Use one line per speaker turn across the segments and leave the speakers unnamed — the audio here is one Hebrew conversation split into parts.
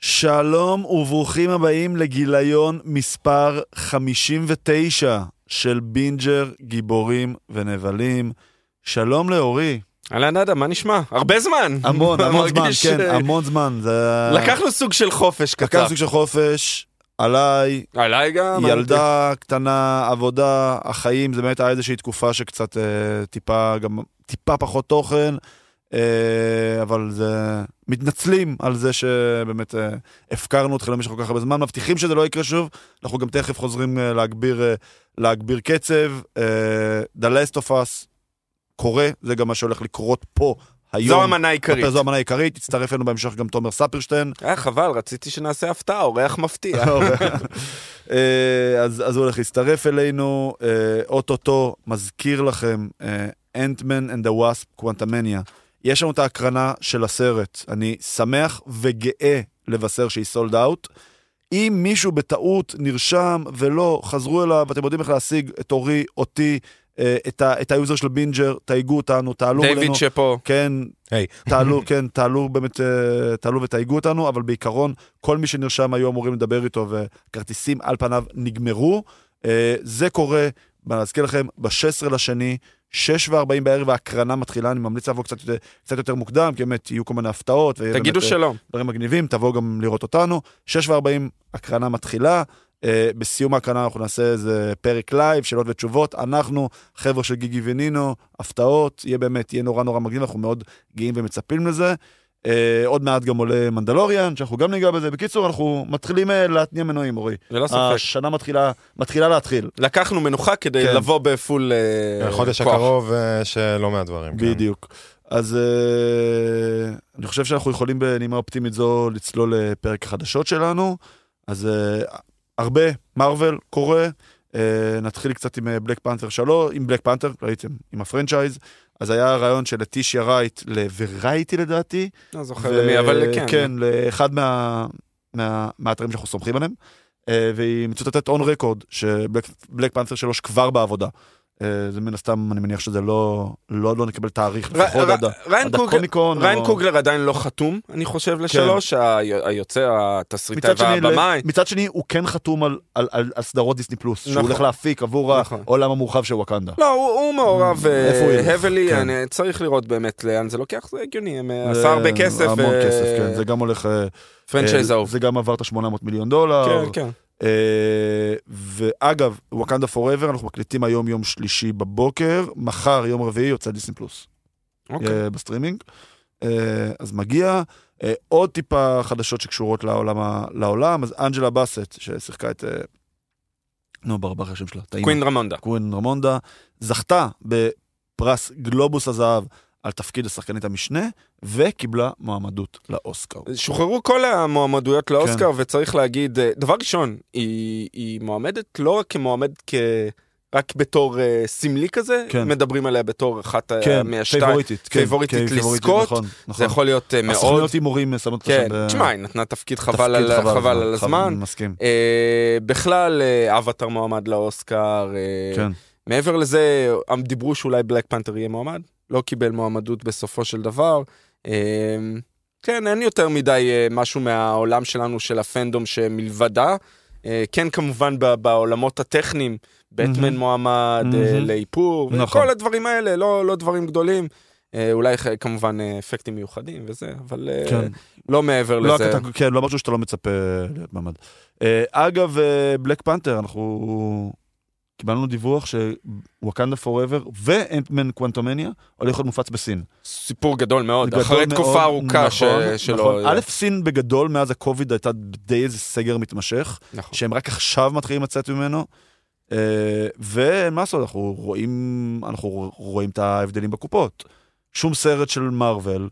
שלום וברוכים הבאים לגיליון מספר 59 של בינג'ר, גיבורים ונבלים. שלום לאורי.
אהלן אדם, מה נשמע? הרבה זמן!
המון, המון זמן,
מרגיש,
כן,
אה,
המון זמן. זה...
לקחנו סוג של חופש
לקח
קצר.
סוג של חופש, עליי,
עליי גם.
ילדה קטנה, עבודה, החיים, זה באמת היה איזושהי תקופה שקצת אה, טיפה, גם טיפה פחות תוכן, אה, אבל זה... מתנצלים על זה שבאמת אה, הפקרנו אתכם למשך כל כך הרבה זמן, מבטיחים שזה לא יקרה שוב, אנחנו גם תכף חוזרים אה, להגביר, אה, להגביר קצב. אה, The Last of Us קורה, זה גם מה שהולך לקרות פה היום.
זו המנה העיקרית.
זו המנה העיקרית, יצטרף אלינו בהמשך גם תומר ספרשטיין.
אה, חבל, רציתי שנעשה הפתעה, אורח מפתיע.
אוקיי. אה, אז, אז הוא הולך להצטרף אלינו, אה, אוטוטו, מזכיר לכם, אנטמן and the Wasp, קוונטמניה. יש לנו את ההקרנה של הסרט, אני שמח וגאה לבשר שהיא סולד אאוט. אם מישהו בטעות נרשם ולא חזרו אליו, אתם יודעים איך להשיג את אורי, אותי, אה, את, ה, את היוזר של בינג'ר, תייגו אותנו, תעלו אלינו.
דיוויד שפה.
כן,
היי.
תעלו, כן, תעלו באמת, אה, תעלו ותייגו אותנו, אבל בעיקרון, כל מי שנרשם היו אמורים לדבר איתו, וכרטיסים על פניו נגמרו. אה, זה קורה, מה להזכיר לכם, ב-16 לשני, 6 ו-40 בערב ההקרנה מתחילה, אני ממליץ לבוא קצת יותר, קצת יותר מוקדם, כי באמת יהיו כל מיני הפתעות. ויהיה
תגידו
באמת, אה,
שלום.
דברים מגניבים, תבואו גם לראות אותנו. 6 ו-40, הקרנה מתחילה. Uh, בסיום ההקרנה אנחנו נעשה איזה פרק לייב, שאלות ותשובות. אנחנו, חבר'ה של גיגי ונינו, הפתעות, יהיה באמת, יהיה נורא נורא מגניב, אנחנו מאוד גאים ומצפים לזה. Uh, עוד מעט גם עולה מנדלוריאן, שאנחנו גם ניגע בזה. בקיצור, אנחנו מתחילים אה, להתניע מנועים, אורי.
ללא ספק.
השנה מתחילה, מתחילה להתחיל.
לקחנו מנוחה כדי
כן.
לבוא בפול אה, כוח.
חודש הקרוב אה, שלא מעט דברים. כן.
בדיוק. אז אה, אני חושב שאנחנו יכולים בנימה אופטימית זו לצלול לפרק החדשות שלנו. אז אה, הרבה מרוויל קורה. אה, נתחיל קצת עם בלק פנתר 3, עם בלק פנתר, ראיתם, עם הפרנצ'ייז. אז היה רעיון של לטישיה רייט לוורייטי לדעתי.
לא זוכר למי, אבל כן.
כן, לאחד מה, מה, מהאתרים שאנחנו סומכים עליהם. אה, והיא מצוטטת און רקורד, שבלק פנתר 3 כבר בעבודה. אה, זה מן הסתם, אני מניח שזה לא, לא, לא נקבל תאריך
ר-
לפחות
ר-
עד ה-
ריין
עד
קוגלר-
הקומיקון.
ריין
או- כן.
קוגלר עדיין לא חתום, אני חושב, לשלוש, ה- היוצר, התסריטאי
מצד שני,
והבמאי.
ל- מצד שני, הוא כן חתום על, על, על, על סדרות דיסני פלוס, שהוא
נכון.
הולך להפיק עבור
נכון.
העולם המורחב של וואקנדה.
לא, הוא, הוא מעורב אה,
Mm, איפה הוא ילך?
heavily,
כן.
אני צריך לראות באמת לאן זה לוקח, זה הגיוני, הם אה,
זה
עשה הרבה כסף.
המון
אה,
כסף, כן. זה גם הולך... אה,
פרנצ'ייז
אה,
אהוב.
זה גם עבר את ה-800 מיליון דולר.
כן, כן.
אה, ואגב, וואקנדה פוראבר, אנחנו מקליטים היום יום שלישי בבוקר, מחר, יום רביעי, יוצא דיסני פלוס
אוקיי.
אה, בסטרימינג. אה, אז מגיע. אה, עוד טיפה חדשות שקשורות לעולם, ה- לעולם, אז אנג'לה באסט, ששיחקה את... אה, נו, ברבח השם שלה. טעינו.
קווין רמונדה.
קווין רמונדה, זכתה בפרס גלובוס הזהב על תפקיד השחקנית המשנה, וקיבלה מועמדות לאוסקר.
אה, שוחררו כל המועמדויות לאוסקר,
כן.
וצריך להגיד, אה, דבר ראשון, היא, היא מועמדת לא רק כמועמדת כ... רק בתור uh, סמלי כזה,
כן.
מדברים עליה בתור אחת אה, מהשתיים.
פייבוריטית, כן,
פייבוריטית
כן, פייבוריטית,
לזכות,
נכון, נכון.
זה יכול להיות אה, מאוד...
הסוכניות הימורים שמות אותה
כן,
שם ב-
תשמע, היא נתנה תפקיד חבל
תפקיד
על, חבל על
חבל,
הזמן.
מסכים,
אה, בכלל, אה, אבטר מועמד לאוסקר. אה,
כן.
מעבר לזה, הם דיברו שאולי בלק פנתר יהיה מועמד, לא קיבל מועמדות בסופו של דבר. אמ, כן, אין יותר מדי אה, משהו מהעולם שלנו של הפנדום שמלבדה. אה, כן, כמובן ב- בעולמות הטכניים, בטמן
מהמם.
מועמד אה,
מהמם.
לאיפור,
Mhm. נכון.
וכל הדברים האלה, לא לא דברים גדולים. אה, אולי ח- כמובן אה, אפקטים מיוחדים וזה, אבל אה,
כן.
לא מעבר
לא,
לזה.
הקטג- כן, לא משהו שאתה לא מצפה להיות מעמד. אה, אגב, אה, בלק פנתר, אנחנו קיבלנו דיווח שוואקנדה פוראבר ואנטמן קוונטומניה הולך להיות מופץ בסין.
סיפור גדול מאוד,
גדול
אחרי
מאוד,
תקופה ארוכה ש- אה,
נכון, נכון.
שלא...
א', סין בגדול, מאז הקוביד הייתה די איזה סגר מתמשך,
נכון.
שהם רק עכשיו מתחילים לצאת ממנו. אה, ומה לעשות, אנחנו רואים, אנחנו רואים את ההבדלים בקופות. שום סרט של מארוול,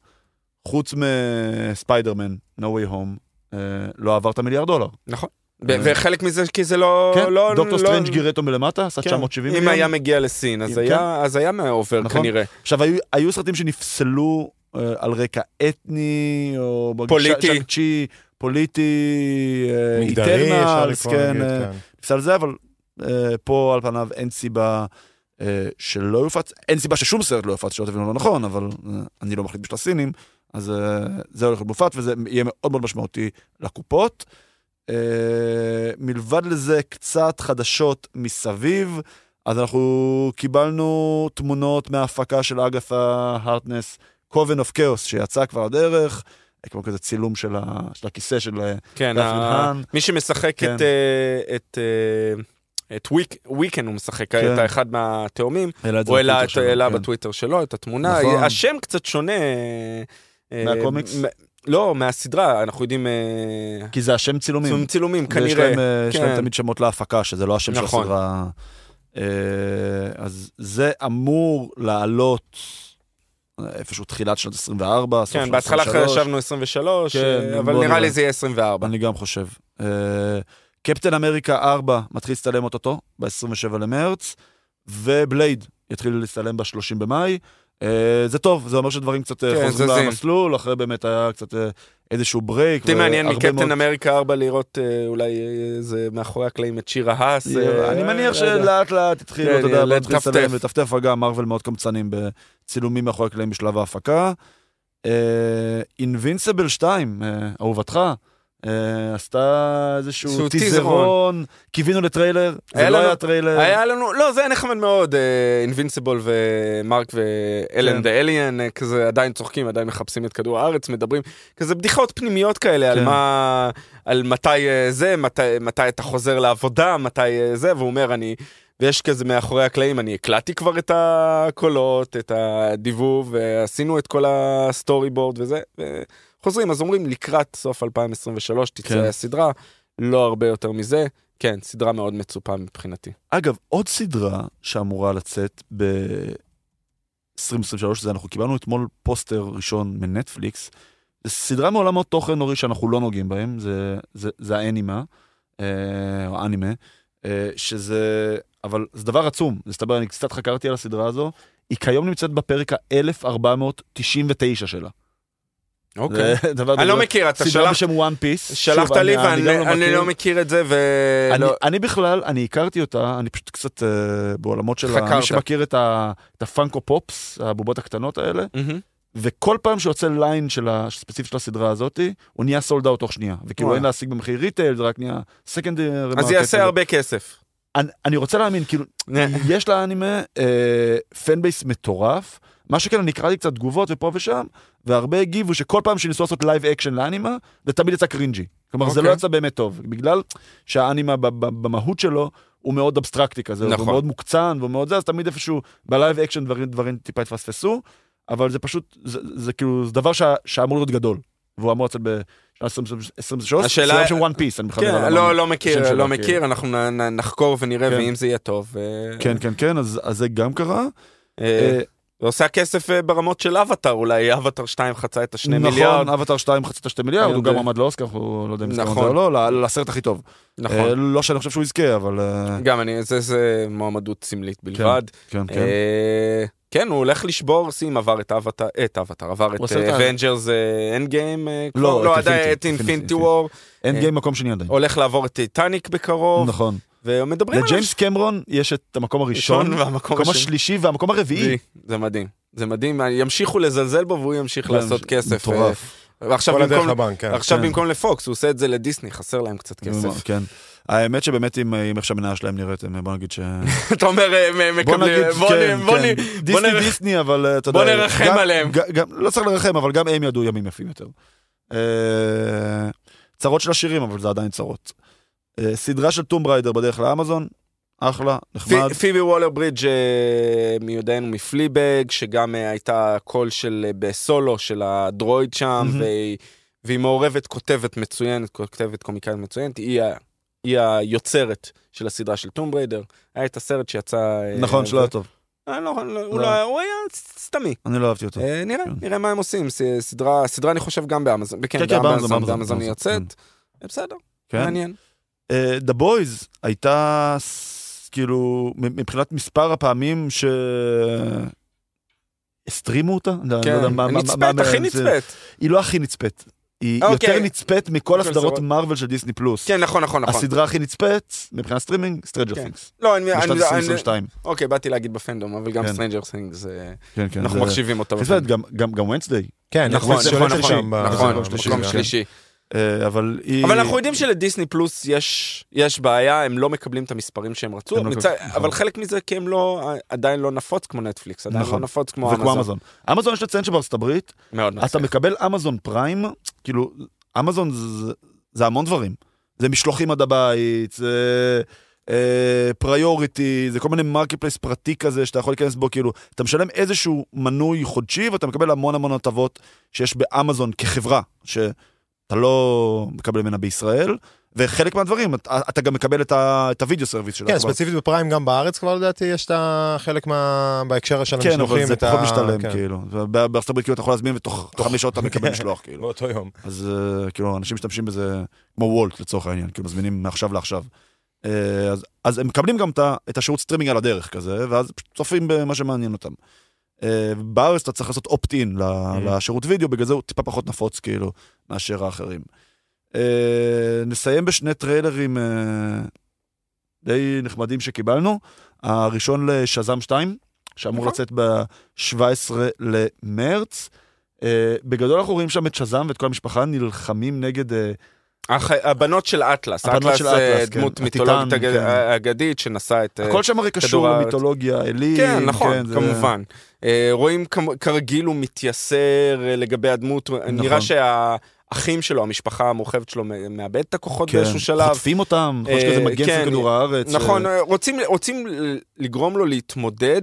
חוץ מספיידרמן, No way home, אה, לא עבר את המיליארד דולר.
נכון. ו- וחלק מזה כי זה לא...
כן,
לא-
דוקטור
לא-
סטרנג' גירד אותו מלמטה, עשה
כן.
970
אם היה
מיליון.
מגיע לסין, אז
אם כן.
היה- אז היה מעובר
נכון.
כנראה.
עכשיו, היו- היו סרטים שנפסלו אה, על רקע אתני, או...
פוליטי.
צ'אנג צ'י, פוליטי, אה,
מגדרי, אפשר
Eternals,
לקרוא, נגיד,
כן, אה,
כן.
נפסל זה, אבל אה, פה על פניו אין סיבה אה, שלא יופץ, אין סיבה ששום סרט לא יופץ, שלא תבינו לא נכון, אבל אה, אני לא מחליט בשביל הסינים, אז אה, זה הולך להיות מופץ וזה יהיה מאוד מאוד משמעותי לקופות. אה, מלבד לזה, קצת חדשות מסביב, אז אנחנו קיבלנו תמונות מההפקה של אגתה הרטנס, Coven of Chaos, שיצא כבר הדרך, אה, כמו כזה צילום של, ה, של הכיסא של... אה,
כן,
דפני
ה-
האן.
מי שמשחק
כן.
את, אה, את, אה, את וויק, וויקן הוא משחק,
כן.
את האחד מהתאומים,
העלה את זה
הוא העלה
בטוויטר
את-
שלו,
העלה
כן.
בטוויטר שלו את התמונה,
נכון.
השם קצת שונה. אה,
מהקומיקס?
אה, מ- לא, מהסדרה, אנחנו יודעים, אה,
כי זה השם צילומים.
צילום- צילומים
ויש
כנראה.
להם, אה, יש
כן.
להם תמיד שמות להפקה, שזה לא השם של
נכון.
הסדרה. אה, אז זה אמור לעלות אה, איפשהו תחילת שנת 24, סוף
כן,
שנת
בהתחלה
23.
חשבנו 23,
כן,
אה, אבל
בוא
נראה
נראה.
לי זה יהיה 24.
אני גם חושב. אה, קפטן אמריקה 4 מתחיל להצטלם אוטוטו, ב-27 למרץ, ובלייד יתחיל להצטלם ב-30 במאי. אה, זה טוב, זה אומר שדברים קצת אה,
כן,
חוזרים
זזים.
למסלול, אחרי באמת היה קצת אה, איזשהו ברייק.
אותי מעניין
והרבה מאוד-
מקפטן אמריקה 4 לראות אה, אולי אה, איזה מאחורי הקלעים את שירה האס. אה,
אני
לא
מניח
יודע.
שלאט לאט התחילו,
כן,
אתה יודע,
לטפטף.
להתחיל לצלם ולטפטף, אגב, מרוויל מאוד קמצנים בצילומים מאחורי הקלעים בשלב ההפקה. אינבינסיבל 2, אה, אהובתך, אה, עשתה איזשהו
איזשהו
טיזרון, קיווינו לטריילר, זה
היה
לא
לנו-
היה טריילר.
היה לנו, לא, זה היה נחמד מאוד, אינבינסיבול ומרק ואלן
כן.
דה אליאן, אה, כזה עדיין צוחקים, עדיין מחפשים את כדור הארץ, מדברים, כזה בדיחות פנימיות כאלה, על
כן.
מה, על מתי אה, זה, מתי, מתי אתה חוזר לעבודה, מתי אה, זה, והוא אומר, אני, ויש כזה מאחורי הקלעים, אני הקלטתי כבר את הקולות, את הדיבוב, ועשינו את כל הסטורי בורד וזה, וחוזרים, אז אומרים, לקראת סוף 2023 תצא
כן.
הסדרה, לא הרבה יותר מזה. כן, סדרה מאוד מצופה מבחינתי.
אגב, עוד סדרה שאמורה לצאת ב-2023, זה אנחנו קיבלנו אתמול פוסטר ראשון מנטפליקס. זו סדרה מעולמות תוכן, אורי, שאנחנו לא נוגעים בהם, זה, זה, זה האנימה, אה, או אנימה, אה, שזה, אבל זה דבר עצום, מסתבר, אני קצת חקרתי על הסדרה הזו, היא כיום נמצאת בפרק ה-1499 שלה.
אוקיי.
זה דבר
אני לא
בגלל-
מכיר, אתה
סדרה
שלח-
בשם One Piece.
שלחת
שוב, אני-
לי
אני גם
ואני
מכיר.
לא מכיר את זה,
אני,
ולא...
אני בכלל, אני הכרתי אותה, אני פשוט קצת אה, בעולמות של... ה-
חקרת.
מי שמכיר את, ה, את הפאנקו פופס, הבובות הקטנות האלה,
מהמם.
וכל פעם שיוצא ליין של הספציפי של הסדרה הזאתי, הוא נהיה סולד אאוט תוך שנייה. וכאילו
וואלה.
אין להשיג במחיר ריטייל, זה רק נהיה סקנדר.
אז יעשה הרבה כסף.
אני, אני רוצה להאמין, כאילו, יש לאנימה אה, פן בייס מטורף. מה שכן, אני קראתי קצת תגובות ופה ושם, והרבה הגיבו שכל פעם שניסו לעשות לייב אקשן לאנימה, זה תמיד יצא קרינג'י. כלומר, okay. זה
אוקיי.
לא יצא באמת טוב, בגלל שהאנימה ב- ב- במהות שלו הוא מאוד אבסטרקטי כזה, נכון.
נכון.
הוא מאוד מוקצן והוא מאוד זה, אז תמיד איפשהו בלייב אקשן דברים, דברים טיפה התפספסו, אבל זה פשוט, זה, זה כאילו, זה דבר שה, שאמור להיות גדול, והוא אמור לצאת ב-2023,
השאלה-
סדרה לא של וואן פיס, אני בכלל מדבר
כן,
על
לא,
המון.
לא
השם
מכיר,
שלו,
לא
כאילו.
מכיר, אנחנו נ- נ- נחקור ונראה,
כן.
ואם זה יהיה טוב. אה,
כן, כן, כן, אז, אז זה גם קרה.
אה,
אה,
זה עושה כסף אה, ברמות של אבטאר, אולי אבטאר 2 חצה את השני מיליארד.
נכון, אבטאר 2 חצה את השתי מיליארד,
היום
הוא גם
זה-
עמד לאוסקר, הוא לא יודע אם הסכמת
נכון.
או אה, לא, ל- לסרט הכי טוב. אה,
נכון.
לא שאני חושב שהוא יזכה, אבל... אה,
גם אני, זה- זה מועמדות סמלית בלבד.
כן,
אה,
כן.
כן, הוא הולך לשבור שיא אם עבר את אבטאר, את אבטאר, עבר את אה,
הוא עושה את ה-
אבנג'רס אנד גיים,
לא,
לא,
את
עדיין
Infinity,
את אינפינטי
Infinity.
וור,
אין גיים מקום שני עדיין.
הולך לעבור את טיטניק בקרוב,
נכון.
ומדברים עליו
לג'יימס קמרון יש את המקום הראשון,
והמקום
המקום
השני.
השלישי והמקום הרביעי.
זה מדהים, זה מדהים, ימשיכו לזלזל בו והוא ימשיך לעשות כסף.
כן, מטורף.
אה, ועכשיו
כל הדרך
במקום-
לבנק, כן.
עכשיו
כן.
במקום לפוקס, הוא עושה את זה לדיסני, חסר להם קצת כסף.
כן. האמת שבאמת עם עם איך שהמניה שלהם נראית, הם- בוא נגיד ש...
אתה אומר, אה, מ-
בוא
מקבלים,
נגיד,
בוא נ-
כן,
בוא
כן.
נ- בוא
דיסני
נ-
דיסני, אבל אה, אתה יודע...
בוא נרחם
גם-
עליהם.
ג- גם- לא צריך לרחם, אבל גם הם ידעו ימים יפים יותר. אה, צרות של עשירים, אבל זה עדיין צרות. אה, סדרה של טום בריידר בדרך לאמזון, אחלה, נחמד.
פי- פיבי וולר ברידג' אה, מיודענו מפליבג, שגם אה, הייתה קול של אה, בסולו של הדרויד שם,
מהמם.
והיא- והיא מעורבת, כותבת מצוינת, כותבת קומיקאית מצוינת, היא ה- היא היוצרת של הסדרה של טום בריידר. היה את הסרט שיצא... אה,
נכון, שלא
זה-
היה טוב.
אה, לא, לא, הוא
לא.
לא היה- הוא היה ס- סתמי.
אני לא אהבתי אותו.
אה, נראה,
כן.
נראה מה הם עושים. ס- סדרה, סדרה אני חושב גם באמזון, כן,
כן, כן, באמזון,
באמזון,
באמזון,
באמזון היא
באמזון,
יוצאת. אה, בסדר,
כן?
מעניין.
אה, The Boys הייתה, ס- כאילו, מ- מבחינת מספר הפעמים ש... הסטרימו אותה? אני לא
כן,
יודע מה- מה- מה-
נצפית,
מה-
כן. הכי
זה-
נצפית.
היא לא הכי נצפית. היא
אוקיי.
יותר נצפית מכל
מכל
הסדרות
הסדרות.
מרוויל של דיסני פלוס.
כן, נכון, נכון, נכון.
הסדרה הכי נצפית, מבחינת סטרימינג, Stranger
כן.
Things.
לא, אני...
בשנת
אני- אני-
2022.
אוקיי, באתי להגיד בפנדום, אבל גם
כן.
Stranger Things, אה,
כן, כן.
אנחנו
זה-
מחשיבים אותה.
חוץ מזה,
בפנדום.
גם- גם- גם ונסדיי,
כן,
נכון,
נכנס
נכון,
שולט
נכון,
שם ב-
נכון,
מקום שלישי,
מקום
כן.
שלישי.
אה, אבל היא...
אבל אנחנו יודעים שלדיסני פלוס יש, יש בעיה, הם לא מקבלים את המספרים שהם רצו,
הם לא
מצ...
מקבלים,
אבל
נכון.
חלק מזה כי הם לא, עדיין לא נפוץ כמו נטפליקס, עדיין
נכון.
לא נפוץ כמו
וכמו
אמזון.
אמזון. אמזון יש לציין שבארצות הברית,
מאוד נכון.
אתה
מצליח.
מקבל אמזון פריים, כאילו, אמזון זה- זה המון דברים. זה משלוחים עד הבית, זה אה, פריוריטי, זה כל מיני מרקי פלייס פרטי כזה שאתה יכול להיכנס בו, כאילו, אתה משלם איזשהו מנוי חודשי ואתה מקבל המון המון הטבות שיש באמזון כחברה, שאתה לא מקבל ממנה בישראל, וחלק מהדברים, אתה, אתה גם מקבל את, ה, את הוידאו סרוויס שלה.
כן,
כבר.
ספציפית בפריים גם בארץ כבר לדעתי יש את החלק מה... בהקשר של
כן, אבל
המשלוחים.
זה
את ה-
פחות משתלם,
כן.
כאילו. ב- בארצות הברית כאילו אתה יכול להזמין ותוך חמש שעות אתה מקבל
כן.
משלוח, כאילו.
באותו יום.
אז אה, כאילו, אנשים משתמשים בזה כמו וולט לצורך העניין, כאילו מזמינים מעכשיו לעכשיו. אה, אז, אז הם מקבלים גם את ה- את השירות סטרימינג על הדרך כזה, ואז פשוט צופים במה שמעניין אותם. אה, בארץ אתה צריך לעשות אופט-אין ל- לשירות וידאו, בגלל זה הוא טיפה פחות נפוץ כאילו מאשר האחרים. אה, נסיים בשני טריילרים אה, די נחמדים שקיבלנו. הראשון לשזאם 2, שאמור
נכון.
לצאת ב-17 למרץ. אה, בגדול אנחנו רואים שם את שזאם ואת כל המשפחה נלחמים נגד... אה,
הח... הבנות של אטלס,
הבנות
אטלס
של
אה,
אטלס, כן.
דמות
הטיטן,
מיתולוגית אג...
כן.
אגדית שנשא את... אה,
הכל שם הרי קשור
הארץ.
למיתולוגיה, אלים.
כן, נכון,
זה-
כמובן. אה, רואים כמ- כרגיל הוא מתייסר אה, לגבי הדמות,
נכון.
נראה שהאחים שלו, המשפחה המורחבת שלו, מ- מאבד את הכוחות
כן,
באיזשהו שלב.
חוטפים אותם,
אה,
יש כזה מגן
כן,
של כדור הארץ.
נכון,
אה,
אה, רוצים, רוצים לגרום לו להתמודד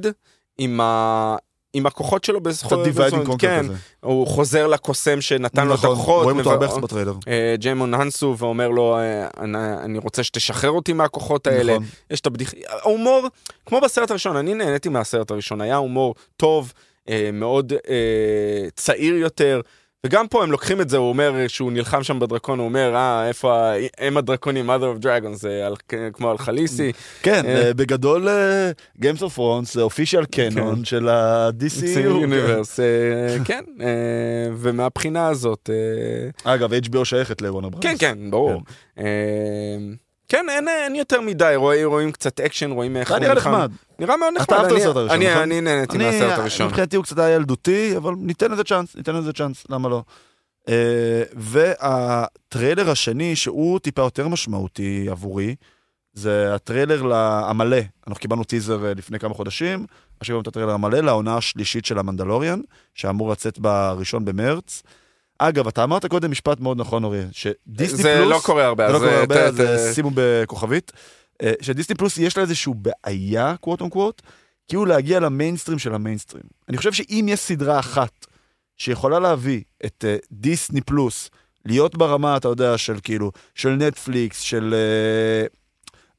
עם, ה... עם הכוחות שלו
קצת
בזכות.
דיוויידינג קונקר
כן,
כזה.
הוא חוזר לקוסם שנתן לו את
נכון,
הכוחות.
רואים אותו
מב-
הרבה בטריילר.
אה, ג'יימון הנסו ואומר לו, אה, אני- אני רוצה שתשחרר אותי מהכוחות האלה.
נכון.
יש את הבדיחה, ההומור, כמו בסרט הראשון, אני נהניתי מהסרט הראשון, היה הומור טוב, אה, מאוד אה, צעיר יותר, וגם פה הם לוקחים את זה, הוא אומר אה, שהוא נלחם שם בדרקון, הוא אומר, אה, איפה ה- הם הדרקונים, mother of dragons, זה על, כמו על חליסי,
כן,
אה,
אה, בגדול, Games of Thrones זה אופישיאל
כן.
קנון של ה-DCU.
יוניברס, כן, אה, ומהבחינה הזאת, אה,
כן. אגב, HBO שייכת לוואנה ברנס.
כן, כן, ברור. אה, כן, אין, אין יותר מדי, רואים, רואים קצת אקשן, רואים איך
זה היה נראה נחמד.
נראה מאוד נחמד.
אתה אהבת את
אני-
הסרט הראשון,
אני-
נכון?
אני נהניתי מהסרט הראשון.
מבחינתי הוא קצת היה ילדותי, אבל ניתן לזה צ'אנס, ניתן לזה צ'אנס, למה לא? אה, והטריילר השני, שהוא טיפה יותר משמעותי עבורי, זה הטריילר ל- המלא. אנחנו קיבלנו טיזר אה, לפני כמה חודשים, עכשיו קיבלנו את הטריילר המלא לעונה השלישית של המנדלוריאן, שאמור לצאת בראשון במרץ. אגב, אתה אמרת קודם משפט מאוד נכון, אוריאל, שדיסני
זה
פלוס...
לא קורה הרבה,
זה לא
אז,
קורה
אה, ת-
הרבה, אז
ת-
אה, שימו בכוכבית. אה, שדיסני פלוס יש לה איזושהי בעיה, קוואט און קוואט, כאילו להגיע למיינסטרים של המיינסטרים. אני חושב שאם יש סדרה אחת שיכולה להביא את אה, דיסני פלוס, להיות ברמה, אתה יודע, של כאילו, של נטפליקס, של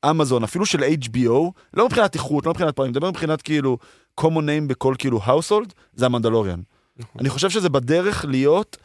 אה, אמזון, אפילו של HBO, לא מבחינת איכות, לא מבחינת פריים, מדבר מבחינת כאילו common name בכל כאילו household, זה המנדלוריאן.
נכון.
אני חושב שזה בדרך להיות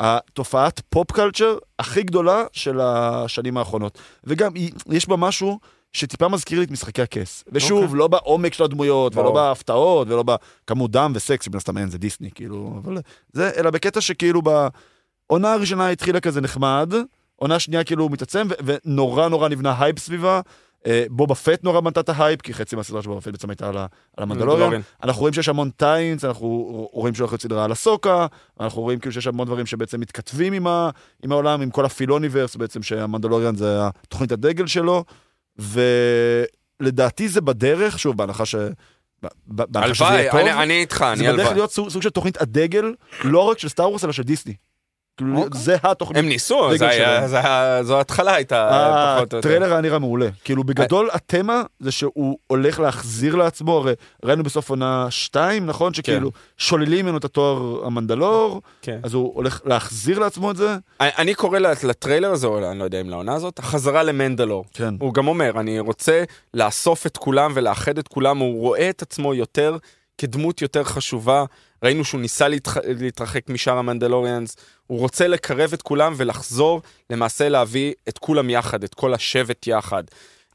התופעת פופ קלצ'ר הכי גדולה של השנים האחרונות. וגם היא- יש בה משהו שטיפה מזכיר לי את משחקי הכס. ושוב,
אוקיי.
לא בעומק של הדמויות, ולא
ברור.
בהפתעות, ולא בכמות דם וסקס, מן הסתם אין, זה דיסני, כאילו, אבל זה, אלא בקטע שכאילו בעונה הראשונה התחילה כזה נחמד, עונה שנייה כאילו מתעצם, ו- ונורא נורא נבנה הייפ סביבה. אה, בובה פט נורא בנתה את ההייפ, כי חצי מהסדרה של בובה פט בעצם הייתה על ה- על המנדלוריון. אנחנו רואים שיש המון טיינס, אנחנו רואים שהולכת להיות סדרה על הסוקה, אנחנו רואים כאילו שיש המון דברים שבעצם מתכתבים עם, ה, עם העולם, עם כל הפילוניברס בעצם, שהמנדלוריאן זה תוכנית הדגל שלו, ולדעתי זה בדרך, שוב, בהנחה ש... ב- ב- בהנחה שזה
הלוואי,
יהיה טוב,
אני- אני איתך, אני
זה בדרך
הלוואי.
להיות סוג, סוג של תוכנית הדגל, לא רק של סטאר וורס, אלא של דיסני. כאילו,
אוקיי.
זה התוכנית.
הם ניסו,
דגל
זה היה-
שלהם.
זה היה- זו ההתחלה הייתה אה, פחות או יותר. אה,
הטריילר היה נראה מעולה. כאילו, בגדול, התמה זה שהוא הולך להחזיר לעצמו, הרי ראינו בסוף עונה 2, נכון? שכאילו, שוללים ממנו את התואר המנדלור,
כן.
אז הוא הולך להחזיר לעצמו את זה.
אני- אני קורא לט- לטריילר הזה, או אני לא יודע אם לעונה הזאת, החזרה למנדלור.
כן.
הוא גם אומר, אני רוצה לאסוף את כולם ולאחד את כולם, הוא רואה את עצמו יותר כדמות יותר חשובה. ראינו שהוא ניסה להתח... להתרחק משאר המנדלוריאנס, הוא רוצה לקרב את כולם ולחזור, למעשה להביא את כולם יחד, את כל השבט יחד.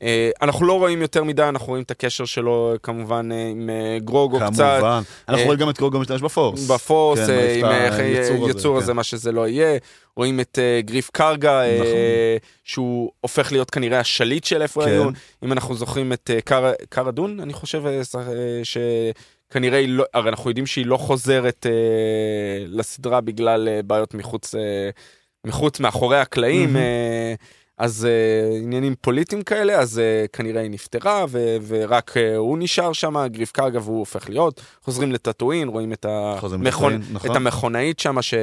אה, אנחנו לא רואים יותר מדי, אנחנו רואים את הקשר שלו אה, כמובן אה, עם אה, גרוגו קצת.
כמובן. אנחנו
אה,
רואים גם את קרוגו משתמש בפורס.
בפורס,
כן,
אה,
יש
עם
את
אה,
היצור
אה,
הזה,
יצור הזה,
כן.
מה שזה לא יהיה. רואים את אה, גריף קרגה, אה,
נכון.
שהוא הופך להיות כנראה השליט של איפה
כן.
היו. אם אנחנו זוכרים את אה, קארה- קארה דון, אני חושב אה, ש- אה, שכנראה היא לא, הרי אנחנו יודעים שהיא לא חוזרת אה, לסדרה בגלל אה, בעיות מחוץ, אה, מחוץ, מאחורי הקלעים.
מהמם.
אה, אז אה, עניינים פוליטיים כאלה, אז אה, כנראה היא נפטרה, ו- ורק אה, הוא נשאר שם, גריף קרגה והוא הופך להיות. חוזרים לטאטואין, רואים את,
חוזרים
המכונ...
לטאטואין, נכון.
את המכונאית שם ש...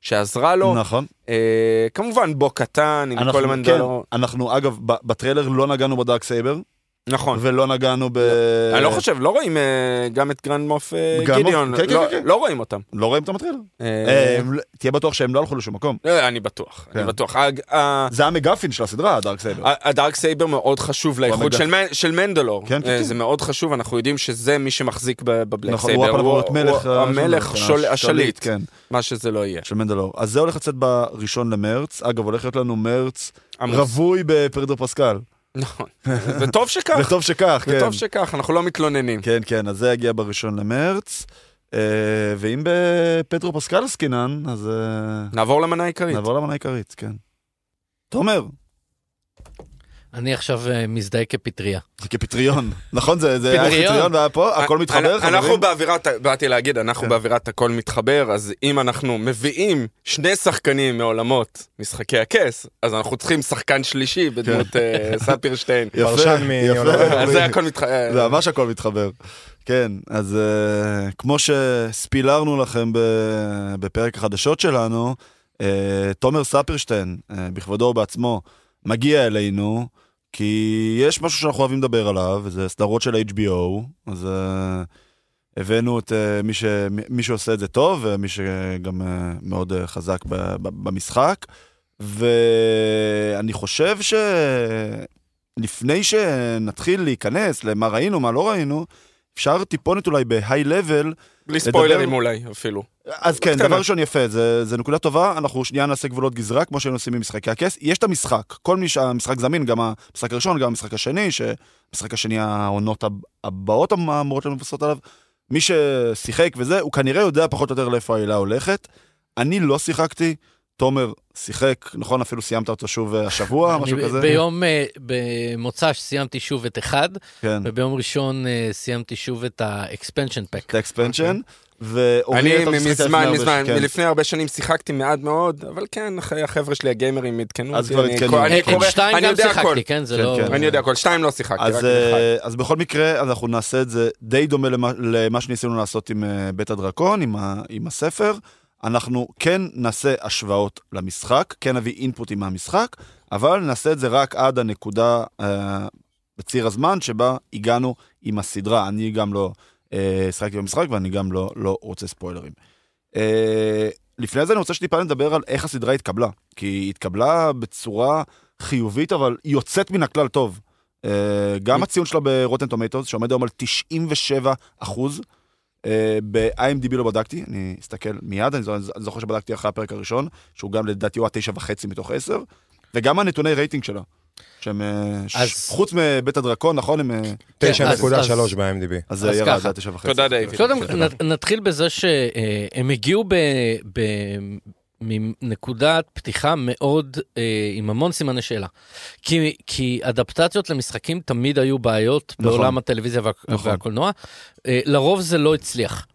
שעזרה לו.
נכון.
אה, כמובן, בו קטן, עם
אנחנו,
כל
כן,
מנדלו.
אנחנו אגב, ב- בטריילר לא נגענו בדארק סייבר,
נכון.
ולא נגענו ב...
אני לא חושב, לא רואים אה, גם את גרנד מוף אה,
גרנד מוף,
גידיון,
כן, כן,
לא-
כן, כן.
לא רואים אותם.
לא רואים אותם בטריילר.
אה,
אה, הם לא- תהיה בטוח שהם לא הלכו לשום מקום.
אה, אני בטוח, אני
כן.
בטוח. ה- ה-
זה המגפין של הסדרה, הדארק סייבר.
ה- הדארק סייבר מאוד חשוב לאיחוד
המגע-
של מנ- של מנדלור.
כן, כן,
אה,
כן.
זה מאוד חשוב, אנחנו יודעים שזה מי שמחזיק ב- בבלק
נכון, הוא
סייבר.
הפעם אמור להיות מלך.
הוא
אה,
המלך,
של-
שול- השליט,
כן,
מה שזה לא יהיה.
של מנדלור. אז זה הולך לצאת בראשון למרץ. אגב, הולך להיות לנו מרץ
עמוס.
רווי בפרדו פסקל.
נכון. וטוב שכך,
וטוב שכך, כן.
אה, וטוב שכך, אנחנו לא מתלוננים.
כן, כן, אז זה יגיע בראשון למרץ. אה, ואם בפטרו פסקל עסקינן, אז אה,
נעבור למנה העיקרית.
נעבור למנה העיקרית, כן. תומר,
אני עכשיו אה, מזדהה כפטריה.
זה כפטריון, נכון? זה זה היה
פטריון.
פטריון והיה פה, הכל
אנ-
מתחבר,
אנ- אה, אנחנו
חברים?
באווירת, באתי להגיד, אנחנו
כן.
באווירת הכל מתחבר, אז אם אנחנו מביאים שני שחקנים מעולמות משחקי הכס, אז אנחנו צריכים שחקן שלישי בדמות אה, ספיר שטיין.
יפה,
פרשן מ-
כן. יפה.
אז זה הכל אה, מתחבר.
זה ממש הכל מתחבר. כן, אז אה, כמו שספילרנו לכם ב- בפרק החדשות שלנו, אה, תומר ספירשטיין, אה, בכבודו ובעצמו, מגיע אלינו, כי יש משהו שאנחנו אוהבים לדבר עליו, וזה סדרות של HBO, אז אה, הבאנו את אה, מי, ש... מי- מי שעושה את זה טוב, ומי שגם אה, מאוד אה, חזק ב... ב... במשחק, ואני חושב ש... לפני שנתחיל להיכנס למה ראינו, מה לא ראינו, אפשר טיפונת אולי בהיי לבל.
בלי
לדבר-
ספוילרים אולי אפילו.
אז כן,
קטנה.
דבר ראשון יפה, זה, זה נקודה טובה, אנחנו שנייה נעשה גבולות גזרה, כמו שהיינו עושים במשחקי הכס. יש את המשחק, כל מי שהמשחק זמין, גם המשחק הראשון, גם המשחק השני, שהמשחק השני, העונות הב- הבאות אמורות להיות מבוססות עליו. מי ששיחק וזה, הוא כנראה יודע פחות או יותר לאיפה העילה הולכת. אני לא שיחקתי, תומר שיחק, נכון? אפילו סיימת אותו שוב אה, השבוע,
אני
משהו
ב-
כזה.
ביום, אה, במוצ"ש סיימתי שוב את אחד,
כן,
וביום ראשון אה, סיימתי שוב את ה-expansion pack.
את האקספנשן. ואורי,
אוקיי. אני
אתה משחק לפני
מזמן,
הרבה ש-
מזמן,
כן.
מלפני הרבה שנים שיחקתי מעט מאוד, אבל כן, אחרי החבר'ה שלי הגיימרים עדכנו
אז
אותי.
כבר
אני-
עדכנו.
אני
אה, את
קורא-
שתיים
אני
גם
יודע הכל.
שיחקתי, כן? זה
כן,
לא...
כן.
אני יודע הכל, שתיים לא שיחקתי, רק
אז,
באחד.
אה, אז בכל מקרה, אז אנחנו נעשה את זה די דומה למה, למה שניסינו לעשות עם אה, בית הדרקון, עם, ה, עם הספר. אנחנו כן נעשה השוואות למשחק, כן נביא אינפוטים מהמשחק, אבל נעשה את זה רק עד הנקודה אה, בציר הזמן שבה הגענו עם הסדרה. אני גם לא אה, שחקתי במשחק ואני גם לא, לא רוצה ספוילרים. אה, לפני זה אני רוצה שטיפה נדבר על איך הסדרה התקבלה, כי היא התקבלה בצורה חיובית, אבל היא יוצאת מן הכלל טוב. אה, גם הציון שלה ברוטן טומטוס, שעומד היום על 97 אחוז, ב-IMDB לא בדקתי, אני אסתכל מיד, אני זו- אני זוכר שבדקתי אחרי הפרק הראשון, שהוא גם לדעתי הוא התשע וחצי מתוך עשר, וגם הנתוני רייטינג שלה, שהם אה, ש-
אז-
חוץ מבית הדרקון, נכון? הם, אה,
כן, אז-
9.3 ב-IMDb.
אז זה
אז
ירד
ככה.
עד תשע וחצי.
תודה, דיוויד.
קודם נ- נתחיל בזה שהם הגיעו ב... ב... מנקודת פתיחה מאוד, אה, עם המון סימני שאלה. כי, כי אדפטציות למשחקים תמיד היו בעיות
נכון.
בעולם הטלוויזיה וה,
נכון.
והקולנוע. אה, לרוב זה לא הצליח.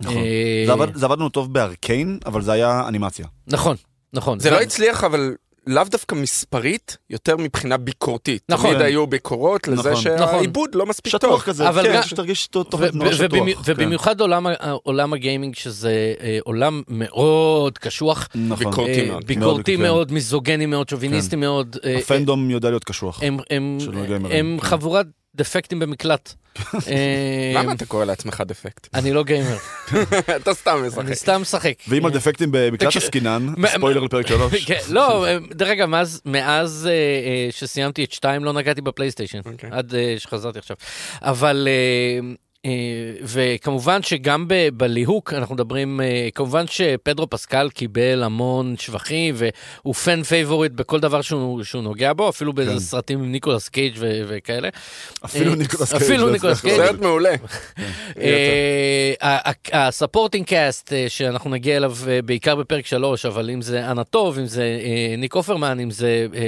נכון.
אה,
זה עבד- זה עבד לנו טוב בארקיין, אבל זה היה אנימציה.
נכון, נכון.
זה לא הצליח, אבל לאו דווקא מספרית, יותר מבחינה ביקורתית.
נכון.
תמיד היו ביקורות לזה
נכון.
שהעיבוד לא מספיק טוב.
שטוח כזה,
אבל
כן,
גם-
שתרגיש טוב, טוב,
ו-
נורא
ו-
לא
שטוח.
ובמי-
כן.
ובמיוחד עולם ה- עולם הגיימינג, שזה אה, עולם מאוד קשוח,
נכון.
ביקורתי
אה,
כן. מאוד. כן.
ביקורתי
מאוד, כן.
מאוד, מיזוגני מאוד, שוביניסטי מאוד. אה, אה,
הפנדום יודע להיות קשוח.
הם, הם,
של הגיימרים,
הם
כן.
חבורת דפקטים במקלט. אה,
למה אתה אוקיי. קורא לעצמך דפקט?
אני לא גיימר,
אתה סתם
אני
משחק.
סתם משחק.
ואם על דפקטים במקלט
אה, תקשיב,
עסקינן,
מה-
ספוילר לפרק 3.
כן, לא, אה, דרך אגב, מאז- מאז אה, אה, שסיימתי את 2 לא נגעתי בפלייסטיישן,
אוקיי.
עד אה, שחזרתי עכשיו. אבל אה, אה, וכמובן שגם ב- בליהוק אנחנו מדברים, אה, כמובן שפדרו פסקל קיבל המון שבחים והוא פן פייבוריט בכל דבר שהוא, שהוא נוגע בו, אפילו
כן.
באיזה סרטים עם ניקולס קייג' ו- וכאלה.
אפילו
אה,
ניקולס קייג'.
אפילו
לא
ניקולס
הצלחנו.
קייג'.
סרט מעולה.
אה, ה- ה- הספורטינג קאסט אה, שאנחנו נגיע אליו אה, בעיקר בפרק 3, אבל אם זה אנה טוב, אם זה אה, ניק אופרמן, אם זה אה,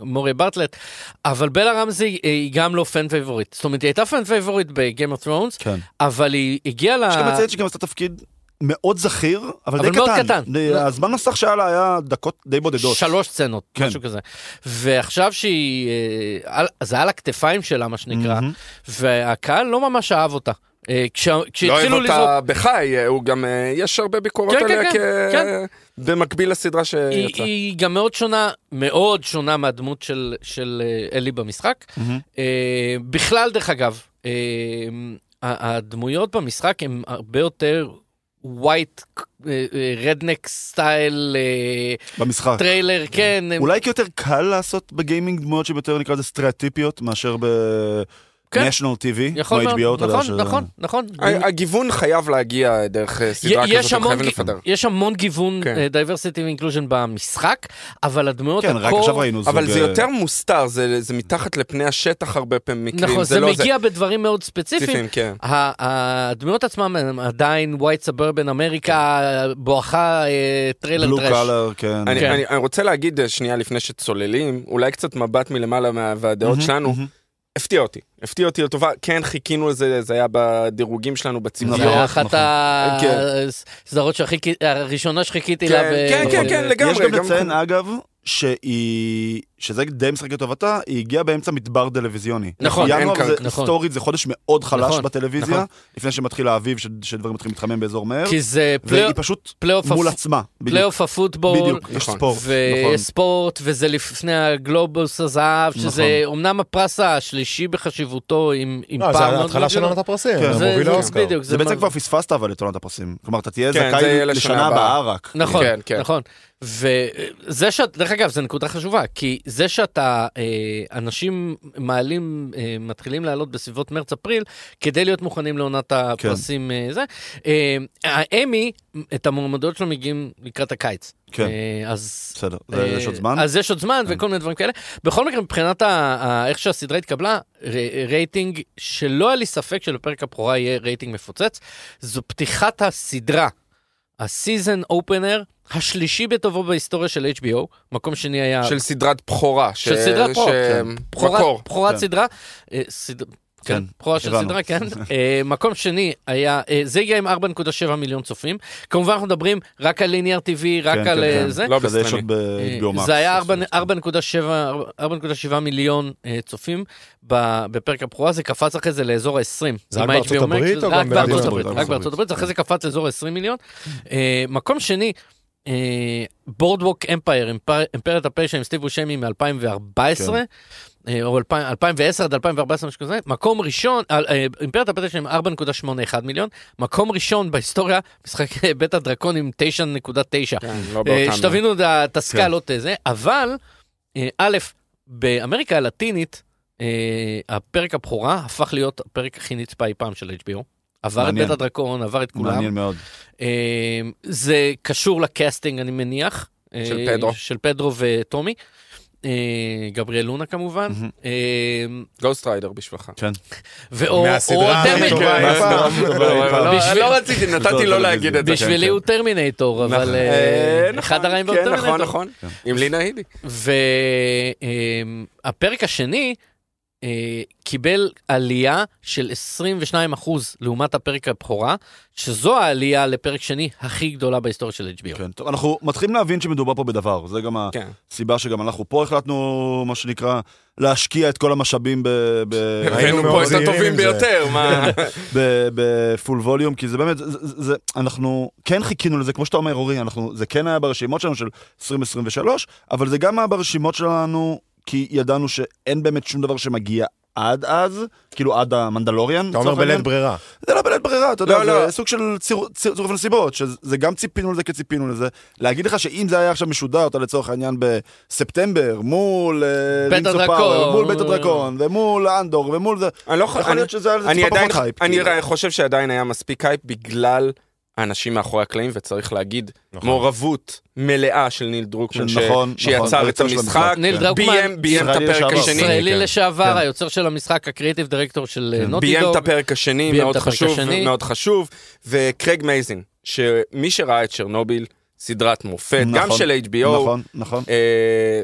מורי ברטלט, אבל בלה רמזי אה, היא גם לא פן פייבוריט. זאת אומרת, היא הייתה פן פייבוריט בגיים אוף ת'רונס,
כן.
אבל היא הגיעה ל...
יש גם לציין שגם עשתה תפקיד מאוד זכיר, אבל די
אבל
קטן.
מאוד קטן.
די-
לא.
הזמן מסך שהיה לה היה דקות די בודדות.
שלוש סצנות,
כן.
משהו כזה. ועכשיו שהיא, אה, על- זה על הכתפיים שלה, מה שנקרא,
מהמם.
והקהל לא ממש אהב אותה. אה, כש-
לא אוהב
כשהתחילו לזרוק...
אותה בחי, אה, הוא גם, אה, יש הרבה ביקורות
כן, כן,
עליה
כן,
כ-
כן.
במקביל לסדרה
היא,
שיצאה.
היא גם מאוד שונה, מאוד שונה מהדמות של, של אה, אלי במשחק.
מהמם.
אה, בכלל, דרך אגב, אה, ה- הדמויות במשחק הן הרבה יותר אה, ווייט, רדנק סטייל, אה,
במשחק.
טריילר, כן. הם-
אה, אולי כי יותר קל לעשות בגיימינג דמויות שהן יותר נקרא לזה סטריאוטיפיות מאשר
כן.
ב-National TV, כמו
יכול מאוד,
HBO, אתה יודע
נכון,
ש...
נכון, נכון.
ה- הגיוון חייב להגיע דרך אה, סדרה
יש
כזאת, הם
המון
חייבים
גי-
לפדר.
יש המון גיוון, אה,
כן.
דייברסיטי ואינקלוז'ן במשחק, אבל הדמויות,
כן, רק
הקור-
עכשיו ראינו זוג...
אבל זה
אה,
יותר מוסתר, זה זה מתחת לפני השטח הרבה פעמים מקרים.
נכון, זה
לא-
מגיע בדברים מאוד ספציפיים,
ספציפיים, כן.
ה- הדמויות עצמם הם עדיין white suburban אמריקה בואכה אה, טריילר
בלו
טרש.
קלר, כן.
אני,
כן.
אני, אני רוצה להגיד אה, שנייה לפני שצוללים, אולי קצת מבט מלמעלה מה- והדעות
מהמם,
שלנו,
מהמם.
הפתיע אותי, הפתיע אותי לטובה, כן חיכינו לזה, זה היה בדירוגים שלנו
זה היה
בציפיון.
נכון.
אחת ה-
כן.
הסדרות שהכי- הראשונה שחיכיתי לה.
כן,
ב-
כן, כן, כן, לגמרי.
יש גם לציין,
כן.
אגב, שהיא... שזה די משחק לטובתה, היא הגיעה באמצע מדבר טלוויזיוני.
נכון,
אין
ינואר זה
כרגע,
נכון.
היסטורית, זה חודש מאוד חלש
נכון,
בטלוויזיה,
נכון.
לפני שמתחיל האביב, ש- שדברים מתחילים להתחמם באזור מהר,
כי זה פלייאוף-
והיא פשוט
פלייאוף
מול
הפ-
עצמה. בדיוק,
פלייאוף הפוטבול.
בדיוק, יש
נכון.
ספורט. נכון.
וספורט, וזה לפני הגלובוס הזהב, שזה אמנם הפרס השלישי בחשיבותו עם עם
לא, זה
פעם מאוד
ההתחלה
מאוד
של עונת
גדולה.
הפרסים,
כן,
זה
זה-
מוביל
זה-
לאוסקר.
בדיוק,
זה בעצם
מה-
כבר פספסת אבל את עונת הפרסים. כלומר, אתה תהיה
כן, זה
זכאי
יהיה
לשנה הבאה רק.
נכון,
כן, כן.
נכון. וזה שאת, דרך אגב, זו נקודה חשובה, כי זה שאתה, אה, אנשים מעלים, אה, מתחילים לעלות בסביבות מרץ-אפריל, כדי להיות מוכנים לעונת הפרסים אה, זה, אה, האמי, את המועמדויות שלו מגיעים לקראת הקיץ.
כן.
אה, אז...
בסדר, זה-
אה,
יש עוד זמן. כן.
אז יש עוד זמן וכל מיני דברים כאלה. בכל מקרה, מבחינת ה- ה- איך שהסדרה התקבלה, ר- רייטינג שלא היה לי ספק שלפרק הבכורה יהיה רייטינג מפוצץ, זו פתיחת הסדרה. הסיזן אופנר השלישי בטובו בהיסטוריה של HBO, מקום שני היה...
של סדרת בכורה. ש-
של סדרת בכורה,
ש-
כן.
בכורת-
מקור.
בכורת
כן.
סדרה. אה, סד- כן,
כן,
בכורה של
הבנו.
סדרה, כן. אה, מקום שני היה, אה, זה הגיע עם 4.7 מיליון צופים. כמובן אנחנו מדברים רק על ליניאר TV, רק
כן,
על
כן,
אה,
כן.
זה.
לא
כזה יש
בסטרימינג.
עוד ב-HBO Max.
זה היה ארבע- 4.7 4.7 מיליון אה, צופים ב- בפרק הבכורה, זה קפץ אחרי זה לאזור ה-20.
זה רק בארצות הברית או גם
רק בארצות
בארצות
הברית?
הברית?
רק בארצות הברית, זה אחרי זה קפץ לאזור ה-20 מיליון. אה, מקום שני, אה, בורדווק אמפייר, אמפיירת הפשע עם סטיב בושמי מ-2014.
כן.
אה, או אלפיים- 2010 עד 2014, משהו כזה, מקום ראשון, אה, אה, אימפריית הפתח שלהם 4.81 מיליון, מקום ראשון בהיסטוריה, משחק אה, בית הדרקון עם 9.9.
כן, לא
אה,
באותם-
שתבינו את ה- את הסקאל,
כן.
לא את זה, אבל, אה, א', באמריקה הלטינית, אה, הפרק הבכורה הפך להיות הפרק הכי נצפה אי פעם של HBO. עבר את
מעניין.
בית הדרקון, עבר את כולם.
מעניין מאוד.
אה, זה קשור לקאסטינג, אני מניח. אה,
של פדרו.
של פדרו וטומי. אה, גבריאל לונה כמובן.
מהמם.
אה,
גhost rider בשבילך.
כן.
ואו
מהסדרה
או
הכי
טרמינ-
טובה אי
מהסדרה
פעם.
הכי טובה אי פעם.
לא,
בשביל-
לא רציתי, נתתי לא להגיד את זה.
בשבילי הוא טרמינטור, אבל אה,
אה,
אחד
נכון,
הרעים
כן,
באותם
נכון, נכון. עם לינה הידי.
והפרק השני אה, קיבל עלייה של 22% לעומת הפרק הבכורה, שזו העלייה לפרק שני הכי גדולה בהיסטוריה של HBO.
כן, טוב, אנחנו מתחילים להבין שמדובר פה בדבר, זה גם
כן.
הסיבה שגם אנחנו פה החלטנו, מה שנקרא, להשקיע את כל המשאבים ב- ב-
הבאנו
מאוד
פה את
זהירים
הטובים
עם זה.
ביותר, מה...
ב- בפול ווליום, כי זה באמת, זה- זה, זה- אנחנו כן חיכינו לזה, כמו שאתה אומר, אורי, אנחנו, זה כן היה ברשימות שלנו של 2023, אבל זה גם היה ברשימות שלנו, כי ידענו שאין באמת שום דבר שמגיע עד אז, כאילו עד המנדלוריאן.
אתה אומר
לצורך העניין.
בלית ברירה.
זה לא בלית ברירה, אתה יודע,
לא, לא.
זה סוג של ציר- ציר- צירוף נסיבות, שזה גם ציפינו לזה כציפינו לזה. להגיד לך שאם זה היה עכשיו משודר, אתה לצורך העניין בספטמבר, מול אה,
בית
רינגס אוף
הדרקון.
פאוור, מול בית הדרקון, ומול אנדור, ומול זה,
אני לא
יכול להיות שזה היה לזה
אני
טיפה
עדיין,
פחות הייפ.
אני
כאילו.
ר- חושב שעדיין היה מספיק הייפ בגלל האנשים מאחורי הקלעים, וצריך להגיד,
נכון.
מעורבות מלאה של ניל דרוקמן,
של- נכון,
ש- שיצר
נכון,
את
היוצר של
המשחק,
המשחק,
ניל
כן.
דרוקמן,
ביים ביים את
ישראלי
הפרק
לשעבר.
השני,
ישראלי
כן.
לשעבר,
כן.
היוצר של המשחק, הקריאיטיב דירקטור של אה, נוטי
ביים
דוג.
את הפרק השני,
ביים את
מאוד
הפרק
חשוב,
השני.
מאוד חשוב, וקרייג מייזין, שמי שראה את שרנוביל, סדרת מופת, גם
נכון,
של HBO,
נכון, נכון.
אה,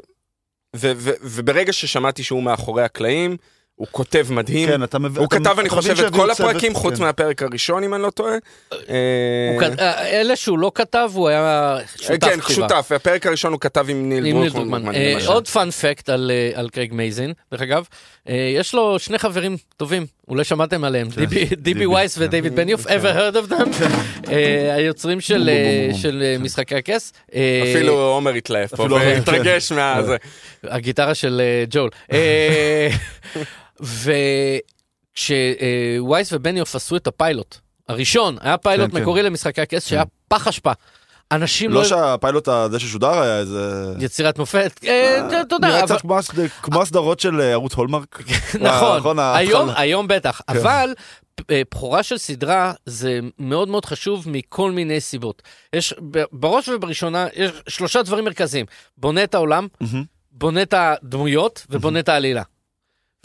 ו- ו- וברגע ששמעתי שהוא מאחורי הקלעים, הוא כותב מדהים.
כן, אתה מבין.
הוא
אתה-
כתב,
אתה
אני
מבין
חושב, את
שהביאו
כל
צוות-
הפרקים, חוץ
כן.
מהפרק הראשון, אם אני לא טועה.
הוא
אה,
כת- אה, אלה שהוא לא כתב, הוא היה שותף
כן,
כתיבה.
שותף, הפרק הראשון הוא כתב עם ניל
עם ניל
דרוקמן.
דרוקמן. אה,
למשל.
עוד פאנפקט על אה, על קרייג מייזין, דרך אגב, אה, יש לו שני חברים טובים, אולי שמעתם עליהם,
כן.
DB דיבי
דיבי.
וייס
כן.
ודייוויד בניוף, ever heard of them, אה, היוצרים של אה, של,
כן.
אה, משחקי הכס. אה,
אפילו עומר התלהב פה,
אפילו עומר, כן.
והתרגש מה... זה.
הגיטרה של אה, ג'ול. אה, וכשווייס אה, ובניוף עשו את הפיילוט, הראשון, היה פיילוט
כן, כן.
מקורי למשחקי הכס שהיה פח אשפה. אנשים לא...
לא שהפיילוט הזה ששודר היה איזה...
יצירת מופת, אה, אתה יודע,
נראה
אבל-
קצת כמו הסד- כמו הסדרות של אה, ערוץ הולמרק. אה,
נכון,
ההתחלה.
היום, היום בטח, אבל אה, בכורה של סדרה זה מאוד מאוד חשוב מכל מיני סיבות. יש, ב- בראש ובראשונה, יש שלושה דברים מרכזיים. בונה את העולם,
מהמם.
בונה את הדמויות ובונה את העלילה.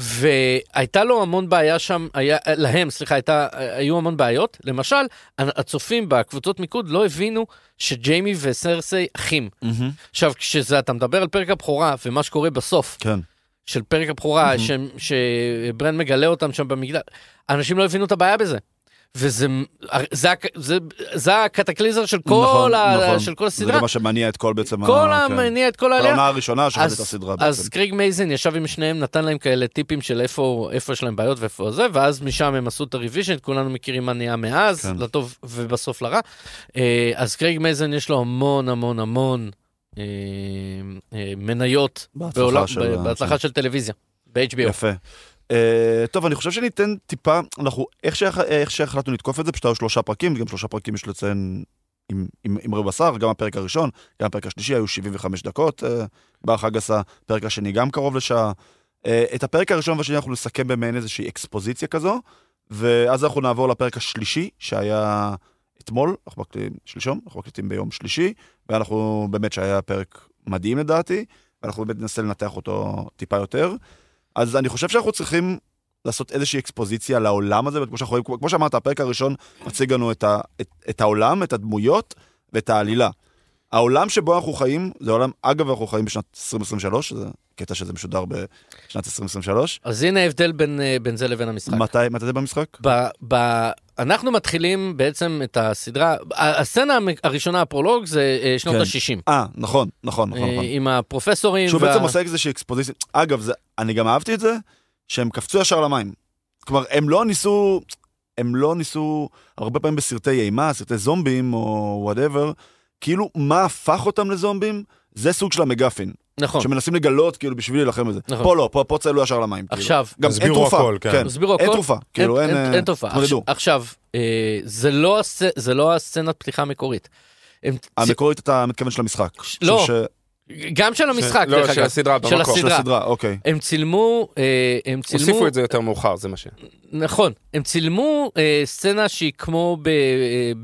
והייתה לו המון בעיה שם, היה, להם, סליחה, הייתה, היו המון בעיות. למשל, הצופים בקבוצות מיקוד לא הבינו שג'יימי וסרסיי אחים.
מהמם.
עכשיו, כשזה, אתה מדבר על פרק הבכורה ומה שקורה בסוף,
כן.
של פרק הבכורה, שהם- שברן מגלה אותם שם במגדל, אנשים לא הבינו את הבעיה בזה. וזה זה, הק- זה, זה הקטקליזר של כל,
נכון,
ה,
נכון.
של כל
זה
הסדרה.
מה שמניע את כל בעצם...
כל
ה- כן.
המניע את כל העלייה.
העונה הראשונה שאחרת
אז,
הסדרה
אז
בעצם.
קריג מייזן ישב עם שניהם, נתן להם כאלה טיפים של איפה, איפה יש להם בעיות ואיפה זה, ואז משם הם עשו את הריוויז'ן, כולנו מכירים מה נהיה מאז,
כן.
לטוב ובסוף לרע. אה, אז קריג מייזן יש לו המון המון המון אה, אה, מניות
בהצלחה
בעולם-
של ה-
בהצלחה של טלוויזיה, ב-HBO.
יפה. אה, טוב, אני חושב שניתן טיפה, אנחנו, איך שהח- איך שהחלטנו לתקוף את זה, פשוט היו שלושה פרקים, גם שלושה פרקים יש לציין עם- עם עם רבע בשר, גם הפרק הראשון, גם הפרק השלישי, היו 75 דקות אה, באח הגסה, הפרק השני גם קרוב לשעה. אה, את הפרק הראשון והשני אנחנו נסכם במעין איזושהי אקספוזיציה כזו, ואז אנחנו נעבור לפרק השלישי, שהיה אתמול, אנחנו מקליטים שלשום, אנחנו מקליטים ביום שלישי, ואנחנו באמת שהיה פרק מדהים לדעתי, ואנחנו באמת ננסה לנתח אותו טיפה יותר. אז אני חושב שאנחנו צריכים לעשות איזושהי אקספוזיציה לעולם הזה, וכמו שאנחנו רואים, כמו- כמו שאמרת, הפרק הראשון מציג לנו את, ה, את, את העולם, את הדמויות ואת העלילה. העולם שבו אנחנו חיים, זה עולם, אגב, אנחנו חיים בשנת 2023, זה קטע שזה משודר בשנת 2023.
אז הנה ההבדל בין, אה, בין זה לבין המשחק.
מתי, מתי זה במשחק?
ב, ב, אנחנו מתחילים בעצם את הסדרה, ה- הסצנה המ- הראשונה, הפרולוג, זה אה, שנות
כן.
ה-60.
אה, נכון, נכון, נכון, נכון.
עם הפרופסורים.
שהוא בעצם עושה איזושהי אקספוזיציה. אגב, זה, אני גם אהבתי את זה, שהם קפצו ישר למים. כלומר, הם לא ניסו, הם לא ניסו, הרבה פעמים בסרטי אימה, סרטי זומבים או וואטאבר, כאילו, מה הפך אותם לזומבים? זה סוג של המגפין,
נכון.
שמנסים לגלות, כאילו, בשביל להילחם בזה.
נכון.
פה לא, פה, פה צללו ישר למים. כאילו.
עכשיו,
גם אין
הסבירו
תרופה.
הכל, כן.
הסבירו
אין
הכל.
תרופה, כאילו, אין... אה,
אין תופעה.
תתמודדו.
עכשיו, אה, זה לא הסצ- זה לא הסצנת פתיחה המקורית. הם-
המקורית אתה מתכוון של המשחק.
לא.
של-
גם של המשחק,
לא,
דרך
של
אגב.
הסדרה,
של
במקור.
של
הסדרה.
הסדרה, אוקיי.
הם צילמו, אה, הם צילמו...
הוסיפו את זה יותר מאוחר, זה מה ש...
נכון, הם צילמו אה, סצנה שהיא כמו אה,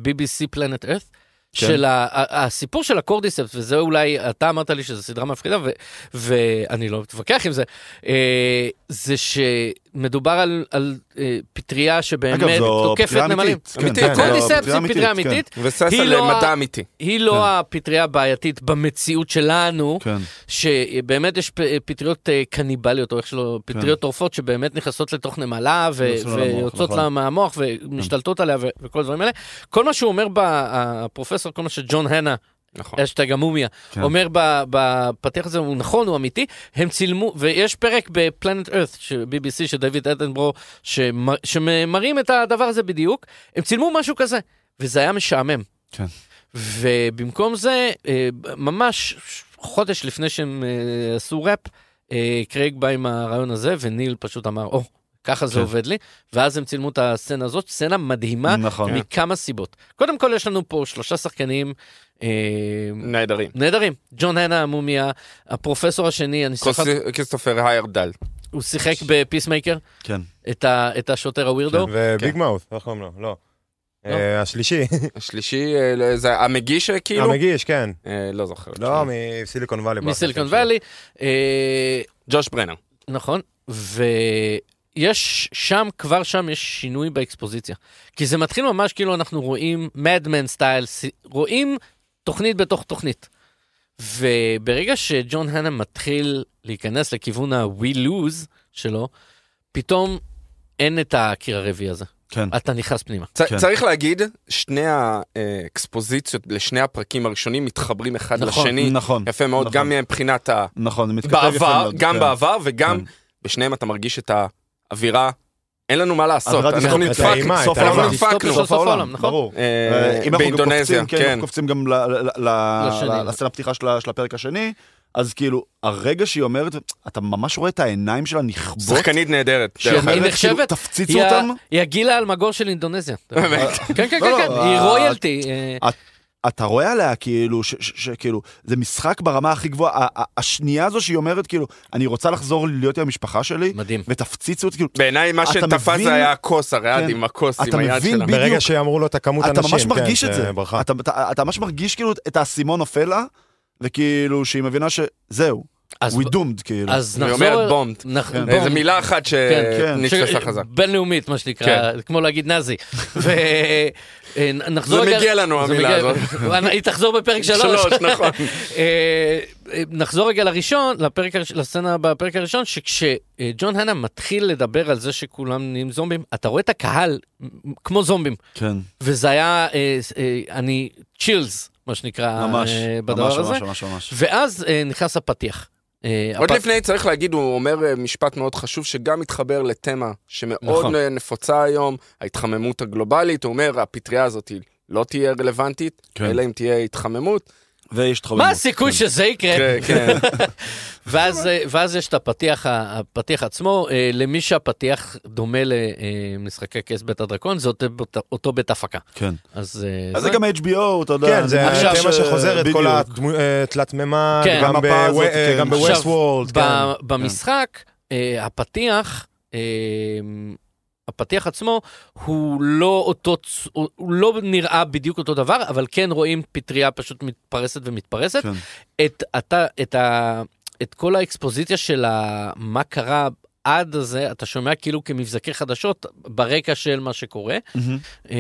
ב-BBC Planet Earth.
כן.
של ה- ה- הסיפור של הקורדיספס, וזה אולי, אתה אמרת לי שזו סדרה מפחידה, ו- ואני לא מתווכח עם זה, אה, זה שמדובר על, על אה, פטריה שבאמת
אגב, זו
תוקפת
פטריה אמיתית.
נמלים.
כן,
אמיתית,
כן, זו
הקורדיספס היא פטריה
כן,
אמיתית,
מבוסס
היא
על
לא ה-
מדע אמיתי.
היא לא
כן.
הפטריה הבעייתית במציאות שלנו,
כן.
שבאמת יש פ- פטריות אה, קניבליות, או איך שלא, פטריות טורפות שבאמת נכנסות לתוך נמלה ו-
כן. נכנסו לה למוח,
ויוצאות
נכון.
לה מהמוח ומשתלטות עליה ו- וכל הדברים האלה. כל מה שהוא אומר, ב- הפרופסור, כל מה שג'ון הנה,
נכון.
אשטג המומיה,
כן.
אומר ב- בפתיח הזה, הוא נכון, הוא אמיתי, הם צילמו, ויש פרק בפלנט ארת, BBC, של דויד אדנברו, שמ- שמראים את הדבר הזה בדיוק, הם צילמו משהו כזה, וזה היה משעמם.
כן.
ובמקום זה, אה, ממש חודש לפני שהם אה, עשו ראפ, אה, קרייג בא עם הרעיון הזה, וניל פשוט אמר, או, ככה זה
כן.
עובד לי. ואז הם צילמו את הסצנה הזאת, סצנה מדהימה
נכון.
מכמה סיבות. קודם כל, יש לנו פה שלושה שחקנים אה,
נהדרים.
נהדרים. ג'ון הנה המומיה, הפרופסור השני, אני סליחה,
כוס- כריסטופר היירדל.
הוא שיחק בפיסמייקר,
כן.
את, ה, את השוטר הווירדו.
כן, וביג מאוס, איך קוראים לו? לא. אה, השלישי,
השלישי, אה, לא, זה המגיש אה, כאילו?
המגיש, כן.
אה, לא זוכר.
לא, מסיליקון וואלי. ברח לי
מסיליקון
השם שלו.
וואלי. אה,
ג'וש ברנר.
נכון, ויש שם, כבר שם יש שינוי באקספוזיציה. כי זה מתחיל ממש כאילו אנחנו רואים מדמן סטייל, רואים תוכנית בתוך תוכנית. וברגע שג'ון הנה מתחיל להיכנס לכיוון ה-we lose שלו, פתאום אין את הקיר הרביעי הזה.
כן.
אתה נכנס פנימה.
צ-
כן.
צריך להגיד, שני האקספוזיציות לשני הפרקים הראשונים מתחברים אחד
נכון,
לשני.
נכון.
יפה מאוד,
נכון.
גם מבחינת ה...
נכון, זה מתכתב יפה
בעבר,
מאוד.
גם
כן.
בעבר וגם
כן.
בשניהם אתה מרגיש את האווירה, אין לנו מה לעשות,
אווירה
אנחנו
דיסטופית.
נדפקנו.
האימה,
כאילו, סוף
את
העולם.
אנחנו
האימה.
דיסטופיה
נדפקנו.
של סוף העולם, נכון?
ברור.
אה,
אה, אם אנחנו גם
באינדונזיה,
קופצים, כן, אם
כן.
אנחנו קופצים גם ל- ל- ל-
לשני.
ל- לסצנה פתיחה של ה- של הפרק השני, אז כאילו, הרגע שהיא אומרת, אתה ממש רואה את העיניים שלה נכבות.
שחקנית נהדרת.
שהיא
דרך אגב.
אומרת,
היא
כאילו,
נחשבת-
תפציצו
היא ה-
אותם.
היא הגילה האלמגור של אינדונזיה. כן, כן, כן,
לא,
כן,
לא,
היא
ה-
רויאלטי. אה,
אתה רואה עליה כאילו, ש- ש- שכאילו, זה משחק ברמה הכי גבוהה. ה- ה- השנייה הזו שהיא אומרת, כאילו, אני רוצה לחזור להיות עם המשפחה שלי,
מדהים.
ותפציצו אותי, כאילו,
בעיניי מה
אתה
שתפס
מבין-
זה היה הכוס, הריאד
כן.
עם הכוס, עם
אתה
היד
מבין
שלה.
בדיוק.
ברגע שאמרו לו את הכמות
אתה
אנשים,
ממש
כן,
מרגיש את זה.
ברכה.
אתה- אתה אתה ממש מרגיש כאילו את האסימון נופל לה, וכאילו, שהיא מבינה שזהו,
אז
we doomed, כאילו.
אז
היא
נחזור...
אומרת בומד.
נח-
כן.
בומד.
איזה מילה אה, אחת
כן.
שנתפסה
ש-
חזק.
בינלאומית, מה שנקרא,
כן.
כמו להגיד נאזי. אה,
זה
ונחזור...
מגיע לנו המילה הזאת.
אה, היא תחזור בפרק שלוש.
שלוש, נכון.
אה, אה, נחזור רגע לראשון, לפרק, הראש- לסצנה בפרק הראשון, שכשג'ון הנה מתחיל לדבר על זה שכולם נהיים זומבים, אתה רואה את הקהל מ- כמו זומבים.
כן,
וזה היה, אה, אה, אני, צ'ילס, מה שנקרא,
ממש,
אה,
ממש,
בדבר הזה.
ממש, ממש, ממש.
ואז אה, נכנס הפתיח. אה,
עוד
הפת-
לפני צריך להגיד, הוא אומר אה, משפט מאוד חשוב שגם מתחבר לתמה שמאוד
נכון.
אה, נפוצה היום, ההתחממות הגלובלית, הוא אומר, הפטריה הזאת היא לא תהיה רלוונטית,
כן.
אלא אם תהיה התחממות.
ויש התחממות.
מה הסיכוי שזה יקרה?
כן, כן.
ואז, אה, ואז יש את הפתיח, ה- הפתיח עצמו, אה, למי שהפתיח דומה למשחקי כס בית הדרקון, זה אותו בית- אותו בית הפקה.
כן.
אז אה,
אז זה גם HBO, אתה יודע.
כן, זה
עכשיו
התמה
ש-
שחוזרת, כל
בדיוק.
התלת מימד,
כן.
גם
המפה הזאת,
בוו- אה,
כן.
גם
עכשיו,
בווסט כן. וולד.
ב- במשחק, אה, הפתיח, אה, הפתיח עצמו, הוא לא אותו, צ- הוא הוא לא נראה בדיוק אותו דבר, אבל כן רואים פטריה פשוט מתפרסת ומתפרסת.
כן.
את, אתה, את, ה, את כל האקספוזיציה של ה, מה קרה עד הזה, אתה שומע כאילו כמבזקי חדשות ברקע של מה שקורה,
מהמם.
אה,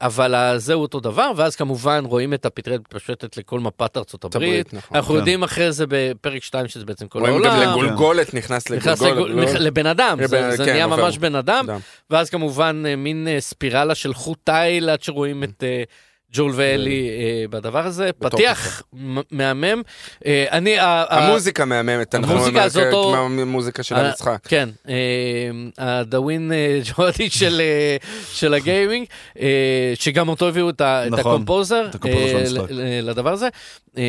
אבל ה- זהו אותו דבר, ואז כמובן רואים את הפטרית מתפשטת לכל מפת ארצות הברית.
הברית, נכון.
אנחנו
כן.
יודעים אחרי זה בפרק 2 שזה בעצם כל
רואים גם
העולם.
לגולגולת, נכנס
נכנס
לגולגולת.
לגול- נכ-
לא-
לבן אדם,
לבן-
זה, זה
כן,
נהיה
עובר.
ממש בן אדם,
אדם.
ואז כמובן אה, מין אה, ספירלה של חוט תיל עד שרואים את אה, ג'ול ואלי אה, בדבר הזה.
בתור
פתיח מ- מהמם. אה, אני... ה- ה-
המוזיקה מהממת, אנחנו
המוזיקה
אומרים,
הזאת
כן,
או-
כמו המוזיקה של
אה,
המשחק.
כן, אה, הדאווין אה, ג'ואדי של, אה, של הגיימינג, אה, שגם אותו הביאו את, ה- את
נכון,
הקומפוזר
את הקומפוזר של
אה,
המשחק.
ל- ל- לדבר הזה. אה,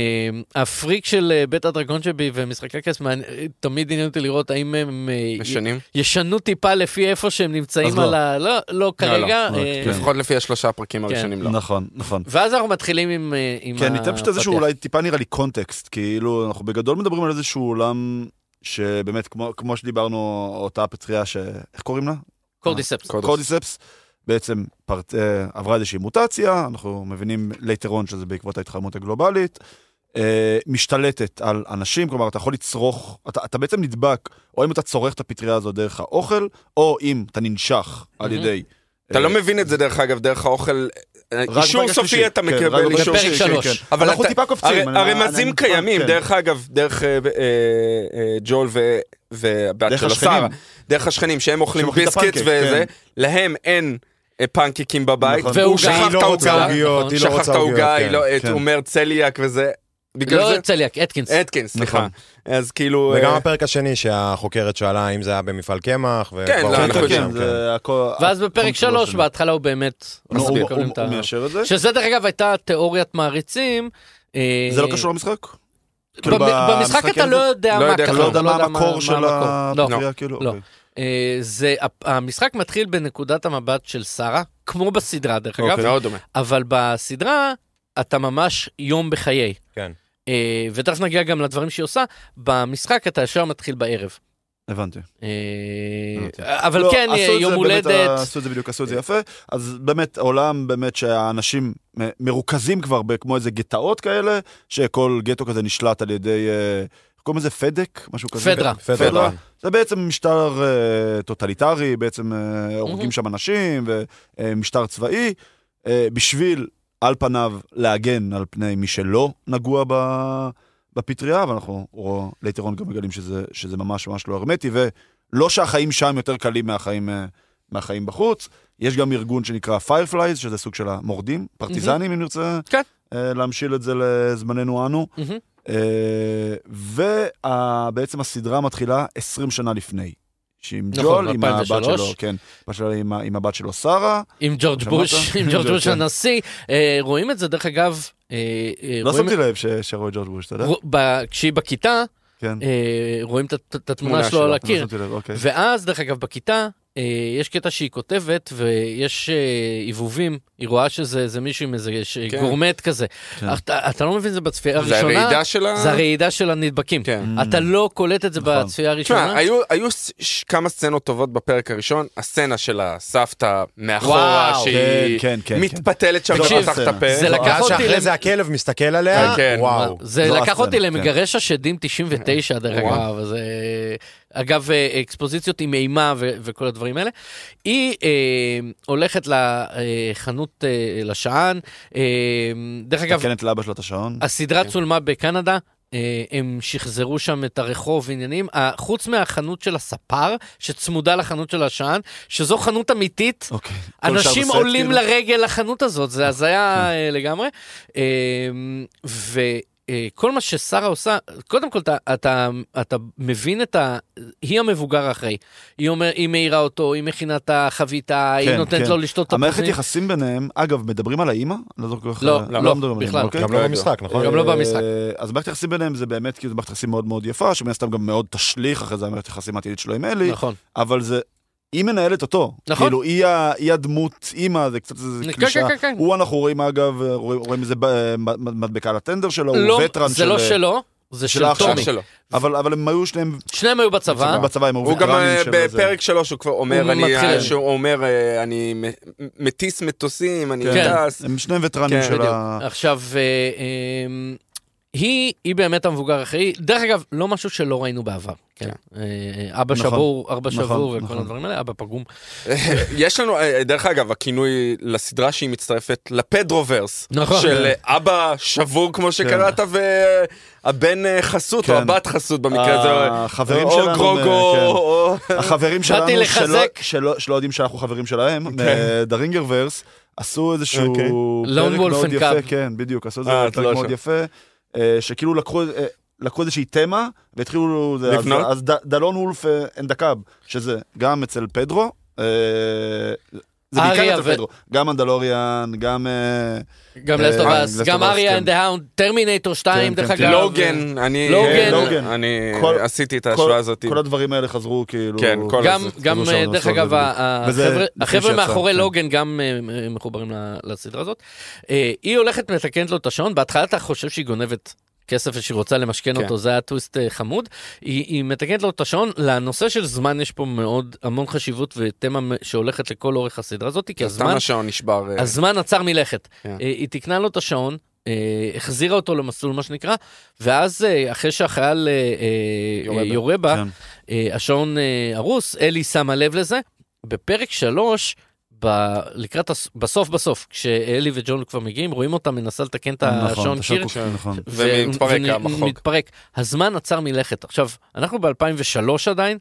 הפריק של אה, בית הדרגון שבי ומשחקי כס, מעניין- תמיד עניין אותי לראות האם הם אה,
משנים,
ישנו טיפה לפי איפה שהם נמצאים
אז לא.
על ה... לא, לא כרגע.
לא,
אה,
כן.
לפחות לפי השלושה הפרקים
כן.
הראשונים לא.
נכון, נכון.
ואז אנחנו מתחילים עם אה, עם
כן, ניתן פשוט איזשהו
הפתיח.
אולי טיפה נראה לי קונטקסט, כאילו אנחנו בגדול מדברים על איזשהו עולם שבאמת כמו, כמו שדיברנו, אותה פטריה ש... איך קוראים לה?
קורדיספס.
קודש.
קורדיספס. בעצם פרט, אה, עברה איזושהי מוטציה, אנחנו מבינים later on שזה בעקבות ההתחממות הגלובלית, אה, משתלטת על אנשים, כלומר אתה יכול לצרוך, אתה, אתה בעצם נדבק, או אם אתה צורך את הפטריה הזו דרך האוכל, או אם אתה ננשך על
מהמם.
ידי...
אתה
אה,
לא מבין את זה דרך אגב, דרך האוכל, אה,
רק
אישור
ברגע
סופי
שלישי.
אתה
כן, רק
מקבל
ברגע
אישור
בפרק
שלישי,
סופי.
שלוש.
כן.
אבל
אנחנו
אתה-
טיפה קופצים.
הר-
אני-
הרמזים
אני-
קיימים,
כן.
דרך אגב, דרך אה, אה, אה, ג'ול ו- והבת
דרך
של
השכנים.
שרה, דרך השכנים, שהם אוכלים
שאוכלים את
ביסקיט
הפנקייק,
וזה,
כן.
להם אין אה, פנקייקים בבית,
נכון.
הוא
והוא
שכח
גם-
היא
את
לא רוצה
העוגה,
עוגיות, היא לא
שכח
רוצה
את
עוגיות.
העוגה, היא
כן.
לא- את-
כן.
הוא אומר צליאק וזה, בגלל
לא
זה,
צליאק, אתקינס.
אתקין, סליחה,
נכון.
אז כאילו,
וגם
אה,
הפרק השני שהחוקרת שאלה אם זה היה במפעל קמח. וכבר
כן, לא,
הולכים
אנחנו
כן,
יודעים,
כן,
לשם, כן.
זה הכל...
ואז בפרק
הכל
שלוש,
שלו.
בהתחלה הוא באמת
נו, הוא-
מסביר,
הוא-
קוראים את
הוא
ה-
מאשר את זה?
שזה דרך אגב הייתה תיאוריית מעריצים. אה,
זה לא קשור למשחק? כאילו,
במ- במשחק אתה לא יודע
לא
מה
יודע,
קרה.
אתה לא יודע מה
מה
המקור של
המקור. לא,
הפטריה, כאילו?
לא.
אוקיי.
אה, זה, ה- המשחק מתחיל בנקודת המבט של שרה, כמו בסדרה דרך אגב,
אוקיי, מאוד דומה.
אבל בסדרה אתה ממש יום בחיי.
כן.
אה, ותכף נגיע גם לדברים שהיא עושה, במשחק אתה ישר מתחיל בערב.
הבנתי.
אה,
הבנתי.
אבל
לא,
כן,
עשו
אה,
את זה
יום
באמת,
הולדת.
אה, עשו את זה בדיוק, עשו את זה יפה. אז באמת, העולם באמת שהאנשים מ- מרוכזים כבר כמו איזה גטאות כאלה, שכל גטו כזה נשלט על ידי, אה, איך קוראים לזה פדק? משהו כזה.
פדרה.
פדרה. זה בעצם משטר אה, טוטליטרי, בעצם אה, הורגים שם אנשים, ומשטר צבאי, אה, בשביל, על פניו, להגן על פני מי שלא נגוע ב... בפטריה, אבל אנחנו או, ליתרון גם מגלים שזה, שזה ממש ממש לא הרמטי, ולא שהחיים שם יותר קלים מהחיים, אה, מהחיים בחוץ. יש גם ארגון שנקרא Fireflies, שזה סוג של המורדים, פרטיזנים, אם נרצה
כן.
אה, להמשיל את זה לזמננו אנו.
מהמם.
ובעצם אה, הסדרה מתחילה 20 שנה לפני. שהיא עם
נכון,
ג'ול, עם הבת
2003.
שלו, כן, הבת שלו עם ה- עם הבת שלו שרה.
עם ג'ורג'
שמעת?
בוש, עם
עם
ג'ורג'
ג'ורג',
בוש
כן.
הנשיא. אה, רואים את זה, דרך אגב, אה, אה,
לא
רואים-
שמתי לב לא? ש- שרואה ג'ורג' בוש, אתה יודע?
רוא- ב- כשהיא בכיתה,
כן.
אה, רואים את הת- את התמונה
תמונה
שלו על
שלו,
לא
הקיר.
שמתי לב, אוקיי.
ואז, דרך אגב, בכיתה, אה, יש קטע שהיא כותבת, ויש אה, עיבובים, היא רואה שזה איזה מישהו עם איזה אה, ש-
כן.
גורמט כזה.
כן.
אתה אתה לא מבין את זה בצפייה
זה
הראשונה,
הרעידה שלה?
זה הרעידה של הנדבקים.
כן.
אתה לא קולט את זה
נכון.
בצפייה
תשמע,
הראשונה.
היו, היו ס- ש- כמה סצנות טובות בפרק הראשון, הסצנה של הסבתא מאחורה,
וואו.
שהיא
כן, כן, כן,
מתפתלת שם
תקשיב,
ופתח את הפה. נכון.
זה לקח
ואז
אותי
לא, שאחרי
למ-
זה הכלב מסתכל עליה,
כן, כן.
וואו.
זה
זו
לקח אותי
הסצנה, כן.
למגרש השדים 99 דרך
וואו.
אגב, אז, אה, אגב אה, אקספוזיציות עם אימה ו- וכל הדברים האלה. היא אה, הולכת לחנות אה, לשען, אה, דרך אגב,
תקנת לאבא שלו את השעון.
הסדרה צולמה בקנדה. אה, הם שחזרו שם את הרחוב ועניינים, אה, חוץ מהחנות של הספר, שצמודה לחנות של השען, שזו חנות אמיתית,
אוקיי. כל שאר
אנשים
בסט,
עולים
כאילו?
לרגל לחנות הזאת, זה הזיה אה, לגמרי. אמ, וכל מה ששרה עושה, קודם כל אתה, אתה, אתה מבין את ה... היא המבוגר האחראי. היא, אומר, היא מעירה אותו, היא מכינה את החביתה, היא
כן,
נותנת
כן.
לו לשתות את
המערכת
הפוזים.
יחסים ביניהם, אגב, מדברים על האימא? לא זוכר איך...
לא, לא,
מדברים על האמא,
בכלל.
אוקיי?
גם
לא
לא
יודע.
במשחק, נכון?
גם לא במשחק.
אה, אז מערכת היחסים ביניהם זה באמת כאילו מערכת יחסים מאוד מאוד יפה, שמן הסתם גם מאוד תשליך אחרי זה על מערכת היחסים העתידית שלו עם אלי,
נכון.
אבל זה... היא מנהלת אותו.
נכון.
כאילו, היא, ה, היא הדמות אימא, זה קצת איזה
כן,
קלישה.
כן, כן, כן.
הוא, אנחנו רואים, אגב, רואים, רואים איזה ב- מ- מ- מדבקה על הטנדר שלו,
לא,
הוא וטרן אה,
זה לא שלו, זה של
של האח
טומי.
אח שלו.
אבל, אבל הם היו שניהם
שניהם היו בצבא.
בצבא, הם היו
הוא גם
וטרנים
אה,
של איזה-
בפרק שלוש הוא כבר
הוא
אומר,
מתחיל.
אני, שהוא אומר, אה, אני מ- מטיס מטוסים, אני
כן.
טס.
הם שניהם וטרנים של
כן,
בדיוק.
ה...
עכשיו, אה, אה, היא, היא באמת המבוגר האחראי. דרך אגב, לא משהו שלא ראינו בעבר. כן. אה, אבא
נכון,
שבור, ארבע
נכון,
שבור וכל
נכון.
הדברים האלה, אבא פגום.
יש לנו, אה, דרך אגב, הכינוי לסדרה שהיא מצטרפת לפדרוברס.
נכון.
של אה, אבא שבור, כמו שקראת, והבן אה, חסות,
כן.
או הבת חסות במקרה הזה.
החברים
או
שלנו,
גרוגו,
כן.
או...
החברים שלנו,
באתי
שלא,
לחזק.
שלא, שלא יודעים שאנחנו חברים שלהם, דרינגר ורס, עשו איזשהו
כן. אוקיי.
Lone
פרק
Wolf
מאוד
and
יפה,
Cub.
כן, בדיוק, עשו איזה
אה, את
פרק
לא
מאוד
שם.
יפה, אה, שכאילו לקחו, אה, לקחו איזושהי תמה, והתחילו, זה- אז,
לבנות?
אז ד, דלון וולף אנד הקאב, שזה גם אצל פדרו, אה, זה
אריה
בעיקר אצל
ו-
פדרו, גם מנדלוריאן, גם... אה,
גם
אה,
לסטובס,
Last
גם
of Us,
אריה
כן.
אנד ההאונד, טרמינטור 2,
כן,
דרך
כן,
אגב.
כן.
לוגן, אני כן,
לוגן.
לוגן.
אני
כל-
עשיתי את ההשוואה הזאת.
כל הדברים האלה חזרו כאילו...
כן, כל
גם,
אז-
גם
אז
אה,
עכשיו
דרך
זה
אגב,
בדיוק.
ה-
וזה
החבר'ה-
לפני
החבר'ה
שיצא,
מאחורי
כן.
לוגן גם אה, אה, מחוברים ל- לסדרה הזאת. אה, היא הולכת מתקנת לו את השעון, בהתחלה אתה חושב שהיא גונבת. כסף ושהיא רוצה למשכן
כן.
אותו, זה היה טוויסט אה, חמוד. היא, היא מתקנת לו את השעון, לנושא של זמן יש פה מאוד המון חשיבות ותמה מ- שהולכת לכל אורך הסדרה הזאת, כי הזמן,
סתם השעון נשבר. אה,
הזמן עצר מלכת.
כן.
אה, היא תיקנה לו את השעון, אה, החזירה אותו למסלול, מה שנקרא, ואז אה, אחרי שהחייל אה, אה,
יורה בה.
יורה בה,
כן.
אה, השעון אה, הרוס, אלי שמה לב לזה. בפרק שלוש, ב... לקראת, הס... בסוף בסוף, כשאלי וג'ון כבר מגיעים, רואים אותה מנסה לתקן את
נכון,
השעון
אתה
קיר.
שקוק, נכון.
ומתפרק
ונ-
המחוג.
מתפרק. הזמן עצר מלכת. עכשיו, אנחנו ב-2003 עדיין,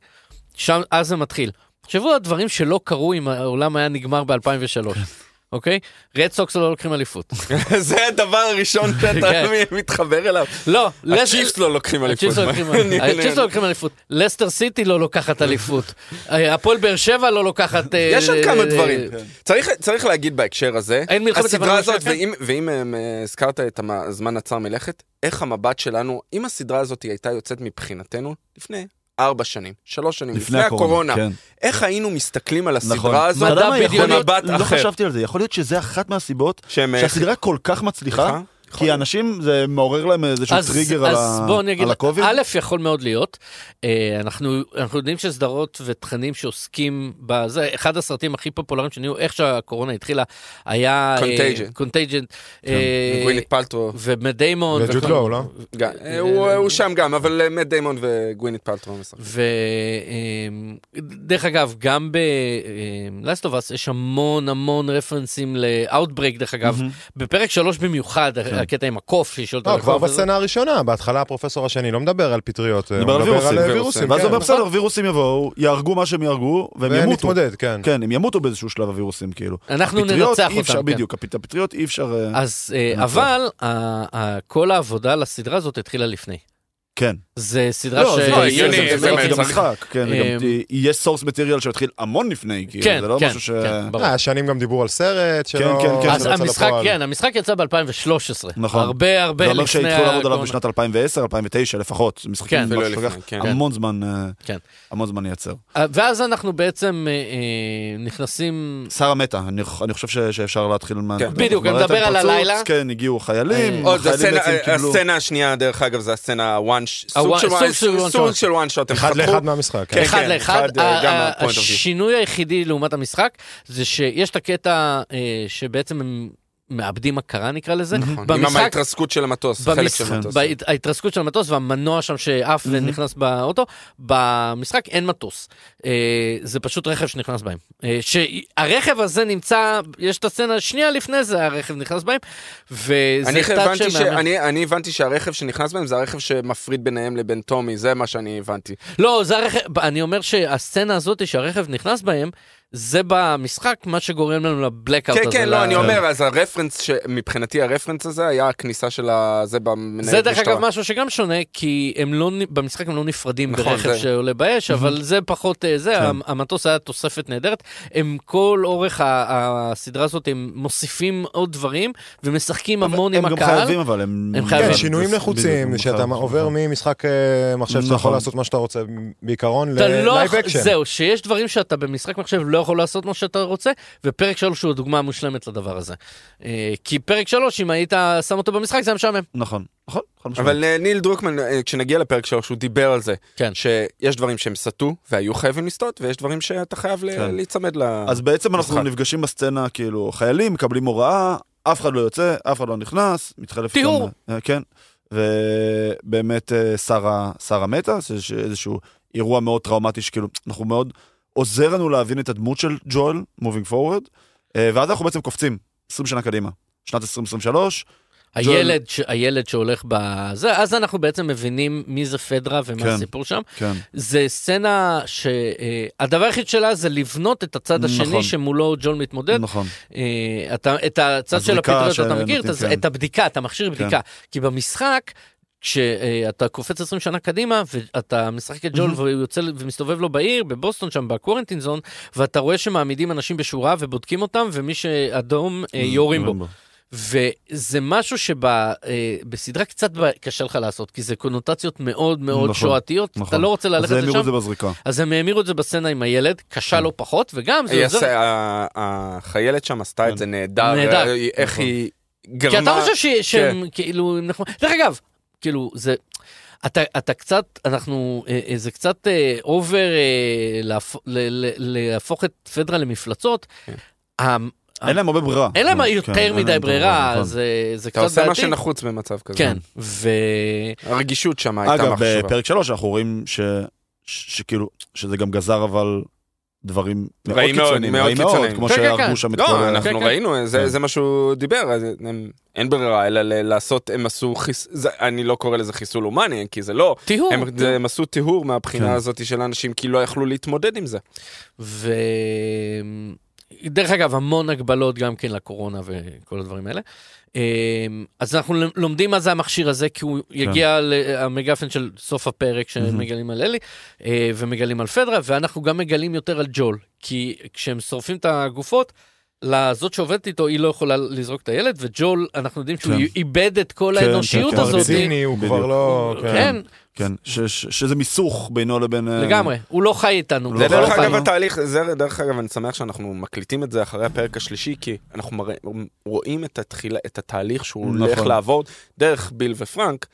שם, אז זה מתחיל. תחשבו על דברים שלא קרו אם העולם היה נגמר ב-2003, אוקיי? רד סוקס לא לוקחים אליפות.
זה הדבר הראשון
כן.
שאתה מתחבר אליו.
לא,
הצ'יפס לא לוקחים אליפות.
הצ'יפס לא לוקחים אליפות. הצ'יפס לא לוקחים אליפות. לסטר סיטי לא לוקחת אליפות. אה, הפועל באר שבע לא לוקחת... אה,
יש עוד כמה
אה,
דברים. צריך- צריך להגיד בהקשר הזה,
אין מלחמת לבנון
הסדרה הזאת,
השנייה,
ואם- ואם אמ, אה, הזכרת את המ- הזמן עצר מלכת, איך המבט שלנו, אם הסדרה הזאת הייתה יוצאת מבחינתנו לפני ארבע שנים, שלוש שנים,
לפני הקורונה. כן.
איך היינו מסתכלים על הסדרה
נכון.
הזאת?
מדע
למה יכול להיות-
במבט
לא
אחר.
חשבתי על זה, יכול להיות שזה אחת מהסיבות
שהם... אה,
שהסדרה כל כך מצליחה, כי האנשים זה מעורר להם איזשהו טריגר על
נכון. אז
ה-
בוא אני אגיד,
על הקוביד.
א', יכול מאוד להיות. אה, אנחנו, אנחנו יודעים שסדרות ותכנים שעוסקים בזה, אחד הסרטים הכי פופולריים שנהיו, איך שהקורונה התחילה, היה... אה,
Contagion. כן.
קונטייג'נט.
גווינט אה, פלטרו.
ומט דיימון.
וג'וד
וכל-
לואו, לא?
גם. אה, הוא הוא שם גם, אבל אה, מאט דיימון וגווינט פלטרו משחק.
ודרך אמ, אגב, גם ב-Last of Us יש המון המון רפרנסים ל-Outbreak, דרך אגב. בפרק שלוש במיוחד,
כן.
הקטע עם הקוף, שיש אותו...
לא, כבר בסצנה הראשונה, בהתחלה הפרופסור השני לא מדבר על פטריות, הוא
מדבר על
מדבר
וירוסים.
על אה,
וירוסים.
וירוסים,
ואז הוא אומר
כן.
בסדר, וירוסים יבואו, יהרגו מה שהם יהרגו, והם
והם
ימותו.
נתמודד, כן.
כן, הם ימותו באיזשהו שלב הווירוסים, כאילו.
אנחנו
הפטריות,
ננצח
אי אפשר,
אותם. כן.
בדיוק, הפ- הפטריות אי אפשר... אה,
אז אה,
ננצח.
אבל ה- ה- כל העבודה על הסדרה הזאת התחילה לפני.
כן.
זה סדרה ש...
זה-
לא,
זה-
הגיוני,
זה- זה
באמת,
גם
צריך-
משחק, כן, זה גם-
אמ,
ת- יש סורס מטריאל שהתחיל המון לפני, כאילו,
אה, כן,
זה לא
כן,
משהו ש...
כן, ברור.
אה, שנים גם דיברו על סרט, שלא...
כן, כן,
שלא
אז
יצא
המשחק,
לפועל.
כן, המשחק יצא ב-2013.
נכון.
הרבה הרבה
זה
לפני...
אומר שהתחילו לעבוד עליו
הקורונה.
בשנת 2010, 2009 לפחות. זה משחקים
כן,
ממש
ולא לפני,
לקח
כן.
המון זמן, אה,
כן.
המון זמן לייצר.
אה, ואז אנחנו בעצם אה, אה, נכנסים...
שר המטה, אני אני חושב ש- שאפשר להתחיל מה...
כן.
בדיוק,
כבר
אני מדבר
ראיתם
על
פרצוץ,
הלילה.
כן, הגיעו חיילים,
אה,
עוד,
החיילים
הסצנה-
בעצם קיבלו...
הסצנה השנייה, דרך אגב, זה הסצנה הוואן... ש-
הוואן-
סוג של
סוג של one
וואן- סוג
shot.
של וואן שוט. הם
אחד
חתכו-
לאחד מהמשחק. כן.
כן,
אחד לאחד,
אחד, אה,
ה-
גם
ה-
מה-point of view.
השינוי היחידי לעומת המשחק זה שיש את הקטע אה, שבעצם הם מאבדים הכרה נקרא לזה,
נכון. עם
במשחק
ההתרסקות של המטוס, חלק
במש...
של המטוס.
בהת... ההתרסקות של המטוס והמנוע שם
Mhm.
שעף ונכנס באוטו, במשחק אין מטוס. אה, זה פשוט רכב שנכנס בהם. אה, שהרכב הזה נמצא, יש את הסצנה שנייה לפני זה, הרכב נכנס בהם, וזה
אני
טאצ'
הבנתי, ש...
שמאמן.
אני, אני הבנתי שהרכב שנכנס בהם זה הרכב שמפריד ביניהם לבין טומי, זה מה שאני הבנתי.
לא, זה הרכב, אני אומר שהסצנה הזאת שהרכב נכנס בהם, זה במשחק מה שגורם לנו לבלקאוט
כן,
הזה.
כן,
ל-
לא, אני אומר, אז הרפרנס, ש... מבחינתי הרפרנס הזה היה הכניסה של ה... זה במנהל
זה דרך
משטרה.
אגב משהו שגם שונה, כי הם לא, נ- במשחק הם לא נפרדים
נכון,
ברכב
זה- כן.
שעולה באש, אבל זה פחות אה, זה, המ- המטוס היה תוספת נהדרת. הם כל אורך ה- הסדרה הזאת, הם מוסיפים עוד דברים, ומשחקים המון עם
הם גם
הקהל.
חייבים, אבל הם...
הם חייבים.
כן,
אבל-
שינויים
בדיוק,
נחוצים,
בדיוק,
שאתה
נכון,
עובר
נכון.
ממשחק אה, מחשב שאתה
נכון.
יכול לעשות מה שאתה רוצה, בעיקרון
אתה לא...
ללייב אקשן.
זהו, שיש דברים שאתה במשחק מחשב לא יכול לעשות מה שאתה רוצה, ופרק 3 הוא הדוגמה המושלמת לדבר הזה. אה, כי פרק 3, אם היית שם אותו במשחק, זה היה משעמם.
נכון, נכון, חד משמעית.
אבל אה, ניל דרוקמן, אה, כשנגיע לפרק שלו, שהוא דיבר על זה,
כן.
שיש דברים שהם סטו והיו חייבים לסטות, ויש דברים שאתה חייב ל...
כן.
להיצמד ל...
אה,
אז בעצם אנחנו
משחק.
נפגשים בסצנה, כאילו, חיילים מקבלים הוראה, אף אחד לא יוצא, אף אחד לא נכנס, מתחלף...
טיהור.
גם- אה, כן. ובאמת אה, שרה, שרה מתה, זה ש- איזשהו אירוע מאוד טראומטי שכאילו, אנחנו מאוד עוזר לנו להבין את הדמות של ג'ואל, moving forward, אה, ואז אנחנו בעצם קופצים 20 שנה קדימה, שנת 2023,
הילד, ש... הילד שהולך בזה, אז אנחנו בעצם מבינים מי זה פדרה ומה
כן.
הסיפור שם.
כן.
זה סצנה שהדבר היחיד שלה זה לבנות את הצד השני
נכון. שמולו
שמולו ג'ון מתמודד.
נכון.
אה, אתה, את הצד של
הזריקה
הפטריות אתה
שנותנים,
מכיר, את, הז-
כן.
את הבדיקה, את המכשיר בדיקה. כי במשחק, כשאתה קופץ 20 שנה קדימה, ואתה משחק את ג'ול והוא יוצא ומסתובב לו בעיר, בבוסטון שם, בקוורנטין זון, ואתה רואה שמעמידים אנשים בשורה ובודקים אותם, ומי שאדום אה, יורים בו. וזה משהו שבסדרה קצת ב- קשה לך לעשות, כי זה קונוטציות מאוד מאוד
נכון,
שואתיות, אתה
נכון.
לא רוצה
אז
ללכת
הם יראו
לשם,
את זה כן. בזריקה.
אז הם האמירו את זה בסצנה עם הילד, קשה לא פחות, וגם זה
היא
עוזר.
עשה- ה- החיילת שם עשתה את זה נהדר.
נהדר.
אה, איך
כן. נכון.
היא
כי אתה
גרמה...
חושב ש- שהם כאילו, הם נכון, דרך אגב, כאילו זה... אתה, אתה קצת, אנחנו, אה, אה, זה קצת אובר להפוך את פדרה למפלצות. המ-
אין להם הרבה ברירה.
אה. אין להם
כן, כן,
יותר
אין
מדי
להם
ברירה,
נכון.
זה זה
אתה
קצת
עושה מה
בעייתי.
שנחוץ במצב כזה.
כן, ו...
הרגישות שם הייתה
אגב, אה,
מחשובה.
בפרק 3 אנחנו רואים ש- ש- שכאילו, שזה גם גזר אבל דברים מאוד
רעים מאוד,
קיצוניים,
מאוד
רעים מאוד,
קיצוניים.
כמו
כן, כן, כן.
שהרגו שם את כל
לא,
ה...
אנחנו
כן, כן.
ראינו, זה-
כן.
זה מה שהוא דיבר, אז הם- אין ברירה אלא ל- לעשות, הם עשו חיס... זה- אני לא קורא לזה חיסול הומני, כי זה לא.
טיהור.
הם- זה- הם עשו טיהור מהבחינה
כן.
הזאת של אנשים, כי לא יכלו להתמודד עם זה.
ו... דרך אגב, המון הגבלות גם כן לקורונה וכל הדברים האלה. אמ, אז אנחנו ל- לומדים מה זה המכשיר הזה, כי
כן.
הוא יגיע למגפן של סוף הפרק שמגלים על אלי, אה, ומגלים על פדרה, ואנחנו גם מגלים יותר על ג'ול, כי כשהם שורפים את הגופות, לזאת שעובדת איתו, היא לא יכולה לזרוק את הילד, וג'ול, אנחנו יודעים שהוא
כן.
איבד את כל
כן, כן,
האנושיות
כן.
כבר
הזאת.
ציני, הוא כבר
בדיוק.
לא...
אוקיי.
כן,
כן, ש- ש- שזה מיסוך בינו לבין... אה,
לגמרי, הוא לא חי איתנו.
זה
הוא
זה
לא
דרך
חי.
אגב התהליך, זה דרך אגב, אני שמח שאנחנו מקליטים את זה אחרי הפרק השלישי, כי אנחנו מרא- רואים את, התחילה, את התהליך שהוא
נכון.
הולך לעבור דרך ביל ופרנק,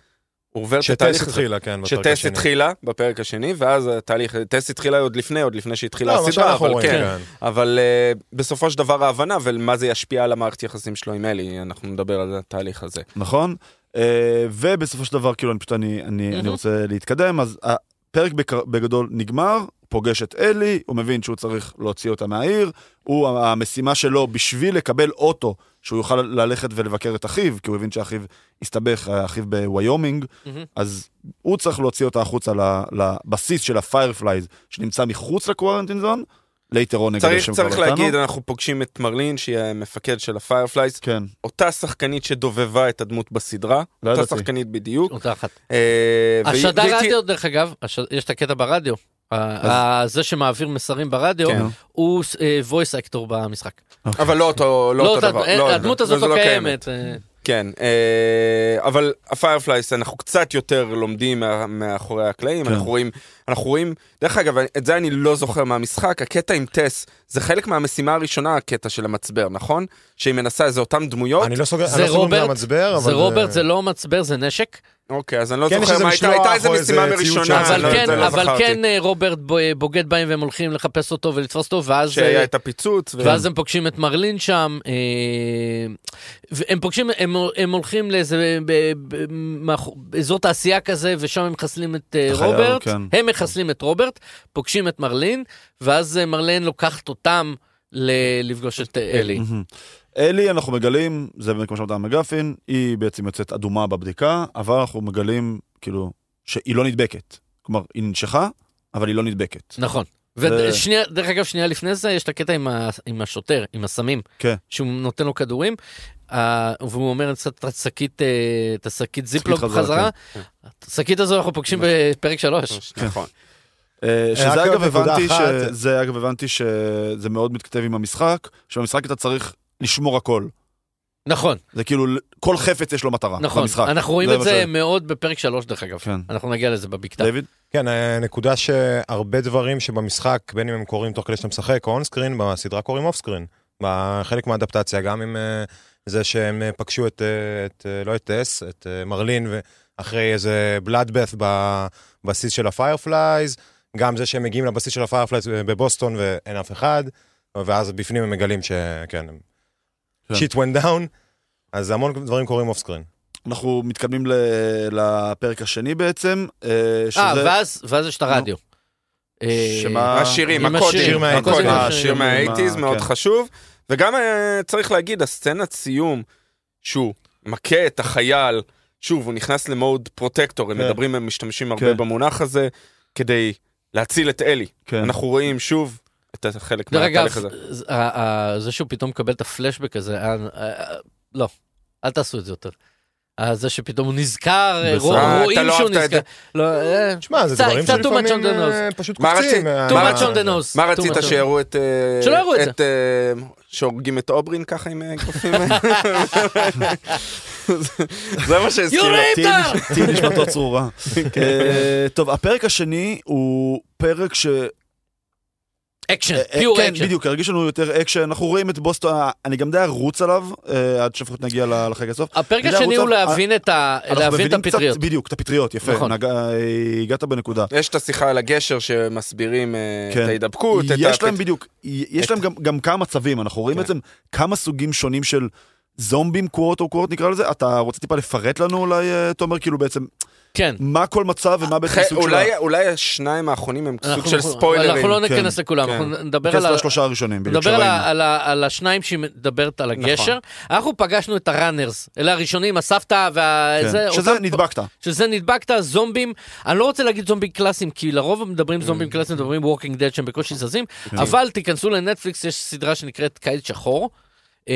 הוא עובר את
שטס
התהליך הזה.
התחילה, כן, בפרק
שטס
השני.
התחילה בפרק השני, ואז התהליך, טס התחילה עוד לפני, עוד לפני שהתחילה
לא, מה
הסדרה,
שאנחנו
אבל
רואים,
כן.
כן.
אבל אה, בסופו של דבר ההבנה ומה זה ישפיע על המערכת יחסים שלו עם אלי, אנחנו נדבר על התהליך הזה.
נכון? אה, ובסופו של דבר, כאילו, אני פשוט, אני, אני, אני
מהמם.
רוצה להתקדם, אז הפרק בק- בגדול נגמר, פוגש את אלי, הוא מבין שהוא צריך להוציא אותה מהעיר, הוא, המשימה שלו בשביל לקבל אוטו, שהוא יוכל ללכת ולבקר את אחיו, כי הוא הבין שאחיו הסתבך, אחיו בוויומינג,
מהמם.
אז הוא צריך להוציא אותה החוצה ל- לבסיס של הפיירפלייז, שנמצא מחוץ לקוורנטין זון, later on נגד
צריך,
השם כבר לא
צריך
אותנו.
להגיד, אנחנו פוגשים את מרלין, שהיא המפקד של הפיירפלייס,
כן,
אותה שחקנית שדובבה את הדמות בסדרה,
לא
אותה
ידעתי.
שחקנית בדיוק.
אותה אחת.
אה, והיא-
השדר
והיא-
רדיו, דרך אגב, הש- יש את הקטע ברדיו. ה- ה- זה שמעביר מסרים ברדיו,
כן.
הוא אה, voice actor במשחק.
אבל לא אותו, לא אותו
אותה-
דבר.
אה,
לא,
הדמות
זה-
הזאת
זה
לא קיימת. אה,
כן, אה, אבל הפיירפלייס, אנחנו קצת יותר לומדים מה- מאחורי הקלעים,
כן.
אנחנו רואים, אנחנו רואים, דרך אגב, את זה אני לא זוכר מהמשחק, הקטע עם טס, זה חלק מהמשימה הראשונה, הקטע של המצבר, נכון? שהיא מנסה, זה אותם דמויות?
אני לא סוגר,
זה
אני לא סוגר אם זה
רוברט,
המצבר, אבל... אה,
זה רוברט, זה לא מצבר, זה נשק.
אוקיי, אז אני לא
כן, יש
זוכר
איזה
מה הייתה,
משלוח
הייתה איזה
או איזה
משימה
ציוד
מראשונה,
שם.
אני
זה
אבל
לא-
כן,
זה לא
אבל
זכרתי.
כן אה, רוברט ב- בוגד בהם והם הולכים לחפש אותו ולתפוס אותו, ואז... אה,
שהיה את הפיצוץ,
כן.
ו-
ואז הם פוגשים את מרלין שם, אה, והם פוגשים, הם, הם הולכים לאיזה ב- ב- מאחור- באזור תעשייה כזה, ושם הם מחסלים את אה,
חייל,
רוברט,
כן.
הם מחסלים את רוברט, פוגשים את מרלין, ואז אה, מרלין לוקחת אותם ל- לפגוש את אה, אלי.
מהמם. אלי, אנחנו מגלים, זה באמת כמו שאמרת, מגפין, היא בעצם יוצאת אדומה בבדיקה, אבל אנחנו מגלים, כאילו, שהיא לא נדבקת. כלומר, היא ננשכה, אבל היא לא נדבקת.
נכון.
זה-
ושנייה, דרך אגב, שנייה לפני זה, יש את הקטע עם, ה, עם השוטר, עם הסמים,
כן.
שהוא נותן לו כדורים, uh, והוא אומר, "צריך את השקית, אה, את השקית זיפלוג
חזרה,
חזרה.
כן.
השקית הזו אנחנו פוגשים בפרק שלוש.
כן.
נכון.
אה, שזה
רק
אגב
עוד נקודה
הבנתי,
אחת.
שזה אגב הבנתי שזה מאוד מתכתב עם המשחק, שבמשחק אתה צריך לשמור הכל.
נכון,
זה כאילו, כל חפץ יש לו מטרה,
נכון.
אה, במשחק.
אנחנו רואים
זה
את
מה
זה
ש-
מאוד בפרק שלוש, דרך אגב.
כן.
אנחנו נגיע לזה בבקתה.
דיוויד?
כן, הנקודה שהרבה דברים שבמשחק, בין אם הם קורים תוך כדי שאתה משחק או אונסקרין, בסדרה קורים אופסקרין. חלק מהאדפטציה, גם עם אה, זה שהם אה, פגשו את, אה, את אה, לא את טס, את אה, מרלין, אחרי איזה בלאדבאט בבסיס של הפיירפלייז, גם זה שהם מגיעים לבסיס של הפיירפלייז אה, בבוסטון ואין אף אחד, ואז בפנים הם מגלים שכן, הם...
כן.
שיט וונט דאון, אז המון דברים קורים אופסקרין.
אנחנו מתקדמים ל- לפרק השני בעצם, אה,
אה,
שזה...
ואז, ואז יש את הרדיו. אה,
שמה-
השירים,
עם
הקודים,
השיר
שיר מהאייטיז.
הקודים,
אה,
השיר
שיר
מהאייטיז,
מה-
מאוד
כן.
חשוב. וגם אה, צריך להגיד, הסצנת סיום, שהוא מכה את החייל, שוב, הוא נכנס למוד פרוטקטור, הם
כן.
מדברים, הם משתמשים הרבה
כן.
במונח הזה, כדי להציל את אלי.
כן.
אנחנו רואים שוב את החלק
דרך אגב,
מהתהליך הזה.
זה- ה- ה- זה שהוא פתאום מקבל את הפלשבק הזה, אה, אה, לא, אל תעשו את זה יותר. אה, זה שפתאום הוא נזכר, אה,
בסדר.
רוא-
אה, אתה
רואים
לא
שהוא
אהבת את
נזכר.
זה.
לא, אה,
תשמע, זה
קצת-
דברים
קצת too much on
שלפעמים
the
אה,
nose.
פשוט
מה
קופצים.
רצית?
אה,
too
מה-
much on the nose.
מה
too
רצית
much on the-
שיראו את... אה,
שלא יראו את זה.
אה, שהורגים את אוברין ככה עם אה, אגרופים? זה- זה מה שהזכיר
יורים!
אותי.
איתר!
טיל נשמתו צרורה.
כן.
אה, טוב, הפרק השני הוא פרק ש...
אה, אקשן,
אה, אה,
פיור
כן,
אקשן.
בדיוק, הרגיש לנו יותר אקשן, אנחנו רואים את בוסטון, אה, אני גם די ארוץ עליו, אה, עד שלפחות נגיע ל- לחלק הסוף.
הפרק
אני
השני
ארוץ
הוא
עליו. אה,
להבין את ה-
לא- אנחנו
להבין את
מבינים קצת-
הפטריות.
בדיוק, את הפטריות, יפה,
נכון.
נגע- אה, הגעת בנקודה.
יש את השיחה על הגשר שמסבירים אה,
כן.
את ההידבקות, את
יש
הפת-
להם בדיוק, יש
את-
להם גם- גם כמה מצבים, אנחנו רואים
כן.
בעצם כמה סוגים שונים של זומבים, קוואט או קוואט נקרא לזה, אתה רוצה טיפה לפרט לנו אולי, אה, תומר, כאילו בעצם,
כן.
מה כל מצב ומה בעצם
אחרי-
סוג של...
אולי, אולי השניים האחרונים הם סוג
אנחנו-
של ספוילרים.
אנחנו לא
כן.
ניכנס לכולם,
כן.
אנחנו נדבר על
נתייחס
ה-
לשלושה הראשונים, בדיוק,
נדבר על
שראינו.
ה- על ה- על השניים שהיא מדברת
נכון.
על הגשר. אנחנו פגשנו את הראנרס, אלה הראשונים, הסבתא וה...
כן.
זה-
שזה
אותם-
נדבקת.
שזה נדבקת, זומבים, אני לא רוצה להגיד זומבים קלאסיים, כי לרוב
Mm.
מדברים זומבים קלאסיים, מדברים ווקינג דד שהם בקושי זזים,
כן.
אבל תיכנסו לנטפליקס, יש סדרה שנקראת קיץ שחור, אה,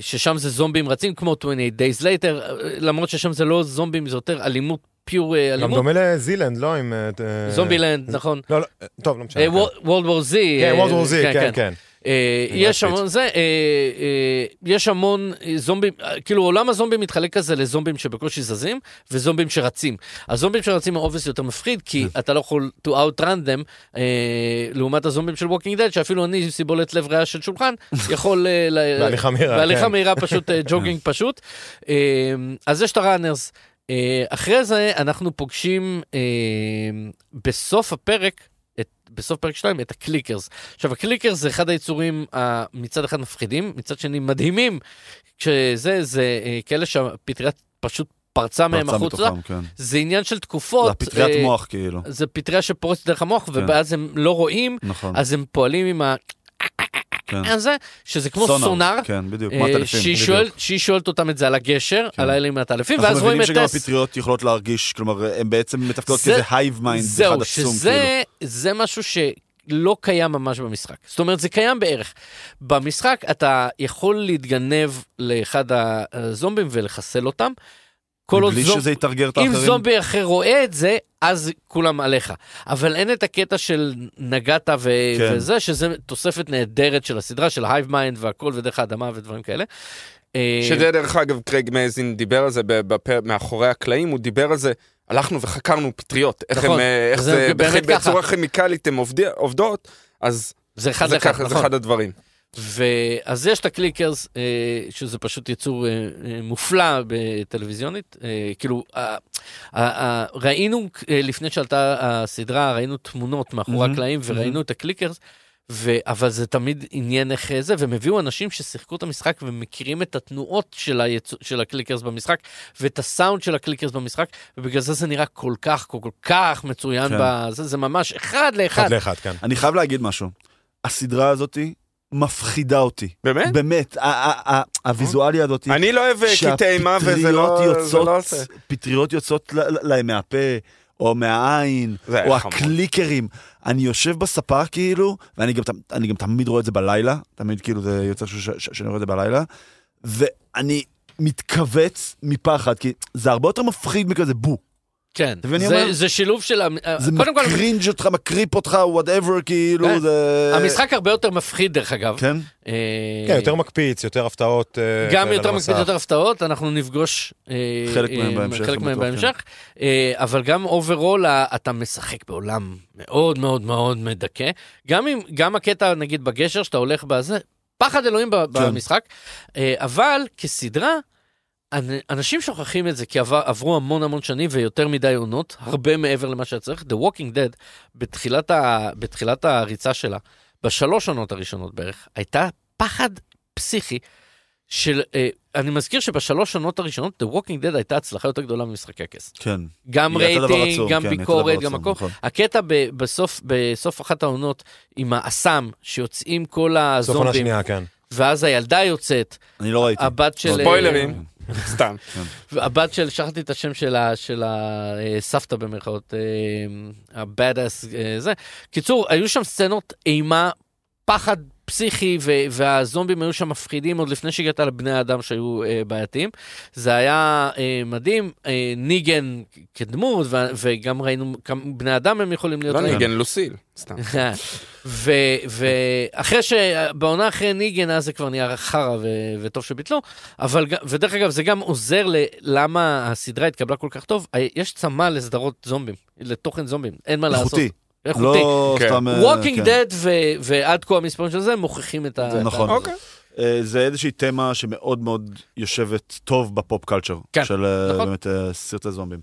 ששם זה זומבים רצים כמו 28 Days Later, אה, למרות ששם זה לא זומבים, זה יותר אלימות, פיור אה,
גם
אלימות.
דומה לזילנד, לא עם... אה,
זומבילנד, נכון.
לא, לא, טוב, לא משנה.
אה, וולד וור זי.
כן, וולד וור Z, כן, כן.
אה,
אני
יש
אוהב
המון זה, אה, אה, יש המון אה, זומבים, אה, כאילו עולם הזומבים מתחלק כזה לזומבים שבקושי זזים וזומבים שרצים. הזומבים שרצים האובייס יותר מפחיד, כי אתה לא יכול to outrun them, אה, לעומת הזומבים של ווקינג דד, שאפילו אני עם סיבולת לב ריאה של שולחן, יכול... אה, ל-
בהליכה מהירה,
בהליכה
כן.
מהירה פשוט, אה, ג'וגינג פשוט. אה, אז יש את הראנרס. אה, אחרי זה אנחנו פוגשים אה, בסוף הפרק, את, בסוף פרק 2, את הקליקרס. עכשיו, הקליקרס זה אחד היצורים המצד אחד מפחידים, מצד שני מדהימים, כשזה, זה אה, כאלה שהפטריה פשוט פרצה מהם
פרצה
החוצה.
מתוכם, כן.
זה עניין של
זה
תקופות.
הפטריית
אה,
מוח, כן. כאילו.
זה פטריה שפורצת דרך המוח, ואז הם לא רואים,
נכון,
אז הם פועלים עם ה...
כן.
הזה, שזה כמו סונאר,
כן, בדיוק,
אה,
מעטלפים.
שהיא שואל- שהיא שואלת אותם את זה על הגשר,
כן.
על האלה עם הטלפים,
אנחנו
ואז רואים
מבינים
את
שגם
טס.
הפטריות יכולות להרגיש, כלומר, הן בעצם מתפקדות
זה-
כזה הייב מיינד אחד עצום,
זהו,
כאילו.
שזה זה משהו שלא קיים ממש במשחק. זאת אומרת, זה קיים בערך. במשחק אתה יכול להתגנב לאחד הזומבים ולחסל אותם. כל עוד
מבלי
זומב-
שזה יתרגר את
אם
האחרים.
זומבי אחר רואה את זה, אז כולם עליך. אבל אין את הקטע של נגעת ו...
כן.
כן. וזה, שזה תוספת נהדרת של הסדרה, של הייב מיינד והכל ודרך האדמה ודברים כאלה. אה,
שזה דרך אגב, קרייג מזין דיבר על זה בפר... מאחורי הקלעים, הוא דיבר על זה, הלכנו וחקרנו פטריות, איך,
נכון,
הם, אה, איך
זה
זה,
באמת
בכי-
ככה.
בצורה כימיקלית הן עובד... עובדות, אז
זה אחד
זה,
לאחד,
ככה, זה
נכון.
אחד הדברים.
ואז יש את הקליקרס, אה, שזה פשוט יצור אה, אה, מופלא בטלוויזיונית. אה, כאילו, אה, אה, אה, ראינו, אה, לפני שעלתה הסדרה, ראינו תמונות מאחורי
מהמם,
הקלעים וראינו את הקליקרס, ו- אבל זה תמיד עניין איך אה, זה, והם הביאו אנשים ששיחקו את המשחק ומכירים את התנועות של, היצור, של הקליקרס במשחק, ואת הסאונד של הקליקרס במשחק, ובגלל זה זה נראה כל כך, כל, כל כך מצוין,
כן.
בזה, זה ממש אחד אה, לאחד.
אחד לאחד, כן.
אני חייב להגיד משהו. הסדרה הזאתי מפחידה אותי.
באמת?
באמת, ה- ה- ה- הוויזואליה הזאתי.
אני לא אוהב אה, קטעי אימה וזה לא...
שהפטריות
זה לא
יוצאות,
עושה.
פטריות יוצאות ל- ל- להם מהפה, או מהעין,
זה היה
או
חמוד.
הקליקרים. אני יושב בספה כאילו, ואני גם, ת- אני גם תמיד רואה את זה בלילה, תמיד כאילו זה יוצא ש- ש- שאני רואה את זה בלילה, ואני מתכווץ מפחד, כי זה הרבה יותר מפחיד מכזה בו.
כן,
אתה מבין מה אני אומר?
זה, זה שילוב של... המ-
זה
קודם כל,
מקרינג' אותך, מקריפ אותך, וואטאבר, כאילו,
כן.
זה...
המשחק הרבה יותר מפחיד דרך אגב.
כן?
אה,
כן, יותר מקפיץ, יותר הפתעות. אה,
גם
כאלה
יותר
למסך.
מקפיד יותר הפתעות, אנחנו נפגוש אה,
חלק
אה,
מהם בהמשך,
חלק
אני
מהם
בטוח, כן.
בהמשך. אה, אבל גם אוברול אתה משחק בעולם מאוד מאוד מאוד מדכא. גם אם, גם הקטע נגיד בגשר שאתה הולך בזה, פחד אלוהים ב-
כן.
במשחק, אה, אבל כסדרה... אנ- אנשים שוכחים את זה כי עבר, עברו המון המון שנים ויותר מדי עונות, הרבה מעבר למה שהיה צריך. The Walking Dead, בתחילת, ה, בתחילת הריצה שלה, בשלוש עונות הראשונות בערך, הייתה פחד פסיכי של... אה, אני מזכיר שבשלוש עונות הראשונות, The Walking Dead הייתה הצלחה יותר גדולה ממשחקי הכס.
כן.
גם
היא הייתה דבר
רייטינג,
עצום,
גם
כן, היא הייתה
ביקורת,
דבר
גם
עצום,
הכל.
נכון.
הקטע ב- בסוף, בסוף אחת העונות עם האסם, שיוצאים
סוף
כל
עונה
הזומבים,
שנייה, כן.
ואז הילדה יוצאת,
אני לא ראיתי.
הבת של... אה,
ספוילרים. סתם.
הבת של, שכחתי את השם שלה, של הסבתא במרכאות, הבאד אס זה. קיצור, היו שם סצנות אימה, פחד פסיכי, ו- והזומבים היו שם מפחידים עוד לפני שהגעת לבני האדם שהיו אה, בעייתיים. זה היה אה, מדהים, אה, ניגן כדמות, ו- וגם ראינו כמה בני אדם הם יכולים להיות. נכון.
לא
רעים.
ניגן לוסיל, סתם.
ו- ואחרי ש... בעונה אחרי ניגן, אז זה כבר נהיה חרא, ו- וטוב שביטלו. אבל, ג- ודרך אגב, זה גם עוזר ללמה הסדרה התקבלה כל כך טוב. ה- יש צמא לסדרות זומבים, לתוכן זומבים, אין מה לעשות.
איכותי.
איכותי.
לא
כן.
סתם... אה,
ווקינג
כן.
דד ו- ועד כה המספרים של זה מוכיחים את ה...
זה
את ה-
נכון.
אוקיי.
אה, זה איזושהי תמה שמאוד מאוד יושבת טוב בפופ קלצ'ר.
כן,
של אה,
נכון.
באמת אה, סרטי זומבים.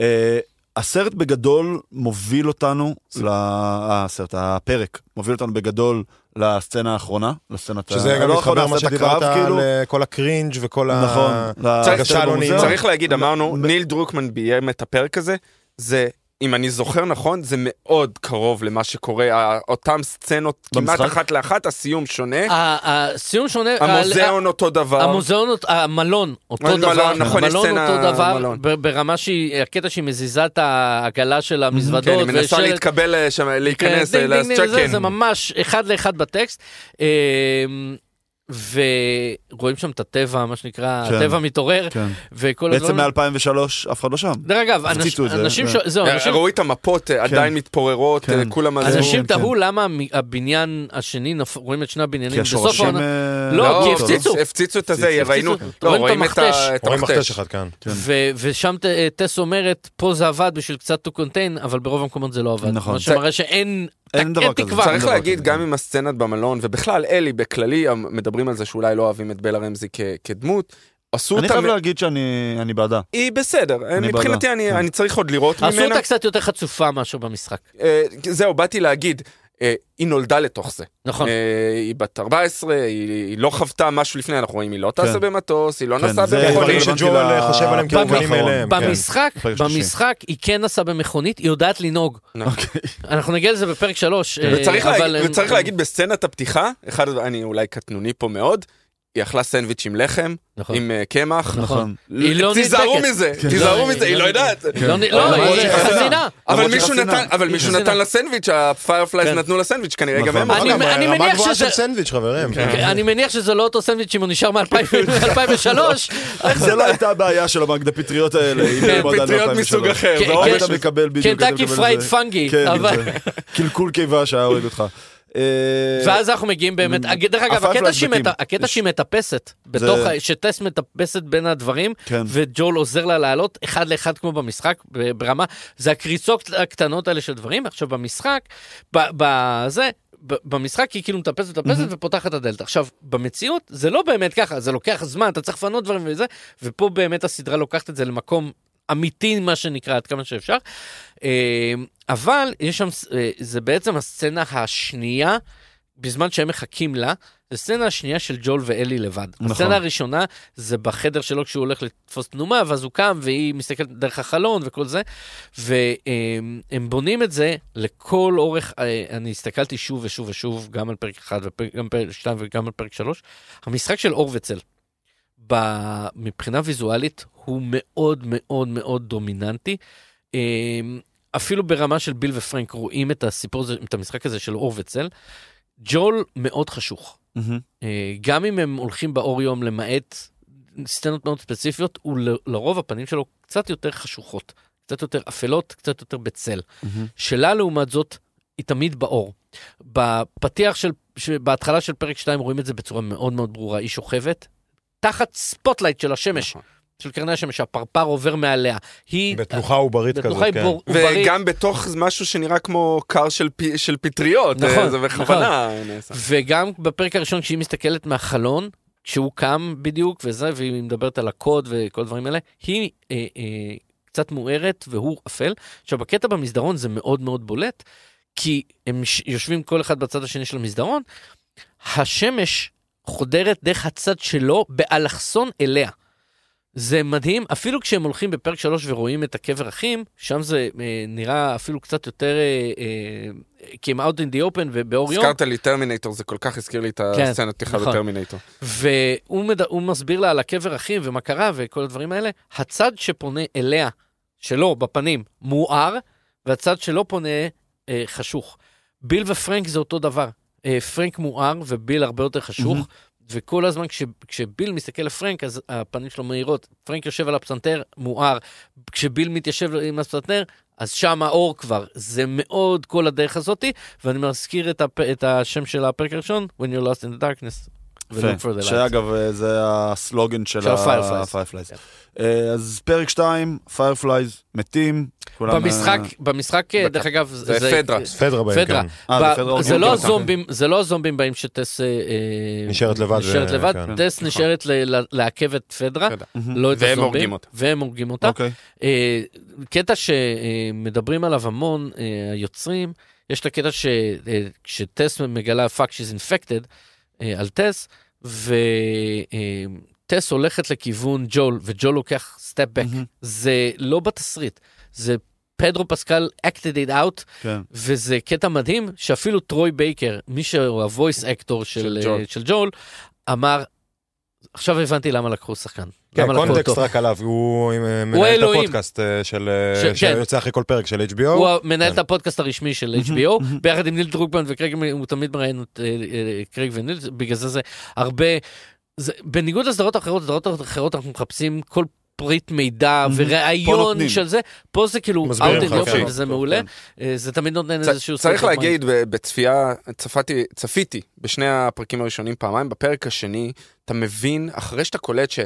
אה, הסרט בגדול מוביל אותנו, ל- אה, הסרט, הפרק, מוביל אותנו בגדול לסצנה האחרונה, לסצנת... ה-
שזה גם
לא האחרונה,
מתחבר מה
סצנת
שדיברת
הקרב, כאילו.
על אה, כל הקרינג' וכל ה...
נכון.
ההרגשה הלא נעימה.
זהו.
צריך להגיד, אמרנו, ניל דרוקמן ביים את הפרק הזה, זה, אם אני זוכר נכון, זה מאוד קרוב למה שקורה, ה- אותן סצנות כמעט
במשחק?
אחת לאחת, הסיום שונה,
ה- הסיום שונה...
אוקיי. המוזיאון אותו
ה-
דבר.
אה, המוזיאון, אותו- המלון, אותו
המלון,
דבר,
נכון, יש
המלון
סצנה-
אותו דבר,
המלון.
ב- ברמה שהיא, הקטע שהיא מזיזה את העגלה של המזוודות,
כן, היא מנסה
ושלט-
להתקבל, אה, כן. שם, להיכנס,
כן, דינג, דינג, דינג, זה-
לצ'קן.
זה ממש אחד לאחד בטקסט. אמ, ורואים שם את הטבע, מה שנקרא,
כן.
הטבע מתעורר,
כן.
וכל
בעצם
הדברים.
מ-2003 אף אחד לא שם.
דרך אגב, אנש-
הפציצו את זה,
אנשים ש...
כן.
זהו, אנשים-
אה, ראו את המפות אה,
כן.
עדיין מתפוררות,
כן.
אה, כולם על זה.
אנשים
כן, כן.
תהו למה המ- הבניין השני, נפ- רואים את שני
כי
הבניינים בסוף
השורשים...
העונה.
אה,
לא,
לא,
כי
אותו.
הפציצו.
הפציצו את הזה,
הפציצו.
ראינו,
רואים את
לא, רואים את
המכתש.
ה- את
רואים
המכתש.
מכתש אחד כאן.
כן.
ו- ושם ט- אה, טס אומרת, פה זה עבד בשביל קצת to contain, אבל ברוב המקומות זה לא עבד.
נכון.
מה שמראה שאין
אין דבר
אין
כזה.
תקווה.
צריך
אין דבר
להגיד,
כזה.
גם עם הסצנת במלון, ובכלל אלי בכללי, המ- מדברים על זה שאולי לא אוהבים את בלה רמזי כ- כדמות. עשו
אני
אותה,
חייב
מ-
להגיד שאני אני בעדה.
היא בסדר, אה,
אני
מבחינתי
בעדה,
אני-
כן.
אני צריך עוד לראות
עשו
ממנה.
אותה קצת יותר חצופה מאשר במשחק.
אה, זהו, באתי להגיד, אה, היא נולדה לתוך זה.
נכון.
אה, היא בת 14, היא היא לא חוותה משהו לפני, אנחנו רואים, היא לא טסה
כן.
במטוס, היא לא
כן,
נסעה
זה
במכונית.
דברים
רלוונטי
שג'ואל
אה,
ל-
חושב עליהם
בפרק
נכון.
כמובנים
האחרון.
מאליהם. כן.
במשחק,
בפרק השלישי.
במשחק היא כן נסעה במכונית, היא יודעת לנהוג. אוקיי. אנחנו נגיע לזה בפרק שלוש. אה,
וצריך
אבל
להגיד-
הם-
וצריך
הם-
להגיד בסצנת הפתיחה, אחד, אני אולי קטנוני פה מאוד, היא אכלה סנדוויץ' עם לחם,
נכון.
עם אה, קמח.
נכון.
היא לא
תיזהרו
נדבקת.
מזה,
כן.
תיזהרו מזה, היא לא יודעת.
היא לא נ- לא,
למרות
היא
שהיא
חסינה.
אבל
למרות
מישהו
שחסינה.
נתן, אבל מישהו
חסינה.
נתן לסנדוויץ', הפיירפלייז
כן.
נתנו לסנדוויץ', כנראה גם הם.
נכון.
אוכלים.
אני-
אגב,
אני
אה, רמה
מניח
גבוהה
שזה- כן.
של סנדוויץ', חברים.
אני מניח שזה לא אותו סנדוויץ' אם הוא נשאר מ-2003.
איך זה לא הייתה הבעיה של המגד הפטריות האלה? אם
כן,
הם עוד עד
פטריות
2003.
אה, מסוג אחר, לא?
כן,
זה
כן.
כן,
עומש.
אתה מקבל בדיוק. אתה
קנטקי
מקבל
פרייד
איזה-
פאנגי.
כן,
אבל-
זה קלקול קיבה שהיה הוריד אותך. אה,
ואז אנחנו מגיעים באמת, הג- דרך אגב,
הפייפלייז
הקטע שהיא
מקים.
מט- הקטע שהיא מטפסת, בתוך
זה-
ה- שטס מטפסת בין הדברים,
כן.
וג'ול עוזר לה לעלות אחד לאחד כמו במשחק, ב- ברמה, זה הקריצות הקטנות האלה של דברים, עכשיו במשחק, ב- בזה, ב- במשחק היא כאילו מטפסת מטפסת ופותחת את הדלת. עכשיו, במציאות זה לא באמת ככה, זה לוקח זמן, אתה צריך לפנות דברים וזה, ופה באמת הסדרה לוקחת את זה למקום אמיתי, מה שנקרא, עד כמה שאפשר. אה, אבל יש שם, ס- אה, זה בעצם הסצנה השנייה, בזמן שהם מחכים לה, זו הסצנה השנייה של ג'ול ואלי לבד.
נכון.
הסצנה הראשונה זה בחדר שלו כשהוא הולך לתפוס תנומה, ואז הוא קם והיא מסתכלת דרך החלון וכל זה, והם בונים את זה לכל אורך, אה, אני הסתכלתי שוב ושוב ושוב, גם על פרק 1 וגם פרק 2 וגם על פרק 3, המשחק של אור וצל. ב- מבחינה ויזואלית הוא מאוד מאוד מאוד דומיננטי. אמ, אפילו ברמה של ביל ופרנק רואים את הסיפור הזה, את המשחק הזה של אור וצל. ג'ול מאוד חשוך.
מהמם.
אה, גם אם הם הולכים באור יום למעט סצנות מאוד ספציפיות, הוא ל- לרוב הפנים שלו קצת יותר חשוכות, קצת יותר אפלות, קצת יותר בצל.
מהמם.
שלה לעומת זאת, היא תמיד באור. בפתיח של, ש- בהתחלה של פרק 2 רואים את זה בצורה מאוד מאוד ברורה, היא שוכבת תחת ספוטלייט של
נכון.
השמש, של קרני השמש, הפרפר עובר מעליה. היא...
בתנוחה עוברת כזאת,
בתנוחה היא
כן.
בור- עוברית.
וגם בתוך משהו שנראה כמו קר של פי- של פטריות,
נכון,
אה, זה בכוונה נעשה.
וגם בפרק הראשון כשהיא מסתכלת מהחלון, כשהוא קם בדיוק וזה, והיא מדברת על הקוד וכל הדברים האלה, היא אה, אה, קצת מוארת והוא אפל. עכשיו, בקטע במסדרון זה מאוד מאוד בולט, כי הם ש- יושבים כל אחד בצד השני של המסדרון, השמש חודרת דרך הצד שלו באלכסון אליה. זה מדהים, אפילו כשהם הולכים בפרק 3 ורואים את הקבר אחים, שם זה אה, נראה אפילו קצת יותר, אה, אה, כי הם out in the open ובאור יום.
הזכרת לי טרמינטור, זה כל כך הזכיר לי את
כן,
הסצנת פתיחה
נכון.
בטרמינטור.
והוא מד... הוא מסביר לה על הקבר אחים ומה קרה וכל הדברים האלה. הצד שפונה אליה, שלו, בפנים, מואר, והצד שלא פונה אה, חשוך. ביל ופרנק זה אותו דבר. אה, פרנק מואר וביל הרבה יותר חשוך, וכל הזמן כש... כשביל מסתכל לפרנק, אז הפנים שלו מאירות. פרנק יושב על הפסנתר, מואר. כשביל מתיישב עם הפסנתר, אז שם האור כבר. זה מאוד כל הדרך הזאתי, ואני מזכיר את, הפ... את השם של הפרק הראשון, When you're lost in the darkness. ו-Look for
יפה.
the light.
שאגב, אה, זה הסלוגן של
של ה-Fireflies.
ה-Fireflies.
כן.
אה, אז פרק 2, Fireflies מתים. כולם, אה,
במשחק, במשחק, אה, דרך אגב,
זה פדרה.
פדרה בהם,
פדרה.
כן.
אה,
ב-
זה פדרה
זה
הורגים
לא
אותם.
הזומבים, זה לא הזומבים באים שטס... אה, אה,
נשארת לבד,
נשארת
אה,
לבד,
כן.
טס נשארת ל- ל- לעכב את פדרה,
פדרה.
מהמם.
לא את
כן. והם
הזומבים.
הורגים אותה.
והם הורגים אותה.
אוקיי.
אה, קטע שמדברים עליו המון אה, היוצרים, יש את הקטע ש- אה, כשטס מגלה fuck she's infected אה, על טס, וטס הולכת לכיוון ג'ול, וג'ול לוקח סטאפ בק.
מהמם.
זה לא בתסריט, זה פדרו פסקל acted it out,
כן.
וזה קטע מדהים שאפילו טרוי בייקר, מי שהוא הוויס אקטור של, אה,
של
של,
ג'ול.
של ג'ול, אמר, עכשיו הבנתי למה לקחו שחקן.
כן,
למה לקחו
קונטקסט
אותו?
רק עליו, הוא עם, אה,
הוא
מנהל את
האלוהים.
הפודקאסט אה, של... אה,
ש- כן.
שיוצא אחרי כל פרק של HBO.
הוא
כן.
מנהל את הפודקאסט הרשמי של HBO, ביחד עם ניל דרוקמן וקרייג, הוא תמיד מראיין את אה, אה, קרייג וניל, בגלל זה זה הרבה... זה- בניגוד לסדרות האחרות, סדרות אחרות אנחנו מחפשים כל פריט מידע וראיון
נותנים.
של זה, פה זה כאילו
מסבירים
out in
לך,
the
כן.
open, וזה
טוב,
מעולה,
כן.
אה, זה תמיד נותן איזשהו... נכון.
צ- צריך
state of mind.
להגיד, ב- בצפייה, צפיתי, צפיתי בשני הפרקים הראשונים פעמיים, בפרק השני, אתה מבין, אחרי שאתה קולט ש...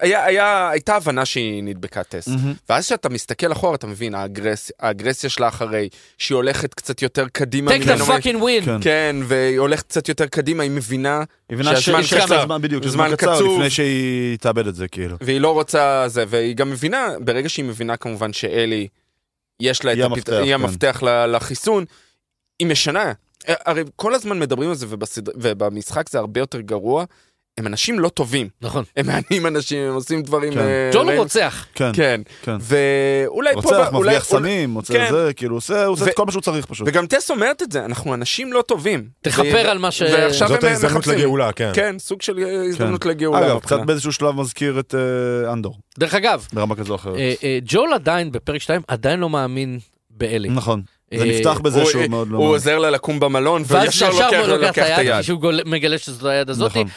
היה, היה, הייתה הבנה שהיא נדבקה טס. ואז כשאתה מסתכל אחורה, אתה מבין, האגרס, האגרסיה שלה אחרי, שהיא הולכת קצת יותר קדימה
take
ממנו.
the fucking win.
כן.
כן, והיא הולכת קצת יותר קדימה, היא מבינה,
היא מבינה
שהזמן
שיש לה
קצר.
זמן, בדיוק, שיש
זמן
זמן קצר
קצוב.
לפני שהיא תאבד את זה, כאילו.
והיא לא רוצה זה, והיא גם מבינה, ברגע שהיא מבינה כמובן שאלי, יש לה את
היא
הפת-
המפתח,
היא
כן.
המפתח ל- לחיסון, היא משנה. אה, הרי כל הזמן מדברים על זה, ובסד... ובמשחק זה הרבה יותר גרוע. הם אנשים לא טובים,
נכון.
הם מענים אנשים, הם עושים דברים...
כן.
אה,
ג'ון הוא
רעים.
רוצח.
כן,
כן,
כן.
ואולי פה...
רוצח,
אולי-
מבריח
אולי-
סמים, מוצא
כן.
זה, כאילו, עושה- הוא עושה
ו-
את כל מה שהוא צריך פשוט.
וגם טס אומרת את זה, אנחנו אנשים לא טובים.
תכפר
ו-
על מה ש...
ועכשיו
זאת
אה,
הם
ההזדמנות
מחפשים.
לגאולה, כן.
כן, סוג של אה, הזדמנות לגאולה.
אגב,
מבחינה.
קצת באיזשהו שלב מזכיר את אה, אנדור,
דרך אגב,
ברמה כזו או אחרת.
אה, אה, ג'ול עדיין, בפרק 2, עדיין לא מאמין באלי.
נכון. זה
אה,
נפתח בזה
הוא-
שהוא מאוד לא...
הוא
מאמין.
עוזר לה לקום במלון,
ואז
וישר
ישר
לוקח
הוא לוקח
לוקח את היד.
כשהוא גול- מגלה שזו היד אה, הזאתי,
נכון.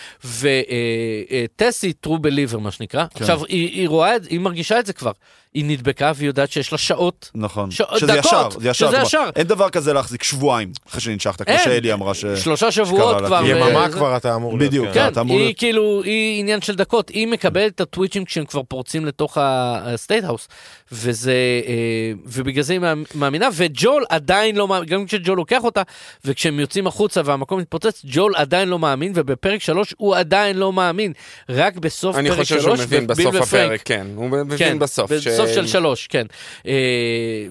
וטסי טרו בליבר מה שנקרא.
כן.
עכשיו היא היא רואה את זה, היא מרגישה את זה כבר. היא נדבקה והיא יודעת שיש לה שעות.
נכון.
ש-
שזה
דקות,
ישר, זה ישר.
שזה
כלומר,
ישר.
אין דבר כזה להחזיק שבועיים אחרי שננשכת, כמו
אין.
שאלי אמרה ש...
שלושה שבועות
אה, לה,
כבר.
כי
ו-
יממה
זה-
כבר אתה אמור
בדיוק,
כן.
כן,
אתה אמור
היא
להיות-
כאילו, היא עניין של דקות, היא מקבלת את הטוויצ'ים כשהם כבר פורצים לתוך הסטייט-האוס, וזה, אה, ובגלל זה היא מאמ- מאמינה, וג'ול עדיין לא מאמין, גם כשג'ול לוקח אותה, וכשהם יוצאים החוצה והמקום מתפוצץ, ג'ול עדיין לא מאמין, ובפרק שלוש הוא עדיין לא מאמין, רק בסוף
אני
פרק שלוש,
חושב שהוא מבין
ומביאים
בסוף
לפרנק.
הפרק, כן, הוא מבין בסוף.
בסוף
ש-
של שלוש, כן. אה,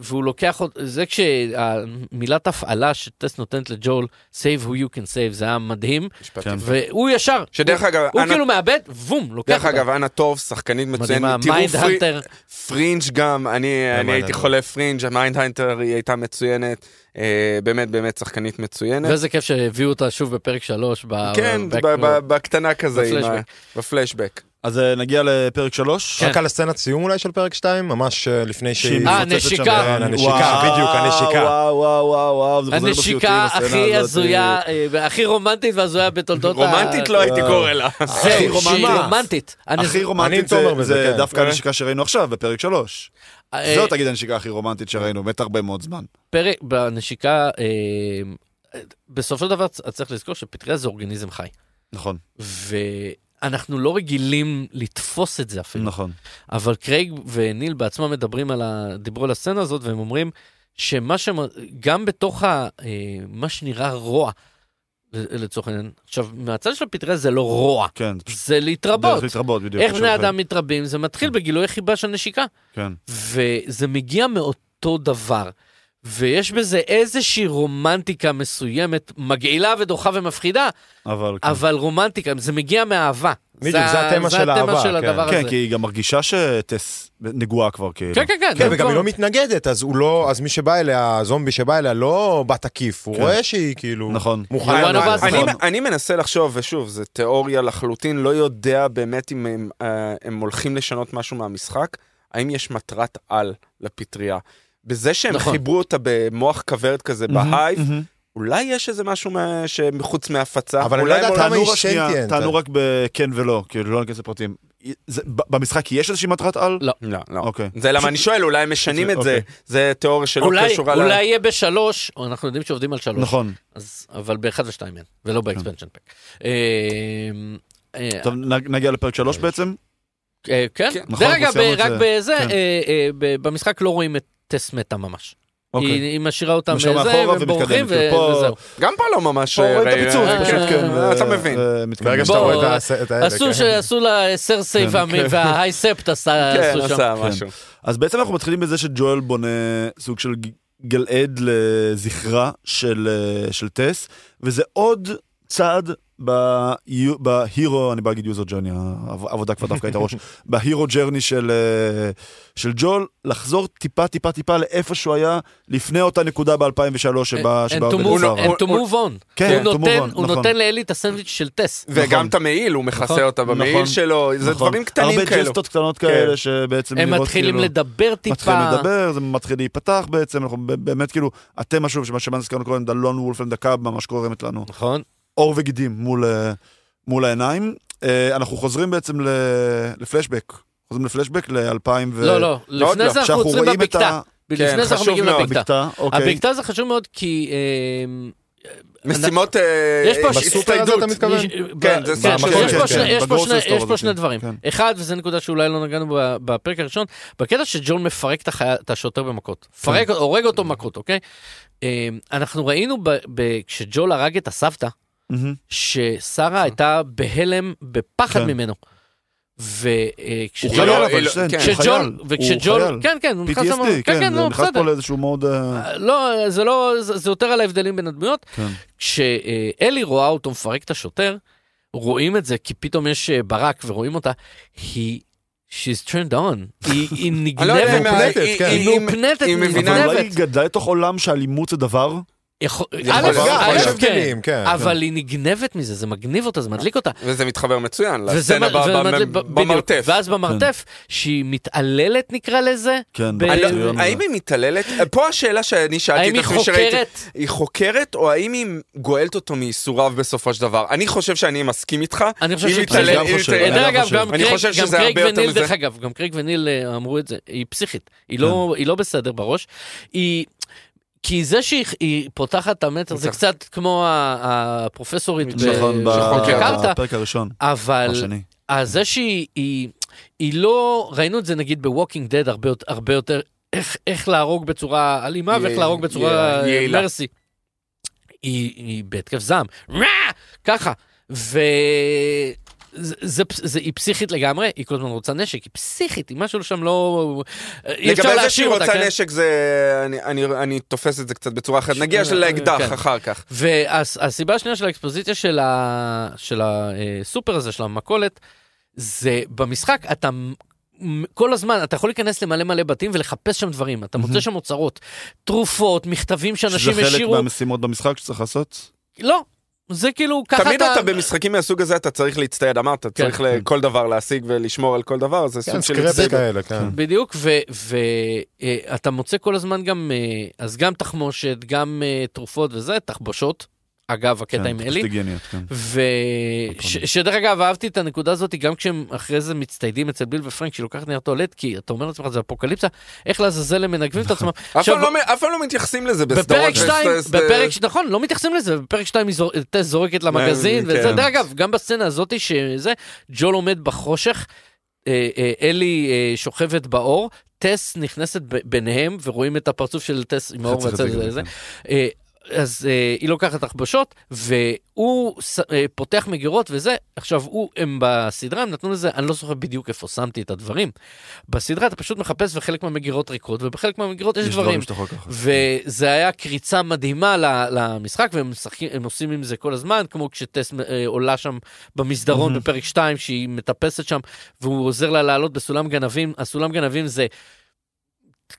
והוא לוקח, אות- זה כשהמילת הפעלה שטס נותנת לג'ול, save who you can save, זה היה מדהים,
משפט
כן.
יפה.
והוא ישר,
שדרך אגב,
הוא
אנה-
כאילו מאבד, בום, לוקח
דרך
אותה.
אגב, אנה טוב, שחקנית
כן. מדהימה,
מצוינת, תראו
מיינד
פרי-
הנטר,
פרינג' גם,
אה,
אני אני הייתי
Mindhunter.
חולה פרינג', המיינד היינטר היא הייתה מצוינת, אה, באמת באמת שחקנית מצוינת.
ואיזה כיף שהביאו אותה שוב בפרק שלוש. ב-
כן,
ב-
ב- ב- בקטנה כזה, עם ה-
בפלשבק.
בפלשבק.
אז אה, נגיע לפרק שלוש.
כן.
רק על הסצנת סיום אולי של פרק 2, ממש אה, לפני שהיא...
אה,
מפוצצת
נשיקה.
שם.
כן,
הנשיקה,
וואו,
בדיוק, הנשיקה.
וואו, וואו, וואו, וואו, זה חוזר בסיוטים,
הנשיקה
הסצנה
הכי
הזאת.
הזויה, אה, והכי רומנטית והזויה בתולדות ה...
רומנטית לא
אה,
הייתי קורא לה.
הכי
זהו, שהיא
רומנטית.
רומנטית. אני-
הכי
אני
רומנטית
תומר
זה-
בזה,
זה
כן.
דווקא
אה?
הנשיקה שראינו עכשיו, בפרק שלוש.
אה,
זאת, תגיד, הנשיקה הכי רומנטית שראינו, מת הרבה מאוד זמן.
פרק בנשיקה, אה, בסופו של דבר צ- צריך לזכור שפטריה זה אורגניזם חי.
נכון,
ואנחנו לא רגילים לתפוס את זה אפילו.
נכון.
אבל קרייג וניל בעצמם מדברים על ה... דיברו על הסצנה הזאת, והם אומרים שמה ש... גם בתוך ה... אה, מה שנראה רוע, ל- לצורך העניין, עכשיו, מהצד של הפטריה זה לא רוע,
כן, זה פשוט
זה להתרבות.
דרך להתרבות, בדיוק.
איך בני
שלכם.
אדם מתרבים? זה
כן.
מתחיל בגילוי חיבה של נשיקה,
כן.
וזה מגיע מאותו דבר. ויש בזה איזושהי רומנטיקה מסוימת, מגעילה ודוחה ומפחידה,
אבל... כן.
אבל רומנטיקה, זה מגיע מאהבה.
בדיוק, זה התמה של האהבה,
של
כן.
הדבר
כן,
הזה.
כי היא גם מרגישה שטס נגועה כבר, כאילו.
כן, כן, כן.
כן,
זה
וגם
כבר-
היא לא מתנגדת, אז הוא לא, אז מי שבא אליה, הזומבי שבא אליה, לא בא תקיף, הוא
כן.
רואה שהיא כאילו...
נכון.
מוכנה.
יואן
לה-
עבאס,
אני-
נכון.
אני מנסה לחשוב, ושוב, זו תיאוריה לחלוטין, לא יודע באמת אם הם, אה, הם הולכים לשנות משהו מהמשחק, האם יש מטרת על לפטריה. בזה שהם
נכון.
חיברו אותה במוח כוורת כזה בהייב,
מהמם.
אולי יש איזה משהו מה- שמחוץ מהפצה.
אבל אני
אולי
לא יודע
הם
כמה
עולם-
היא
תענו רק שנייה,
sentient.
תענו רק בכן ולא, כאילו לא ניכנס לפרטים. זה- ב- במשחק יש איזושהי מטרת על?
לא.
לא, לא.
אוקיי.
זה למה אני שואל, אולי הם משנים את זה.
אוקיי.
זה תיאוריה שלא
אולי,
קשורה ל...
אולי יהיה בשלוש, או אנחנו יודעים שעובדים על שלוש,
נכון. כן.
אז, אבל באחד ושתיים אין, ולא באקספנשן פק. אה, אה,
טוב, נ- נגיע לפרק שלוש בעצם?
אה, כן,
כן.
נכון,
דרך
אנחנו
אגב,
סיימנו את
רק
זה.
בזה,
כן.
אה, אה, ב- במשחק לא רואים את טס מתה ממש.
אוקיי.
היא, היא משאירה אותם
משאירה
בזה,
מאחורה
והם בורחים,
ומתקדמת,
ו-
כאילו, פה-
וזהו.
גם פה לא ממש...
פה רואים את
ראי-
הפיצוץ,
אה,
פשוט כן.
אה, אתה
ו-
מבין.
ו- מתקדמים.
ברגע שאתה
בוא,
רואה את הס- את האלה,
עשו,
כן.
שעשו לה סרסי
אה, כן,
והמ- וההייספט עשה,
כן,
אה, עשו שם.
עשה משהו.
אז בעצם אנחנו מתחילים בזה שג'ואל בונה סוג של ג- גלעד לזכרה של, אה, של טס, וזה עוד צעד ב- בהירו, אני בא להגיד יוזר ג'רני, העבודה כבר דווקא את הראש, בהירו ג'רני של, אה, של ג'ול, לחזור טיפה טיפה טיפה לאיפה שהוא היה לפני אותה נקודה ב-2003
אה,
שבה
And
שבה
to
עודד
move-
עזרא.
and to move on.
כן,
הוא
to move
נותן-
on,
הוא
נכון.
נותן לאלי את הסנדוויץ' של טס.
נכון.
וגם את המעיל, הוא
נכון,
מכסה אותה במעיל
נכון,
שלו, זה
נכון.
דברים קטנים
הרבה
כאלו. כן.
ג'סטות קטנות כאלה שבעצם
הם
נראות
מתחילים
כאילו-
לדבר טיפה.
מתחילים לדבר, זה מתחיל להיפתח בעצם, אנחנו ב- באמת כאילו, התמה שוב, שמה שמה נזכרנו קודם, דלון וולפלנד הקאב ממש גורמת לנו.
נכון.
עור וגידים מול, אה, מול העיניים. אה, אנחנו חוזרים בעצם ל- לפלשבק. חוזרים לפלשבק ל-2000 ו...
לא, לא, לפני
לא.
זה אנחנו עוצרים
רואים את
בבקתה.
ה- כן,
לפני זה אנחנו
חשוב
מגיעים
מאוד.
לבקתה.
הבקתה, אוקיי.
הבקתה זה חשוב מאוד כי... אה,
משימות אה,
יש פה-
בסופר הזה
הצטיידות.
אתה מתכוון?
יש-
כן, זה
ב-
סוג
כן,
של-
יש פה
כן,
שני-
כן,
יש פה
בגרוסרי
שני-
סטור
יש פה
הזה,
שני
כן.
דברים. אחד, וזו נקודה שאולי לא נגענו ב- בפרק הראשון, בקטע שג'ון מפרק את החי- את השוטר במכות.
כן.
מפרק, הורג אותו במכות, אוקיי? אה, אנחנו ראינו ב- ב- כשג'ול הרג את הסבתא,
מהמם.
ששרה הייתה בהלם, בפחד
כן.
ממנו.
הוא
וכשג'ול...
לא-
חייל
היא
אבל,
לא-
שטיין,
כן.
הוא חייל.
כשג'ול, וכשג'ול,
הוא חייל.
כן, כן, הוא נכנס
PTSD,
למ-
כן, זה
לא,
נכנס
בסדר.
פה לאיזשהו מאוד... אה,
לא, זה לא, זה זה יותר על ההבדלים בין הדמויות.
כן.
כשאלי רואה אותו מפרק את השוטר, רואים את זה כי פתאום יש אה, ברק ורואים אותה, היא, she's turned on, היא היא
אני לא יודע אם
נגנבת,
מופנטת,
היא-
כן.
היא-
היא מופנטת,
היא
היא
מבינה-
אבל אולי
נגנבת.
היא גדלה לתוך עולם שאלימות זה דבר?
נכון, יכול-
יכול
א',
להיות,
אבל
א',
יש
א', כן,
הבדלים, כן.
אבל היא נגנבת מזה, זה מגניב אותה, זה מדליק אותה.
וזה מתחבר מצוין
וזה
לסצנה
מ- וזה
ב- ב-
מדליק- בדיוק.
במרתף. כן.
ואז במרתף, שהיא מתעללת נקרא לזה,
כן.
ב- אה,
אני לא-
בטריון
האם
הזה.
היא מתעללת? אה, פה השאלה שאני שאלתי
האם
את
היא
עצמי שראיתי.
חוקרת?
היא חוקרת, או האם היא גואלת אותו מייסוריו בסופו של דבר? אני חושב שאני מסכים איתך.
אני חושב
היא
שהיא
מתעללת-
גם
היא
חושב,
מתעללת-
אני
דרך
לא
אגב,
חושב.
גם
אני
קרייג-
חושב
גם
שזה
קרייג
הרבה יותר
וניל,
מזה.
דרך אגב, גם קרייג וניל אה, אמרו את זה, היא פסיכית, היא לא- היא לא בסדר בראש, היא... כי זה שהיא היא פותחת את המטר זה
נכון.
קצת כמו ה- הפרופסורית ב-
נכון,
שקרתה,
בפרק הראשון.
אבל
השני.
אז זה שהיא היא, היא לא, ראינו את זה נגיד בווקינג דד הרבה, יותר- הרבה יותר, איך, איך להרוג בצורה אלימה ואיך
יעיל-
להרוג בצורה
יעיל- יעילה.
מרסי. היא, היא בהתקף זעם, "רע!" ככה, ו... זה, זה, פס- זה, היא פסיכית לגמרי, היא כל הזמן רוצה נשק, היא פסיכית, היא משהו שם לא... אי
לגבי זה
אפשר
שהיא
להשאיר אותה,
רוצה
כן?
נשק, זה... אני- אני- אני תופס את זה קצת בצורה אחרת.
ש-
נגיע
אה,
לאקדח
כן.
אחר כך.
והסיבה השנייה של האקספוזיציה של, ה... של הסופר הזה, של המכולת, זה במשחק אתה מ- כל הזמן, אתה יכול להיכנס למלא מלא בתים ולחפש שם דברים, אתה מוצא שם אוצרות, תרופות, מכתבים
שזה
שאנשים
חלק
השאירו,
מהמשימות במשחק שצריך לעשות?
לא, זה כאילו ככה כן,
תמיד אתה במשחקים מהסוג הזה, אתה צריך להצטייד, אמרת, צריך לכל דבר להשיג ולשמור על כל דבר, זה
כן,
סוג של...
סקרפס
הצטיידות.
כאלה, כן.
בדיוק, ואתה מוצא כל הזמן גם, אה, אז גם תחמושת, גם אה, תרופות וזה, תחבושות, אגב, הקטע
כן,
עם
פשוט
אלי.
היגייניות, כן.
ושדרך אגב אהבתי את הנקודה הזאת גם כשהם אחרי זה מצטיידים אצל ביל ופרנק שהיא לוקחת נייר טואלט כי אתה אומר לעצמך זה אפוקליפסה איך לעזאזל הם מנגבים את עצמם.
אף
עכשיו,
פעם לא מ- אף פעם לא מתייחסים לזה בסדרות. אה,
בפרק 2,
וס-
בפרק, ש- נכון, לא מתייחסים לזה, בפרק 2 טס זורקת למגזין,
כן.
וזה, דרך אגב, גם בסצנה הזאת שזה, ג'ול עומד בחושך, אה, אה, אלי אה, שוכבת באור, טס נכנסת ב- ביניהם, ורואים את הפרצוף של טס עם האור
צריך
והצד
להגיד,
הזה.
כן.
אה, אז אה, היא לוקחת תחבושות, והוא ס- אה, פותח מגירות וזה. עכשיו, הוא, הם בסדרה, הם נתנו לזה, אני לא זוכר בדיוק איפה שמתי את הדברים. בסדרה אתה פשוט מחפש וחלק מהמגירות ריקות, ובחלק מהמגירות יש דברים.
שאתה יכול לקחת.
וזה היה קריצה מדהימה ל- למשחק, והם משחקים, הם עושים עם זה כל הזמן, כמו כשטס אה, עולה שם במסדרון
Mhm.
בפרק 2, שהיא מטפסת שם, והוא עוזר לה לעלות בסולם גנבים. הסולם גנבים זה...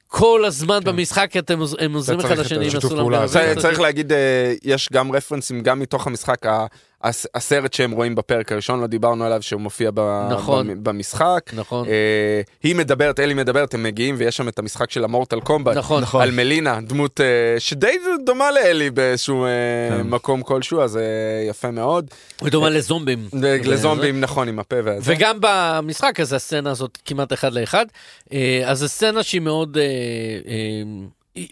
כל הזמן במשחק אתם עוז- הם עוזרים אחד
כן. צריך את
לשני עם
השיתוף
הסולם
פעולה הזה.
גנבים.
צ- צריך להגיד, אה, יש גם רפרנסים גם מתוך המשחק, ה- הס- הסרט שהם רואים בפרק הראשון, לא דיברנו עליו, שהוא מופיע ב-
נכון.
במ- במשחק.
נכון,
אה, היא מדברת, אלי מדברת, הם מגיעים ויש שם את המשחק של המורטל קומבט.
נכון.
נכון.
על מלינה, דמות אה, שדי דומה לאלי באיזשהו אה,
כן.
מקום כלשהו, אז אה, יפה מאוד.
הוא דומה לזומבים.
אה, לזומבים, נכון, עם הפה והזה.
וגם במשחק הזה הסצנה הזאת כמעט אחד לאחד. אה, אז זו סצנה שהיא מאוד... אה, אה, היא-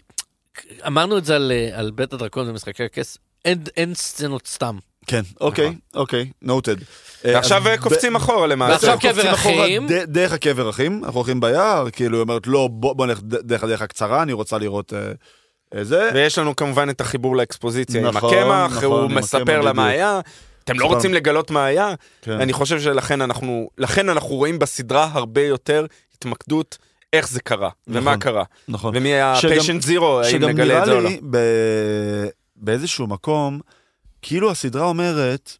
אמרנו את זה על, אה, על בית הדרקון ומשחקי הכס, אין, אין סצנות סתם.
כן,
נכון.
אוקיי, אוקיי, נוטד.
ועכשיו אה, קופצים אחורה למעשה.
כן.
ועכשיו קבר אחים.
דרך הקבר אחים, אנחנו הולכים ביער, כאילו היא אומרת, לא, בוא בוא נלך ד- דרך הדרך הקצרה, אני רוצה לראות אה, אה, זה.
ויש לנו כמובן את החיבור לאקספוזיציה עם
נכון,
הקמח,
נכון,
הוא
עם
מספר
הקמח,
לה מה
בדיוק.
היה. אתם לא
סתם.
רוצים לגלות מה היה?
כן.
אני חושב שלכן אנחנו, לכן אנחנו רואים בסדרה הרבה יותר התמקדות איך זה קרה, ומה
נכון.
קרה,
נכון.
ומי היה
שגם-
פיישנט זירו, האם
שגם
נגלה את זה או
נראה
לא.
לי ב- באיזשהו מקום, כאילו הסדרה אומרת,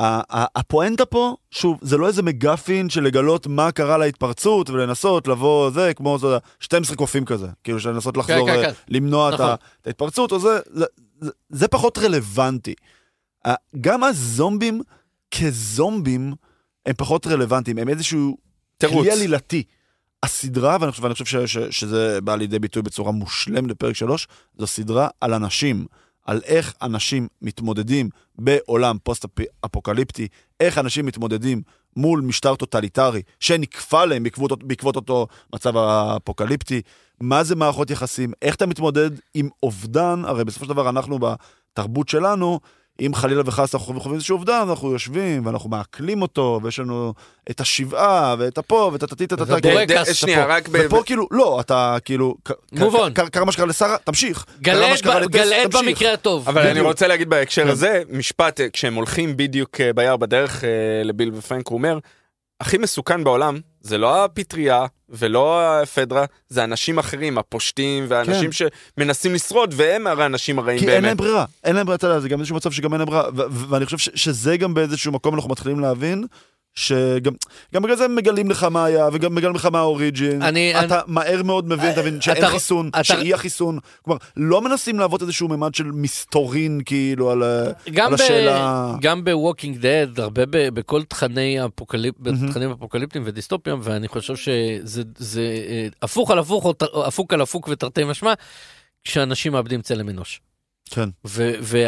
ה- ה- הפואנטה פה, שוב, זה לא איזה מגפין של לגלות מה קרה להתפרצות ולנסות לבוא זה, כמו זה, 12 קופים כזה, כאילו של לנסות לחזור,
כן,
אה,
כן.
למנוע את
נכון.
ה- את ההתפרצות, או זה, זה, זה, זה פחות רלוונטי. ה- גם הזומבים כזומבים הם פחות רלוונטיים, הם איזשהו
תירוץ.
כלי עלילתי. הסדרה, ואני חושב, ואני חושב ש, ש, שזה בא לידי ביטוי בצורה מושלמת בפרק 3, זו סדרה על אנשים, על איך אנשים מתמודדים בעולם פוסט-אפוקליפטי, איך אנשים מתמודדים מול משטר טוטליטרי שנכפה להם בעקבות, בעקבות אותו מצב האפוקליפטי, מה זה מערכות יחסים, איך אתה מתמודד עם אובדן, הרי בסופו של דבר אנחנו בתרבות שלנו, אם חלילה וחס אנחנו חווים איזשהו אובדן, אנחנו יושבים ואנחנו מעכלים אותו, ויש לנו את השבעה ואת הפה ואת הטטית, את
אתה בורק.
הטטית.
ד- ד-
קאסט
שנייה,
פה.
רק ב...
ופה כאילו, לא, אתה כאילו, ק- ק-
Move on.
ק- קרה מה שקרה לשרה, תמשיך. קרה מה שקרה
גלעד
לטס,
ב- גלעד
לא תמשיך.
במקרה הטוב.
אבל אני
בדיוק.
רוצה להגיד בהקשר
כן.
הזה, משפט, אה, כשהם הולכים בדיוק אה, ביער בדרך אה, לביל ופרנק, הוא אומר, הכי מסוכן בעולם זה לא הפטריה ולא הפדרה, זה אנשים אחרים, הפושטים והאנשים שמנסים לשרוד, והם הרי האנשים הרעים
כן. כי
באמת.
אין להם ברירה, אין להם ברירה, אתה יודע, זה גם איזשהו מצב שגם אין להם ברירה, ו- ו- ואני חושב ש- שזה גם באיזשהו מקום אנחנו מתחילים להבין, שגם גם בגלל זה הם מגלים לך מה היה, וגם מגלים לך מה האוריג'ין.
אני- אה,
אתה מהר מאוד מבין, אתה מבין שאין
אתה-
חיסון,
אתה-
שאי החיסון. כלומר, לא מנסים להוות איזשהו ממד של מסתורין, כאילו, על ה-
גם
על
ב-
השאלה...
גם ב-Walking Dead, הרבה ב- בכל תכני האפוקליפ- בתכנים אפוקליפטיים ודיסטופיים, ואני חושב שזה זה, אה, הפוך על הפוך, או ת- או הפוך על הפוך ותרתי משמע, כשאנשים מאבדים צלם אנוש.
כן.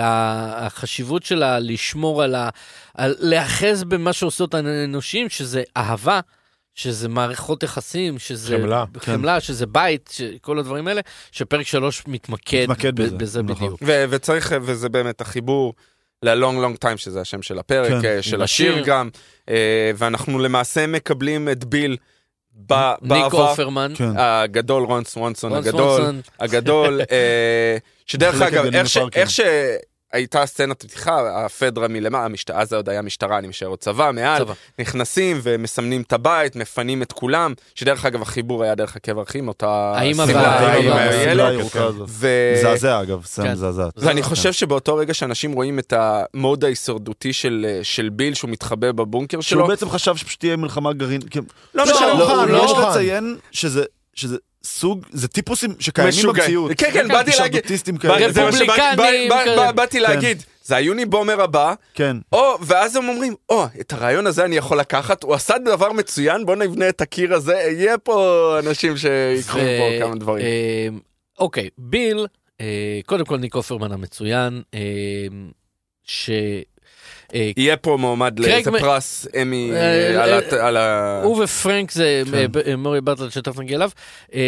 והחשיבות שלה לשמור על ה... על להיאחז במה שעושה אותנו אנושים, שזה אהבה, שזה מערכות יחסים, שזה...
חמלה.
כן.
חמלה, שזה בית, ש- כל הדברים האלה, שפרק שלוש מתמקד,
מתמקד
ב-
בזה,
בזה
נכון.
בדיוק.
ו- וצריך, וזה באמת החיבור ל-Long Long Time, שזה השם של הפרק,
כן.
כן. של
בשיר.
השיר גם, אה, ואנחנו למעשה מקבלים את ביל ב-
ניק
בעבר.
אופרמן,
כן.
הגדול, רון סוונסון
רון
הגדול,
סוונסון,
הגדול, אה, שדרך
מחלקת
אגב,
גנים
איך ש-
בפארקים.
איך שהייתה סצנת פתיחה, הפדרה מלמעלה, המשט- אז זה עוד היה משטרה, אני משער, או צבא, מעל,
צבא.
נכנסים ומסמנים את הבית, מפנים את כולם, שדרך אגב, החיבור היה דרך הקבר אחים, אותה
האמא
שמלה,
וה-
האמא
האמא
והילד,
הסדרה
והילד.
הירוקה הזאת.
ו-
לא, מזעזע אגב, סם
לא אה, כן.
מזעזע.
כן. ואני חושב שבאותו רגע שאנשים רואים את המוד ההישרדותי של, של ביל שהוא מתחבא בבונקר שלו,
שהוא בעצם חשב שפשוט תהיה מלחמה גרעין. כן.
לא
לא,
משנה,
לא,
הוא
לא,
לא
יש
מוכן.
לציין שזה, שזה סוג, זה טיפוסים שקיימים
משוגע.
במציאות.
כן, כן, באתי
יש
להגיד-
ארדוטיסטים כאלה. כן.
בא- זה מה שבאתי-
רפובליקנים,
בא- בא-
כאלה.
באתי להגיד, זה היוניבומר הבא,
כן.
או, ואז הם אומרים, או, את הרעיון הזה אני יכול לקחת, הוא עשה דבר מצוין, בוא נבנה את הקיר הזה, יהיה פה אנשים שיקחו
ו-
פה כמה דברים.
אמ, אה, אוקיי, ביל, אה, קודם כל ניק אופרמן המצוין, אמ, ש... אה,
יהיה פה מועמד
קרייג
לאיזה
מ-
פרס אמי
אה,
אה, על
אה,
הת- על ה...
הוא ופרנק זה
כן.
אה, ב- אה, מורי באטל שתכף נגיע אליו. אמ,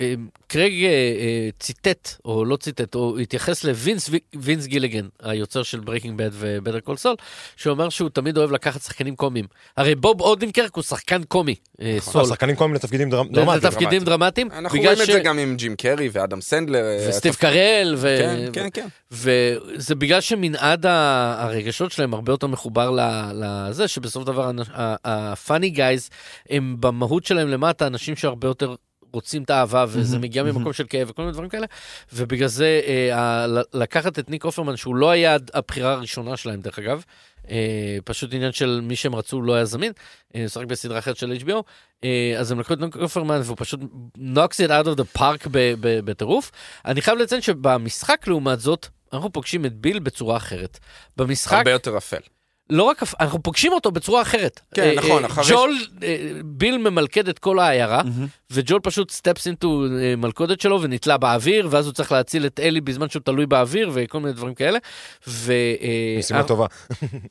אמ, קרייג אה, אה, ציטט, או לא ציטט, הוא התייחס לווינס וי- וינס גיליגן, היוצר של ברייקינג בד ובטר קול סול, שאומר שהוא תמיד אוהב לקחת שחקנים קומיים. הרי בוב אודנקרק הוא שחקן קומי, אה,
נכון.
אה,
סול.
שחקנים כל מיני תפקידים דרמ- דרמטיים.
לתפקידים דרמטיים.
אנחנו
בגלל
רואים את זה
ש-
גם עם ג'ים קרי ואדם סנדלר. אה,
וסטיב קרל, ו...
כן, כן, כן.
וזה בגלל שמנעד ה- הרגשות שלהם הרבה יותר מחובר ל- לזה, שבסוף של דבר הפאני גייז הם במהות שלהם למטה אנשים שהרבה יותר רוצים את האהבה, וזה
מהמם,
מגיע
מהמם.
ממקום של כאב וכל מיני דברים כאלה, ובגלל זה אה, ה- ל- לקחת את ניק אופרמן, שהוא לא היה הבחירה הראשונה שלהם דרך אגב, אה, פשוט עניין של מי שהם רצו לא היה זמין, אה, הוא משחק בסדרה אחרת של HBO, אה, אז הם לקחו את ניק אופרמן והוא פשוט knocks it out of the park ב- ב- בטירוף. אני חייב לציין שבמשחק לעומת זאת, אנחנו פוגשים את ביל בצורה אחרת. במשחק,
הרבה יותר אפל.
לא רק, הפ- אנחנו פוגשים אותו בצורה אחרת.
כן,
אה,
נכון,
אה,
אחרי-
ג'ול, אה, ביל ממלכד את כל העיירה, וג'ול פשוט סטפס אינטו מלכודת שלו ונתלה באוויר, ואז הוא צריך להציל את אלי בזמן שהוא תלוי באוויר וכל מיני דברים כאלה. ו... אה,
משימה טובה.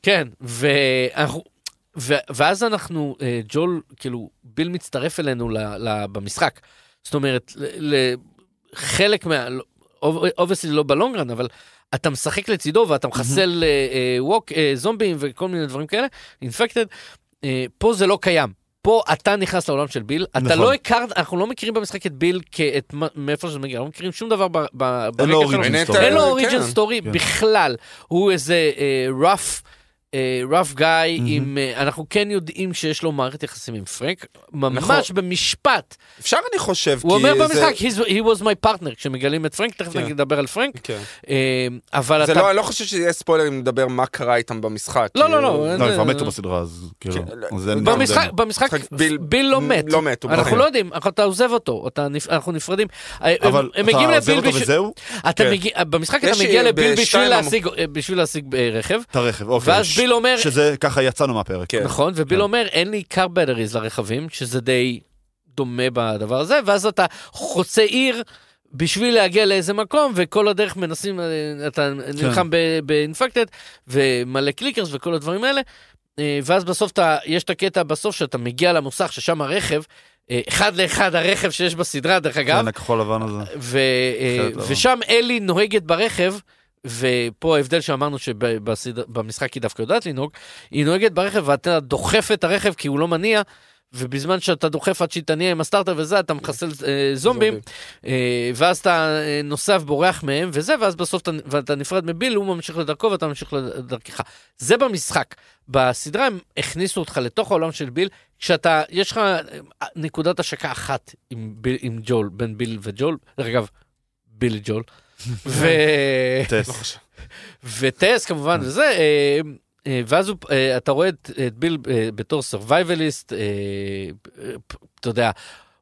כן, ואנחנו... ו- ואז אנחנו, אה, ג'ול, כאילו, ביל מצטרף אלינו ל- ל- במשחק. זאת אומרת, ל- ל- חלק מה... אובייסלי לא בלונגרן, אבל אתה משחק לצידו ואתה מחסל אה, אה, ווק, אה, זומבים וכל מיני דברים כאלה, אינפקטד. אה, פה זה לא קיים. פה אתה נכנס לעולם של ביל, אתה
נכון.
לא הכרת, אנחנו לא מכירים במשחק את ביל כאת מה- מאיפה שזה מגיע, אנחנו לא מכירים שום דבר ב- ב- ברקע שלו.
אוריג'ין
אין את
סטורי.
ה-
אין לו
כן.
אוריג'ן סטורי
כן.
בכלל, הוא איזה רף רף גאי
מהמם.
אה, עם... אה, אנחנו כן יודעים שיש לו מערכת יחסים עם פרנק,
נכון.
ממש במשפט.
אפשר, אני חושב,
הוא
כי
אומר
זה-
במשחק, "He's- he was my partner, כשמגלים את פרנק, תכף
כן.
נדבר על פרנק,
כן.
אה, אבל
זה
אתה...
לא, אני לא חושב שיהיה ספוילר אם נדבר מה קרה איתם במשחק.
לא,
כאילו,
לא, לא, אין-
לא, הם כבר
אה,
מתו בסדרה, אז כאילו,
כן,
אז אין-
במשחק, במשחק
משחק ביל-
ביל, ביל לא מת,
לא מת, הוא
אנחנו
בחיים.
לא יודעים, אנחנו- אתה עוזב אותו, אתה, נפ- אנחנו נפרדים. אה,
אבל
הם מגיעים
אתה עוזר
לביל
אותו
בשביל,
וזהו?
אתה
כן.
מגיע, במשחק אתה
יש אה,
מגיע
ב-
לביל
שתיים
בשביל
אמרו-
להשיג, אה, בשביל להשיג אה, רכב,
את הרכב, אוקיי.
ואז
ש-
ביל אומר,
שזה, ככה יצאנו מהפרק.
כן.
נכון, וביל
כן.
אומר אין לי car batteries לרכבים, שזה די דומה בדבר הזה, ואז אתה חוצה עיר. בשביל להגיע לאיזה מקום, וכל הדרך מנסים, אה, אתה נלחם ב- באינפקטד, ומלא קליקרס וכל הדברים האלה, אה, ואז בסוף אתה, יש את הקטע בסוף שאתה מגיע למוסך, ששם הרכב, אה, אחד לאחד הרכב שיש בסדרה, דרך אגב,
כן, הכחול לבן הזה.
ו, אה,
בהחלט לא.
ושם אלי נוהגת ברכב, ופה ההבדל שאמרנו שבמשחק היא דווקא יודעת לנהוג, היא נוהגת ברכב ואתה דוחף את הרכב כי הוא לא מניע. ובזמן שאתה דוחף עד שהיא תניע עם הסטארטר וזה, אתה מחסל אה, זומבים, אה, ואז אתה אה, נוסע ובורח מהם וזה, ואז בסוף אתה, ואתה נפרד מביל, הוא ממשיך לדרכו ואתה ממשיך לדרכך. זה במשחק. בסדרה הם הכניסו אותך לתוך העולם של ביל, כשאתה, יש לך אה, נקודת השקה אחת עם, ביל, עם ג'ול, בין ביל וג'ול, דרך אגב, ביל ג'ול, ו...
טס.
לא חושב.
וטס כמובן
כן.
וזה, אה, אה, ואז הוא, אה, אתה רואה את, את ביל אה, בתור סרווייבליסט, אה, אה, פ- אתה יודע,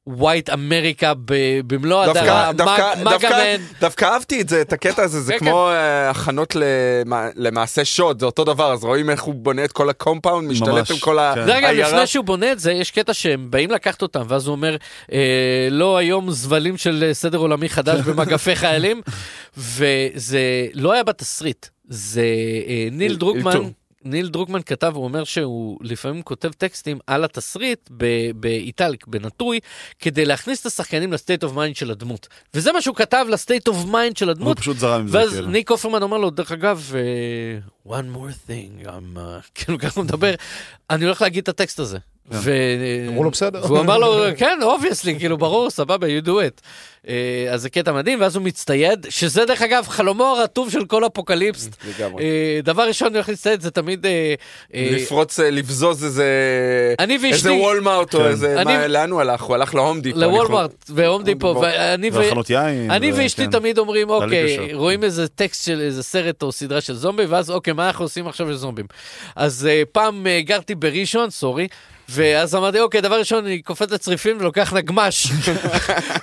ווייט אמריקה ב- במלוא
דווקא-
הדרה,
דווקא- דווקא-
מגאמן,
דווקא אהבתי את זה, את הקטע הזה, זה
כן,
כמו אה, הכנות למע- למעשה שוד, זה אותו דבר, אז רואים איך הוא בונה את כל הקומפאונד, משתלט
ממש,
עם כל
כן.
העיירה.
דרך אגב, לפני שהוא בונה את זה, יש קטע שהם באים לקחת אותם, ואז הוא אומר, אה, לא היום זבלים של אה, סדר עולמי חדש במגפי חיילים, וזה לא היה בתסריט, זה אה, ניל
אל-
דרוקמן.
אלתור.
ניל דרוקמן כתב, הוא אומר שהוא לפעמים כותב טקסטים על התסריט ב- באיטלק, בנטוי, כדי להכניס את השחקנים לסטייט אוף מיינד של הדמות. וזה מה שהוא כתב לסטייט אוף מיינד של
הוא
הדמות,
פשוט זרם עם זה,
ואז
כאילו.
ניק הופרמן אומר לו, דרך אגב, אה, one more thing, I'm, uh, כאילו ככה הוא מדבר, אני הולך להגיד את הטקסט הזה.
כן.
ו...
אמרו לו בסדר.
והוא אמר לו, כן, אובייסלי, כאילו, ברור, סבבה, you do it. אה, אז זה קטע מדהים, ואז הוא מצטייד, שזה דרך אגב חלומו הרטוב של כל אפוקליפסט.
לגמרי.
אה, דבר ראשון, הוא הולך להצטייד, זה תמיד... אה, אה,
לפרוץ, אה, לבזוז איזה...
אני
איזה
ואשתי,
וולמארט
כן.
או איזה...
אני-
מה, לאן הוא הלך? הוא הלך להום דיפו.
לוולמארט והום
אנחנו-
דיפו, ואני ו...
והכנות יין.
אני
ו-
ואשתי
כן.
תמיד אומרים, אוקיי,
קשה.
רואים איזה טקסט של איזה סרט או סדרה של זומבי, ואז אוקיי, מה אנחנו עושים עכשיו לזומבים? אז אה, פעם אה, גרתי בראשון, סורי, ואז אמרתי, אוקיי, דבר ראשון, אני קופץ לצריפים ולוקח נגמש.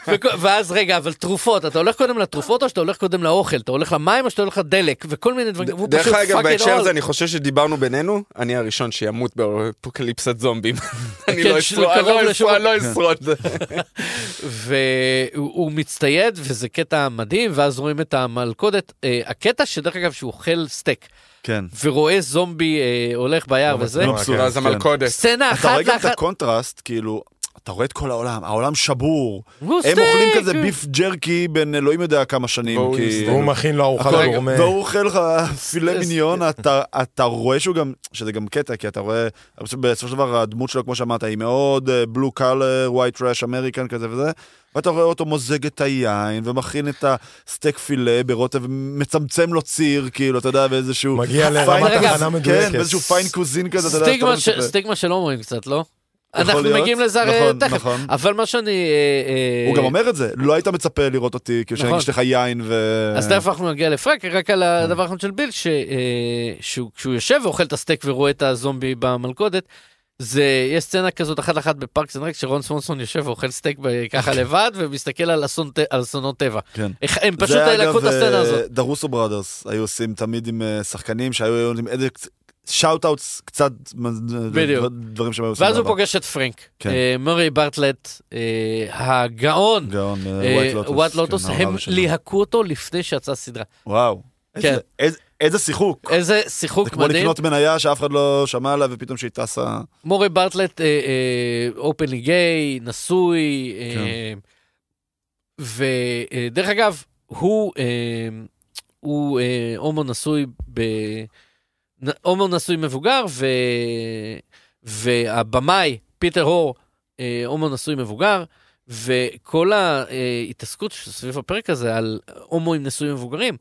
וכו- ואז, רגע, אבל תרופות, אתה הולך קודם לתרופות או שאתה הולך קודם לאוכל? אתה הולך למים או שאתה הולך לדלק? וכל מיני דברים, והוא
דרך
פשוט
אגב,
פאקינג
בהקשר הזה,
אול.
אני חושב שדיברנו בינינו, אני הראשון שימות באפוקליפסת זומבים. אני
כן,
לא
ש-
אשרוד, אני
קרוב
לא
לשום-
אשרוד, אני לא אשרוד.
כן.
והוא הוא מצטייד, וזה קטע מדהים, ואז רואים את המלכודת. אה, הקטע שדרך אגב, שהוא אוכל סטייק,
כן.
ורואה זומבי אה, הולך ביער
לא
וזה,
מצליח.
מבסוט,
ואז
כן.
המלכודת.
סצנה
אתה רואה
אחת
גם את
לאחת.
הקונטרסט, כאילו, אתה רואה את כל העולם, העולם שבור.
והוא
הם
סטייק.
אוכלים כזה ביף ג'רקי בין אלוהים יודע כמה שנים, כאילו.
והוא
כי...
הזדהה.
והוא מכין לו ארוחת
הכל-
גורמה.
והוא אוכל לך פילה מיניון, אתה- אתה רואה שהוא גם, שזה גם קטע, כי אתה רואה, בסופו של דבר הדמות שלו, כמו שאמרת, היא מאוד אה, בלו קלר, ווייט טראש, אמריקן כזה וזה, ואתה רואה אותו מוזג את היין, ומכין את הסטייק פילה ברוטב, מצמצם לו ציר, כאילו, אתה יודע, באיזשהו...
מגיע לרמת
רגע,
הכנה
כן,
מדויקת.
באיזשהו פיין קוזין כזה, אתה יודע, שאתה לא
סטיגמה ש-
מצפה.
סטיגמה שלא אומרים קצת, לא?
יכול
אנחנו
להיות.
מגיעים לזה הרי
נכון,
תכף.
נכון.
אבל מה שאני... אה, אה,
הוא גם אומר את זה, לא היית מצפה לראות אותי, כאילו שאני
נכון.
אגיש לך יין ו...
אז תכף אנחנו נגיע לפרק, רק
כן.
על הדבר האחרון של ביל, ש- אה, שהוא- כשהוא יושב ואוכל את הסטייק ורואה את הזומבי במלכודת, זה, יש סצנה כזאת אחת לאחת בפארק זנרק, שרון סמונסון יושב ואוכל סטייק ב- ככה לבד, ומסתכל על אסון ט- על אסונות טבע.
כן.
איך- הם פשוט
זה,
לקחו את
אגב,
הסצנה
אה,
הזאת.
דרוסו בראדרס היו עושים תמיד עם אה, שחקנים שהיו עושים איזה שאוט אאוטס קצת מ-
בדיוק.
דברים שהם היו עושים.
ואז הוא
בעבר.
פוגש את פרנק.
כן.
אה, מורי ברטלט, אה, הגאון.
גאון, אה, White Lotus,
וואט לוטוס,
כן, העונה
הם
הראשונה.
ליהקו אותו לפני שיצאה סדרה.
וואו. איזה-
כן.
איזה- איזה שיחוק.
איזה
זה
שיחוק
כמו
מדהים.
לקנות מניה שאף אחד לא שמע עליה ופתאום שהיא טסה.
מורי ברטלט, אה, אופני גיי, נשוי, אה,
כן.
ודרך אגב, הוא אה, הוא אה, הומו נשוי ב... נ- הומו נשוי מבוגר, ו... והבמאי, פיטר הור, אה, הומו נשוי מבוגר, וכל ההתעסקות סביב הפרק הזה על הומואים נשואים מבוגרים,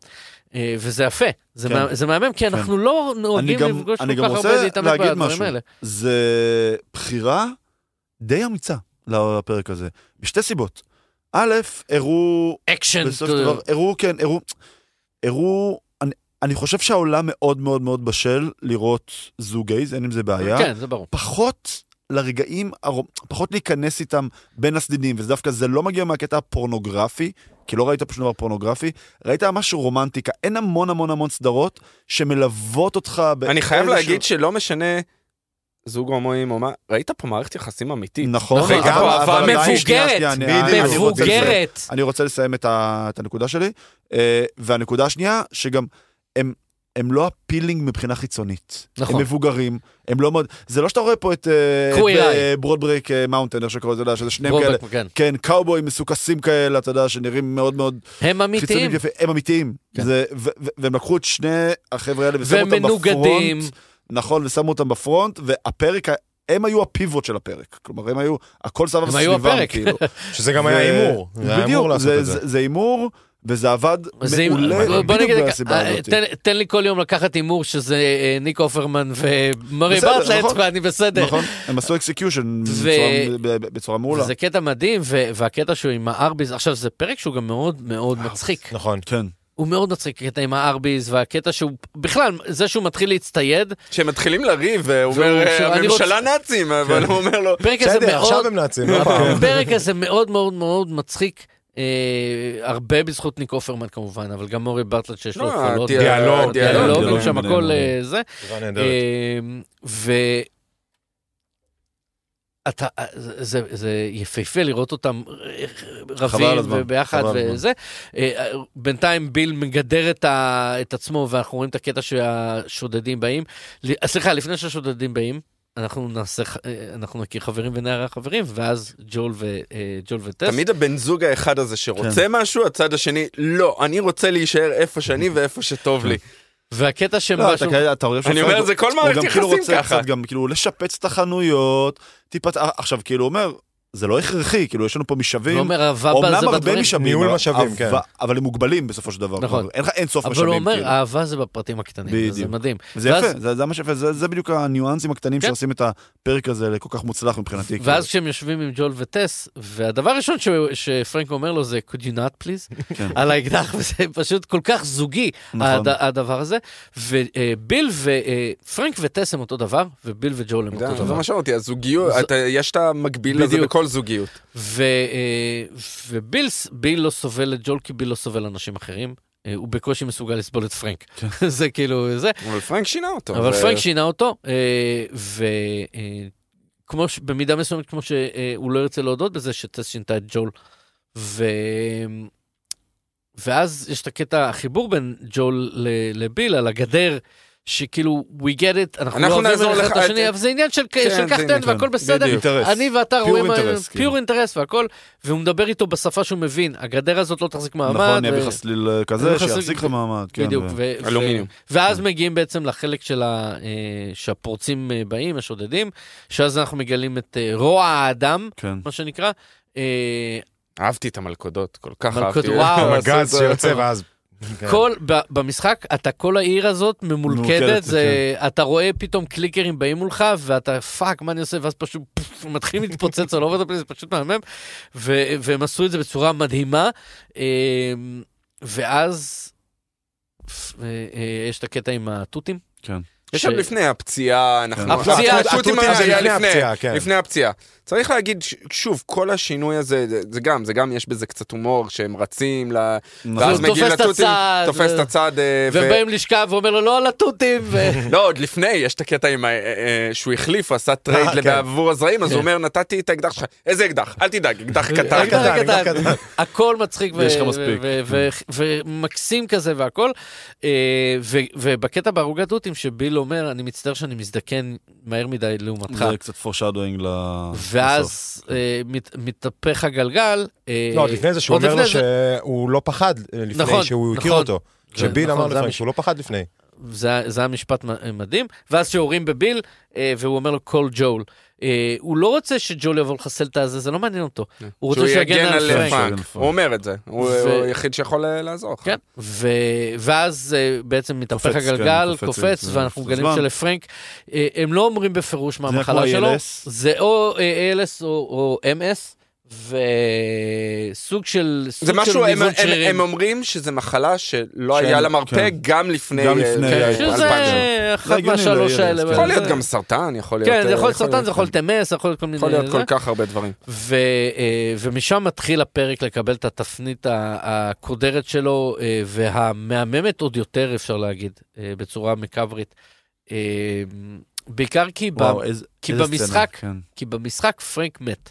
אה, וזה יפה, זה
כן.
מה- זה מהמם, כי אנחנו לא נוהגים
גם-
לפגוש
אני
כל
גם
כך
רוצה
הרבה להתעמק
להגיד
בדברים
משהו.
האלה.
זה בחירה די אמיצה לפרק הזה, משתי סיבות. א', הראו
אקשן,
בסופו של דבר, הראו, כן, הראו, הראו, אני, אני חושב שהעולם מאוד מאוד מאוד בשל לראות זוג גייז, אין עם זה בעיה.
כן, זה ברור.
פחות לרגעים, הרום- פחות להיכנס איתם בין הסדינים, וזה דווקא, זה לא מגיע מהקטע הפורנוגרפי, כי לא ראית פשוט דבר פורנוגרפי, ראית משהו רומנטיקה. אין המון המון המון סדרות שמלוות אותך באיזשהו...
אני חייב להגיד שלא משנה זוג הומואים או מה, ראית פה מערכת יחסים אמיתית.
נכון,
נכון,
אבל-
אבל
אבל עדיין- שנייה,
מבוגרת,
שנייה, אני- אני- אני רוצה לסיים.
מבוגרת.
אני רוצה לסיים את, ה, את הנקודה שלי, אה, והנקודה השנייה, שגם הם, הם לא הפילינג מבחינה חיצונית.
נכון.
הם מבוגרים, הם לא מאוד... זה לא שאתה רואה פה את... אה,
קוויר
את,
איי.
אה, ברוד ברייק אה, מאונטן, איך שקוראים לזה, אתה יודע, שזה שניהם כאלה.
רובק, כן.
כן, קאובויים מסוכסים כאלה, אתה יודע, שנראים מאוד מאוד
הם אמיתיים,
חיצוניים יפה, הם אמיתיים.
כן.
זה, ו, ו, והם לקחו את שני החבר'ה האלה ושמו
והם
אותם בפרונט.
מנוגדים.
נכון, ושמו אותם בפרונט, והפרק, ה- הם היו הפיבוט של הפרק. כלומר, הם היו, הכל סבב
הם היו
סביבם,
הפרק.
כאילו.
שזה גם
ו-
היה הימור. זה היה הימור
בדיוק,
לעשות
זה-
את זה.
זה- זה הימור, וזה עבד
זה-
מעולה,
בוא
בדיוק
נגיד,
מהסיבה
אה,
הזאת.
תן- תן לי כל יום לקחת הימור שזה אה, ניק אופרמן ומרי
בסדר,
ברטלט,
נכון.
ואני בסדר.
נכון, הם עשו אקסקיושן
ו-
בצורה מעולה.
זה קטע מדהים, ו- והקטע שהוא עם הארביז, עכשיו זה פרק שהוא גם מאוד מאוד מצחיק.
נכון.
כן.
הוא מאוד מצחיק, הקטע עם הארביז, והקטע שהוא, בכלל, זה שהוא מתחיל להצטייד,
כשהם מתחילים לריב, הוא
והוא-
אומר, "אה,
אני כן.
הממשלה נאצים, אבל הוא אומר לו,
הפרק
בסדר,
הזה מאוד... אה,
עכשיו הם נאצים. לא פעם.
כן. הפרק הזה מאוד מאוד מאוד מצחיק. אה, הרבה בזכות ניק אופרמן כמובן, אבל גם מורי ברטלט שיש לו
לא, הדיאלוג,
יכולות. דיאלוג,
הדיאלוג,
דיאלוג, שם
הדיאלוג.
הכל אה, זה.
סדרה נהדרת.
אמ, ו... אתה, זה, זה, זה יפהפה לראות אותם
חבל על
רבים
הזמן,
וביחד
חבל על הזמן.
וזה. אה, בינתיים ביל מגדר את, ה, את עצמו ואנחנו רואים את הקטע שהשודדים באים. ל- אה, סליחה, לפני שהשודדים באים, אנחנו נעשה, ח- אה, אנחנו נכיר חברים ונערי חברים, ואז ג'ול, ו, אה, ג'ול וטס.
תמיד הבן זוג האחד הזה
כן.
שרוצה משהו, הצד השני, לא, אני רוצה להישאר איפה שאני ואיפה שטוב
כן.
לי.
והקטע
לא, אתה
שמשהו...
כאלה- אתה רואה שהוא
אני
עושה-
אומר, זה כל
הוא
מערכת
גם כאילו
יחסים
רוצה
ככה.
קצת גם כאילו לשפץ את החנויות, טיפה, עכשיו כאילו הוא אומר, זה לא הכרחי, כאילו יש לנו פה משאבים.
הוא אומר, אהבה
אומנם
זה
הרבה
בדברים,
משאבים,
ניהול
אבל-
משאבים, כן.
אבל- אבל הם מוגבלים בסופו של דבר.
נכון.
כלומר, אין לך אין סוף
אבל הוא
משאבים.
אומר,
כאילו.
אהבה זה בפרטים הקטנים, זה
בדיוק.
מדהים.
וזה
ואז-
יפה, זה- זה מה שיפה, זה זה בדיוק הניואנסים הקטנים
כן.
שעושים את הפרק הזה לכל כך מוצלח מבחינתי.
ואז כשהם יושבים עם ג'ול וטס, והדבר הראשון ש- שפרנק אומר לו זה, could you not please?
כן.
על האקדח, וזה פשוט כל כך זוגי,
נכון.
הד- הדבר הזה. וביל ופרנק וטס הם אותו דבר, וביל וג'ול הם אותו
זה
דבר.
מה שאמרתי, הזוגיות,
זה-
אתה- יש את המקביל לזה
בדיוק.
בכל זוגיות.
ו- אה, וביל ס- ביל לא סובל את ג'ול כי ביל לא סובל אנשים אחרים. אה, הוא בקושי מסוגל לסבול את פרנק.
כן.
זה כאילו, זה.
אבל פרנק שינה אותו.
אבל
ו-
פרנק שינה אותו, אה, וכמו במידה מסוימת, כמו שהוא לא ירצה להודות בזה, שטס שינתה את ג'ול. ו... ואז יש את הקטע, החיבור בין ג'ול ל- לביל על הגדר, שכאילו, we get it, אנחנו,
אנחנו
לא אוהבים
נעזור
אחד את
לך,
השני,
את-
אבל זה עניין של,
כן,
של
זה
קח תן
עניין,
והכל
כן,
בסדר,
בדיוק.
אינטרס.
אני ואתה
Pure
רואים,
interest,
פיור
כאילו.
אינטרס והכל, והוא מדבר איתו בשפה שהוא מבין, הגדר הזאת לא תחזיק מעמד.
נכון, אני
ו-
אביא לך סליל אה,
אני
כזה,
אביא לך
שיחזיק לך
סליל-
מעמד. כן,
בדיוק,
ו-
ו- ו-
אלומיניום.
ואז מגיעים בעצם לחלק של ה... אה, שהפורצים אה, באים, השודדים, שאז אנחנו מגלים את אה, רוע האדם,
כן.
מה שנקרא. אה,
אהבתי את המלכודות, כל כך
מלכוד-
אהבתי.
וואו.
הגז שיוצא ואז... כן.
אה, כל, ב- במשחק, אתה כל העיר הזאת ממולכדת,
ממולכדת,
זה, אתה רואה פתאום קליקרים באים מולך, ואתה פאק, מה אני עושה? ואז פשוט פפפ, מתחילים להתפוצץ על אובר זה פשוט מהמם. ו- והם עשו את זה בצורה מדהימה. אה, ואז אה, אה, יש את הקטע עם התותים.
כן.
יש שם
ש-
לפני הפציעה, אנחנו... אה,
הפציעה,
התות-
התותים
התותים
זה
היה
לפני
לפני-
הפציעה, כן.
לפני הפציעה. צריך להגיד, ש- שוב, כל השינוי הזה, זה- זה גם, זה גם יש בזה קצת הומור, שהם רצים, ל- ואז
הוא
מגיעים
נכון. תופס את
לתותים,
הצד,
תופס
ו-
את הצד, אה, ו-
והם באים לשכב ואומר לו לא על התותים. ו-
לא, עוד לפני, יש את הקטע עם ה- אה, אה, שהוא החליף, הוא עשה
אה,
טרייד
כן.
עבור הזרעים, אז הוא אומר, נתתי את האקדח שלך. איזה אקדח? אל תדאג, אקדח קטן.
אה, אקדח
קטן, לא
קטן.
קטן.
הכל מצחיק ו-
ויש לך
ו-
מספיק.
ו- ו-
Mm.
ו- ומקסים כזה והכל. אה, ו- ובקטע בערוגת תותים שביל אומר אני מצטער שאני מזדקן מהר מדי לעומתך.
זה קצת foreshadowing ל- לסוף.
ואז אה, מת- מתהפך הגלגל. אה,
לא, עוד לפני זה שהוא
עוד
אומר לו
לפני זה-
שהוא לא פחד אה, לפני
נכון,
שהוא הכיר
נכון.
אותו.
כן,
כשביל
נכון,
אמר
זה
לפעמים
המש-
אה,
שהוא לא פחד לפני.
זה, זה היה משפט מ- מדהים. ואז שיורים בביל, אה, והוא אומר לו, קול ג'ול. אה, הוא לא רוצה שג'ול יבוא לחסל את הזה, זה לא מעניין אותו.
כן.
הוא רוצה
שהוא
שיגן על פרנק.
פרנק.
הוא אומר את זה, הוא
ו-
הוא היחיד שיכול אה, לעזור. לך.
כן, ו... ואז אה, בעצם מתהפך
קופץ,
הגלגל,
כן, קופץ,
קופץ,
זה
ואנחנו
לפני
מגלים
זמן.
שלפרנק, אה, הם לא אומרים בפירוש מה
זה
המחלה
כמו
שלו,
ALS.
זה או אה, ALS או- או MS, וסוג של
זה
סוג של
משהו, הם-
ניוון
הם- הם
שרירים.
אומרים שזה מחלה שלא
שאין-
היה לה מרפא
כאילו כן.
גם לפני
גם
אה,
לפני,
כן,
אה,
אלפיים שנה.
שזה אחת
הגיוני
מהשלוש
ל-ALS,
האלה.
כן.
אבל
יכול להיות
זה-
גם סרטן, יכול להיות...
כן, זה
אה,
יכול להיות סרטן, זה יכול להיות MS, יכול להיות כל מיני...
יכול להיות
זה.
כל כך הרבה דברים.
ו, אה, ומשם מתחיל הפרק לקבל את התפנית ה- הקודרת שלו, אה, והמהממת עוד יותר, אפשר להגיד, אה, בצורה מקברית. אה, בעיקר כי, ב,
וואו, אה- איזה...
כי
איזה
במשחק-
סצנה, כן.
כי במשחק פרנק מת.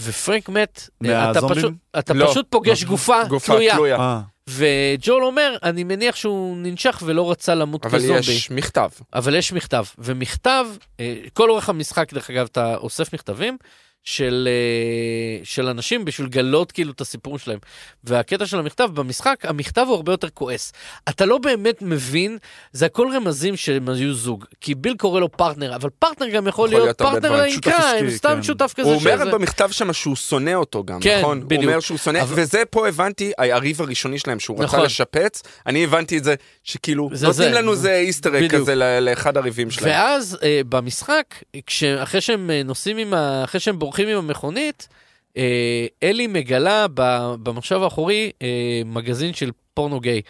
ופרנק מת, אה, אתה
מהזומבים?
פשוט, אתה
לא.
פשוט פוגש
לא.
גופה,
גופה
תלויה.
תלויה.
אה,
וג'ול אומר, אני מניח שהוא ננשך ולא רצה למות
אבל
כזומבי.
יש מכתב.
אבל יש מכתב, ומכתב, אה, כל אורך המשחק, דרך אגב, אתה אוסף מכתבים של, אה, של אנשים בשביל לגלות כאילו את הסיפור שלהם. והקטע של המכתב, במשחק, המכתב הוא הרבה יותר כועס. אתה לא באמת מבין, זה הכל רמזים שהם היו זוג. כי ביל קורא לו פרטנר, אבל פרטנר גם יכול, להיות,
להיות הרבה
פרטנר
דברים,
שותף
לעיקר, הם
עסקי,
סתם
כן.
שותף כזה.
הוא אומר
שזה-
במכתב שם שהוא שונא אותו גם,
כן,
נכון?
בדיוק.
הוא אומר שהוא שונא,
אבל-
וזה פה הבנתי, הריב הראשוני שלהם, שהוא רצה
נכון.
לשפץ, אני הבנתי את זה, שכאילו,
זה
נותנים
זה.
לנו איזה איסטר
בדיוק.
כזה ל- לאחד הריבים שלהם.
ואז אה, במשחק, כש- אחרי שהם אה, נוסעים עם ה... אחרי שהם בורחים עם המכונית, אה, אלי מגלה ב- במושב האחורי אה, מגזין של פורנו גיי.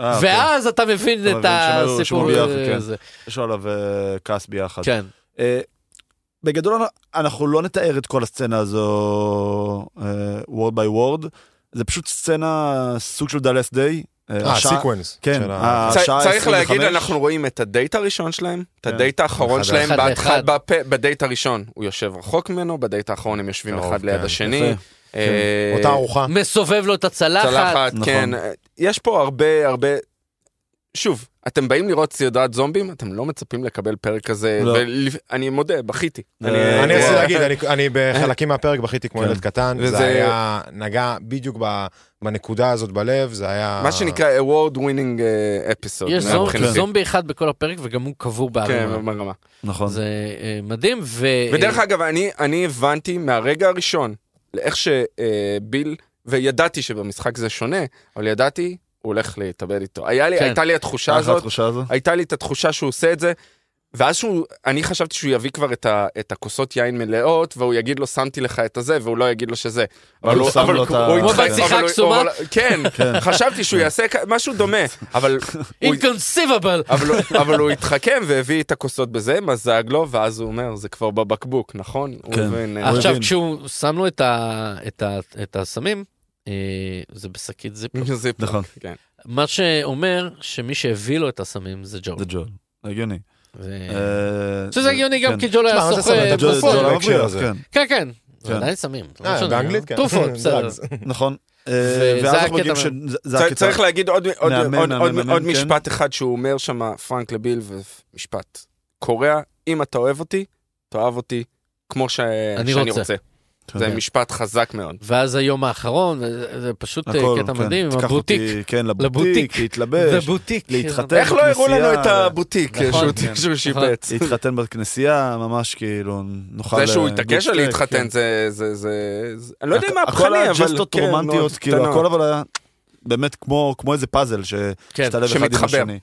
אה, אוקיי.
ואז אתה מבין
אתה
את
מבין שהם היו- שהם
הסיפור
היו ביחד,
אה,
כן.
הזה.
יש לו עליו אה, כעס ביחד.
כן.
אה, בגדול אנחנו לא נתאר את כל הסצנה הזו אה, word by word, זה פשוט סצנה סוג של דלס דיי.
אה, סיקוונס.
כן,
של ה-
אה,
צ-
השעה
צריך להגיד,
25.
אנחנו רואים את הדייט הראשון שלהם, את
כן.
הדייט האחרון
אחד
שלהם,
לאחד.
בהתחלה-
אחד
בפ- בדייט הראשון הוא יושב רחוק ממנו, בדייט האחרון הם יושבים
קרוב,
אחד ליד
כן.
השני.
יפה. כן.
אה,
אותה ארוחה.
כן. מסובב לו את הצלחת.
צלחת,
נכון.
כן. יש פה הרבה, הרבה... שוב, אתם באים לראות סדרת זומבים, אתם לא מצפים לקבל פרק כזה,
לא.
ואני מודה, בכיתי.
אה,
אני
אה,
רציתי
אה,
להגיד, אני- אני בחלקים מהפרק בכיתי כמו
כן.
ילד קטן,
וזה-
זה היה, נגע בדיוק ב- בנקודה הזאת בלב, זה היה...
אה.
מה שנקרא award winning אה, episode.
יש
זומב,
זומב-
מבחינתי.
כן.
זומבי אחד בכל הפרק וגם הוא קבור
כן,
בערימה.
ברמה.
נכון.
זה אה, מדהים. ו-
ודרך
אה,
אגב, אני, אני הבנתי מהרגע הראשון, איך שביל, וידעתי שבמשחק זה שונה, אבל ידעתי, הוא הולך להתאבד איתו. היה לי,
כן.
הייתה לי התחושה
איך
הזאת,
התחושה הזו?
הייתה לי את התחושה שהוא עושה את זה, ואז שהוא, אני חשבתי שהוא יביא כבר את, ה, את הכוסות יין מלאות, והוא יגיד לו, שמתי לך את הזה, והוא לא יגיד לו שזה.
אבל הוא שם לו את ה-
הוא
כמו
התחייב-
בשיחה
אבל הוא-
קסומה.
אבל- כן,
כן.
חשבתי שהוא יעשה כ- משהו דומה, אבל... הוא-
Inconceivable.
אבל, הוא- אבל הוא התחכם והביא את הכוסות בזה, מזג לו, ואז הוא אומר, זה כבר בבקבוק, נכון?
כן.
הוא מבין. אה,
הוא
עכשיו,
הבין.
כשהוא שם לו את ה- את ה- את הסמים, אה, זה בשקית זיפ.
זה פה,
נכון.
כן.
מה שאומר שמי שהביא לו את הסמים זה ג'ול.
זה ג'ול. הגיוני.
ו-
אה, כן,
שזה הגיוני גם כי ג'ול היה
תשמע, מה זה
סוחר
סמים? אתה ג'ול-
תרופות.
ג'ול היה-
בהקשר הזה.
כן.
כן,
כן, כן. זה
כן.
עדיין סמים. זה לא
אה,
משנה.
באנגלית, כן.
תרופות, בסדר.
דרגס.
נכון. אה,
וזה
ואז
הקטע
אנחנו מגיעים
מה-
שזה זה
צר-
הקטע.
צריך להגיד עוד- עוד-
מאמן,
עוד- עוד-
מאמן,
עוד
כן.
משפט אחד שהוא אומר שם, פרנק לביל, ומשפט. קורע, אם אתה אוהב אותי, תאהב אותי כמו ש-
אני
שאני
רוצה.
רוצה.
כן.
זה משפט חזק מאוד.
ואז היום האחרון, זה- זה פשוט אה,
הכל,
קטע
כן.
מדהים, עם
תיקח
הבוטיק.
אותי, כן,
לבוטיק.
לבוטיק, להתלבש,
בוטיק.
להתחתן.
איך לא הראו לנו את
בכנסייה,
הבוטיק אה,
נכון,
שהוא-
כן.
שהוא שיפץ?
להתחתן בכנסייה, ממש כאילו, נוכל...
זה שהוא
אה,
התעקש על
כן.
להתחתן, זה... זה- זה- זה- אני לא יודע
הכ-
מה
הכל
הפכני,
היה
אבל...
ג'סטות
כן, מאוד
רומנטיות, כאילו,
קטנות.
הכל אבל היה באמת כמו כמו איזה פאזל ש-
כן,
משתלב אחד עם
שמתחבר.
השני.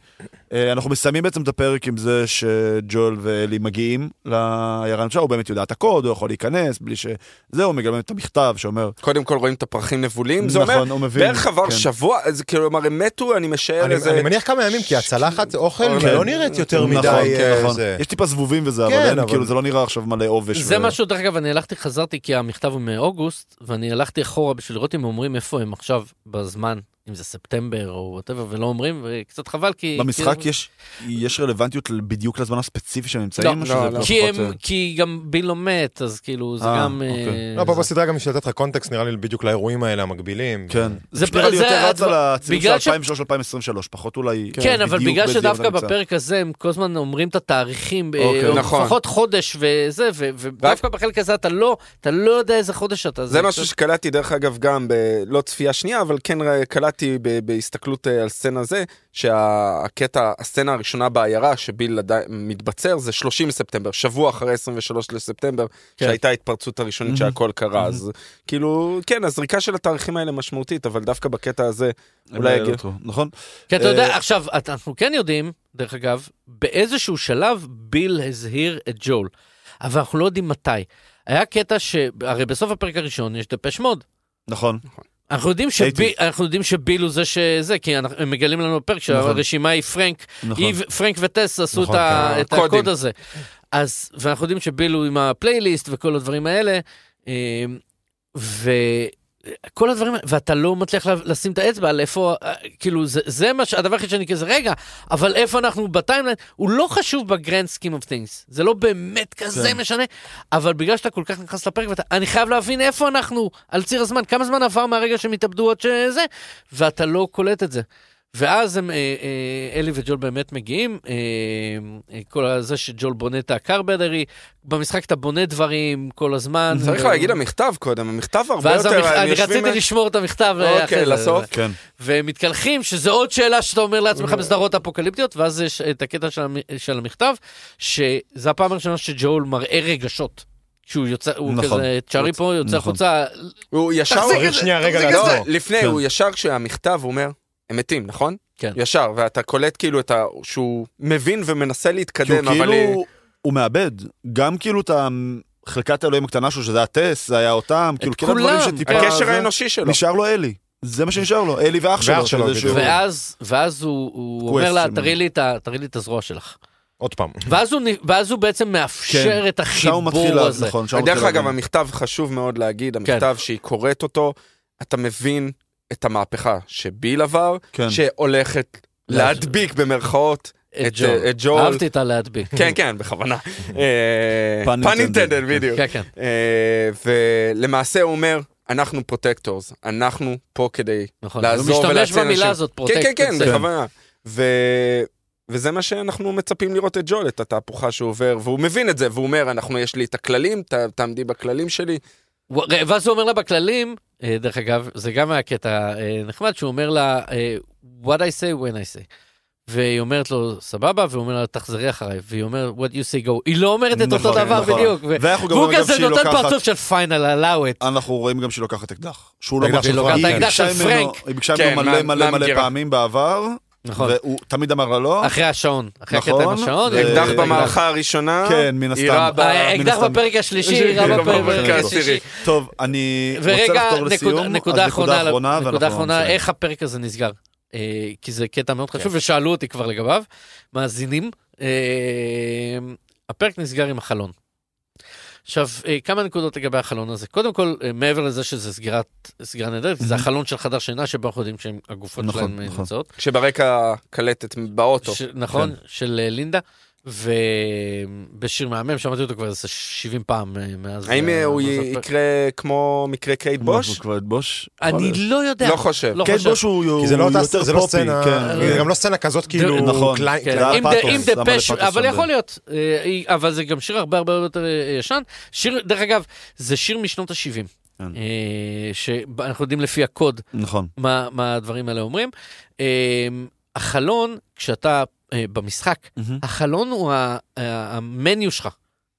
אה, אנחנו מסיימים בעצם את הפרק עם זה שג'ול ואלי מגיעים לירן שם, הוא באמת יודע את הקוד, הוא יכול להיכנס בלי ש... זהו, מגלם את המכתב שאומר,
קודם כל רואים את הפרחים נבולים, זה אומר,
נכון, הוא מבין.
בערך עבר
כן.
שבוע, זה כאילו, כלומר הם מתו, אני משער
אני
איזה...
אני מניח כמה ימים, כי הצלחת אוכל
כן.
לא נראית יותר
נכון,
מדי...
כן,
אה,
נכון.
זה.
יש טיפה זבובים וזה, אבל
כן,
אין,
אבל-
כאילו, זה לא נראה עכשיו מלא עובש.
זה
ו-
משהו, דרך אגב, אני הלכתי, חזרתי, כי המכתב הוא מאוגוסט, ואני הלכתי אחורה בשביל לראות אם אומרים איפה הם עכשיו בזמן, אם זה ספטמבר או וואטאבר, ולא אומרים, וקצת חבל, כי...
במשחק
כי-
יש- יש רלוונטיות בדיוק לזמן הספציפי שהם
לא,
נמצאים? או
לא,
שזה
לא.
פחות,
כי הם-
אה,
כי גם ביל לא מת, אז כאילו, זה
אה,
גם... אה,
אוקיי.
לא, פה
זה-
בסדרה גם בשביל לתת לך קונטקסט, נראה לי בדיוק לאירועים האלה המקבילים.
כן.
זה-
זה נראה לי
זה
יותר רץ
הדבר-
על הצילום
בגלל ש-
של 2023-2023, פחות אולי...
כן, אבל
בדיוק
בגלל
באיזה יום זה
שדווקא
נמצא.
בפרק הזה הם כל הזמן אומרים את התאריכים, אה,
אוקיי.
או
נכון.
לפחות חודש וזה, ו- ודווקא בחלק הזה אתה לא, אתה לא יודע איזה חודש אתה.
זה משהו שקלטתי דרך אגב גם, ב... לא צפייה שנייה, אבל כן ר- קלט, קראתי ב- בהסתכלות אה, על סצנה זה, שהקטע, הסצנה הראשונה בעיירה שביל עדיין מתבצר זה 30 בספטמבר, שבוע אחרי 23 לספטמבר,
כן.
שהייתה ההתפרצות הראשונית שהכל קרה, אז כאילו, כן, הזריקה של התאריכים האלה משמעותית, אבל דווקא בקטע הזה, אולי
הם
אה,
יגיע.
אותו, נכון?
כי אתה
אה,
יודע, עכשיו, את- אנחנו כן יודעים, דרך אגב, באיזשהו שלב ביל הזהיר את ג'ול, אבל אנחנו לא יודעים מתי. היה קטע ש... הרי בסוף הפרק הראשון יש דפש מוד.
נכון.
אנחנו יודעים, שבי,
הייתי.
אנחנו יודעים שביל הוא זה שזה, כי אנחנו, הם מגלים לנו בפרק שהרשימה היא פרנק,
נכון.
היא, ו- פרנק וטס עשו
נכון,
את, ה,
כן,
את
הקודים.
הקוד הזה. אז, ואנחנו יודעים שביל הוא עם הפלייליסט וכל הדברים האלה, אמ, וכל הדברים, ואתה לא מצליח לה- לשים את האצבע על איפה, אה, כאילו, זה, זה מה, ש- הדבר היחיד שאני כזה, רגע, אבל איפה אנחנו בטיימליין, הוא לא חשוב בגרנד סקים אוף טינגס, זה לא באמת כזה
כן.
משנה, אבל בגלל שאתה כל כך נכנס לפרק, ואתה, אני חייב להבין איפה אנחנו על ציר הזמן, כמה זמן עבר מהרגע שהם התאבדו עד שזה, ואתה לא קולט את זה. ואז הם, אה, אה, אלי וג'ול באמת מגיעים, אה, אה, כל זה שג'ול בונה את הקרבדרי, במשחק אתה בונה דברים כל הזמן. אה,
צריך
ו-
להגיד המכתב קודם, המכתב הרבה
ואז
יותר,
המכ-
הם
אני
יושבים- אה,
רציתי לשמור את המכתב אה,
אוקיי,
אחרי זה.
לסוף. אוקיי.
כן.
והם מתקלחים, שזה עוד שאלה שאתה אומר לעצמך בסדרות אפוקליפטיות, ואז יש את הקטע של, המ- של המכתב, שזה הפעם הראשונה שג'ול מראה רגשות. שהוא יוצא, הוא
נכון.
כזה, תשארי פה, יוצא
נכון.
החוצה.
הוא ישר...
תחזיק צריך את זה, שנייה רגע
לא,
תחזיק את לעצור. זה.
לפני,
כן.
הוא ישר כשהמכתב הוא אומר, הם מתים, נכון?
כן.
ישר, ואתה קולט כאילו את ה... שהוא מבין
כי
ומנסה
הוא
להתקדם, אבל...
כאילו, הוא מאבד. גם כאילו את חלקת האלוהים הקטנה שלו, שזה הטס, זה היה אותם, כאילו, כל הדברים
כולם.
שטיפה...
הקשר
זה-
האנושי שלו.
נשאר לו אלי. זה מה שנשאר לו, אלי ואח שלו.
ואח שלו,
שזה
בדיוק.
שהוא-
ואז, ואז הוא, הוא אומר
Question.
לה, תראי לי, את ה- תראי לי את הזרוע שלך.
עוד פעם.
ואז הוא, נ- ואז הוא בעצם מאפשר
כן.
את
שם הוא מתחיל,
החיבור
לה-
הזה.
נכון, שם הוא
דרך
מתחיל
אגב,
להבין.
המכתב חשוב מאוד להגיד, המכתב שהיא קוראת אותו, אתה מבין את המהפכה שביל עבר,
כן.
שהולכת להדביק במרכאות את- אה, את ג'ול.
אהבתי את הלהדביק.
כן, כן, בכוונה. אה,
Pun
pun
intended.
intended, בדיוק.
כן, כן.
אה, ולמעשה הוא אומר, אנחנו פרוטקטורס, אנחנו פה כדי
נכון.
לעזור
הוא
ולהציל
משתמש במילה
אנשים.
הזאת,
כן,
פרוטקט.
כן, כן,
זה.
בכוונה. ו... וזה מה שאנחנו מצפים לראות את ג'ול, את התהפוכה שהוא עובר, והוא מבין את זה, והוא אומר, אנחנו, יש לי את הכללים, ת, תעמדי בכללים שלי.
הוא- ואז הוא אומר לה בכללים, אה, דרך אגב, זה גם היה קטע אה, נחמד, שהוא אומר לה, אה, what I say when I say. והיא אומרת לו, סבבה, והוא אומר לה, תחזרי אחריי. והיא אומרת, what you say go. היא לא אומרת את אותו
נכון,
דבר
נכון.
בדיוק. ו-
ואנחנו גם
והוא
רואים גם
כזה
שהיא
נותן
לוקחת...
פרצוף של פיינל, allow it.
אנחנו רואים גם שהיא לוקחת אקדח. שהוא לא
אקדח
מרשה
של
לה.
פרנק,
היא
כן.
ביקשה
אקדח של
ממנו-
פרנק.
היא ביקשה
כן,
ממנו מלא
מה-
מלא מלא
מהמגירה.
פעמים בעבר,
נכון.
והוא תמיד אמר לה לא.
אחרי השעון. אחרי הקטע עם
נכון,
השעון.
זה-
אקדח
אה,
במערכה הראשונה,
כן, מן הסתם.
יירה ב-
אה,
מן
אקדח
הסתם.
בפרק השלישי,
כן,
רב בפרק
בפרק
השלישי.
העשירי.
טוב, אני רוצה
ורגע,
לחתור
נקודה-
לסיום. אז
נקודה אחרונה, על-
ואנחנו
נקודה אחרונה,
נסיים.
איך הפרק הזה נסגר? אה, כי זה קטע מאוד
כן.
חשוב, ושאלו אותי כבר לגביו, מאזינים. אה, הפרק נסגר עם החלון. עכשיו, אה, כמה נקודות לגבי החלון הזה. קודם כל, אה, מעבר לזה שזה סגירת, סגירה נהדרת, זה החלון של חדר שינה שבו אנחנו יודעים שהגופות
נכון,
שלהם אה,
נכון.
נמצאות.
כשברקע קלטת באוטו.
ש... נכון, כן. של אה, לינדה, ובשיר מהמם, שמעתי אותו כבר איזה 70 פעם אה, מאז...
האם
אה,
אה, הוא
מאז
י-
הפרק.
יקרה כמו מקרה קייט בוש?
אנחנו כבר את בוש.
אני לא יודע.
לא חושב.
לא
כן,
חושב.
בוש הוא הוא
כי זה לא אותה,
יותר
זה לא
פופי.
סצנה,
כן.
זה גם לא סצנה כזאת כאילו,
נכון.
קליין-
כן,
זה היה
אם
פאתוס,
דה- אם
למה
דה פש,
לפאתוס
אבל
שם
יכול
ב-
להיות, אה, היא- אבל זה גם שיר הרבה הרבה יותר אה, ישן. שיר, דרך אגב, זה שיר משנות ה-70, אה,
כן.
שאנחנו יודעים לפי הקוד
נכון.
מה מה הדברים האלה אומרים. אה, החלון, כשאתה אה, במשחק, החלון הוא ה- ה- המניו שלך.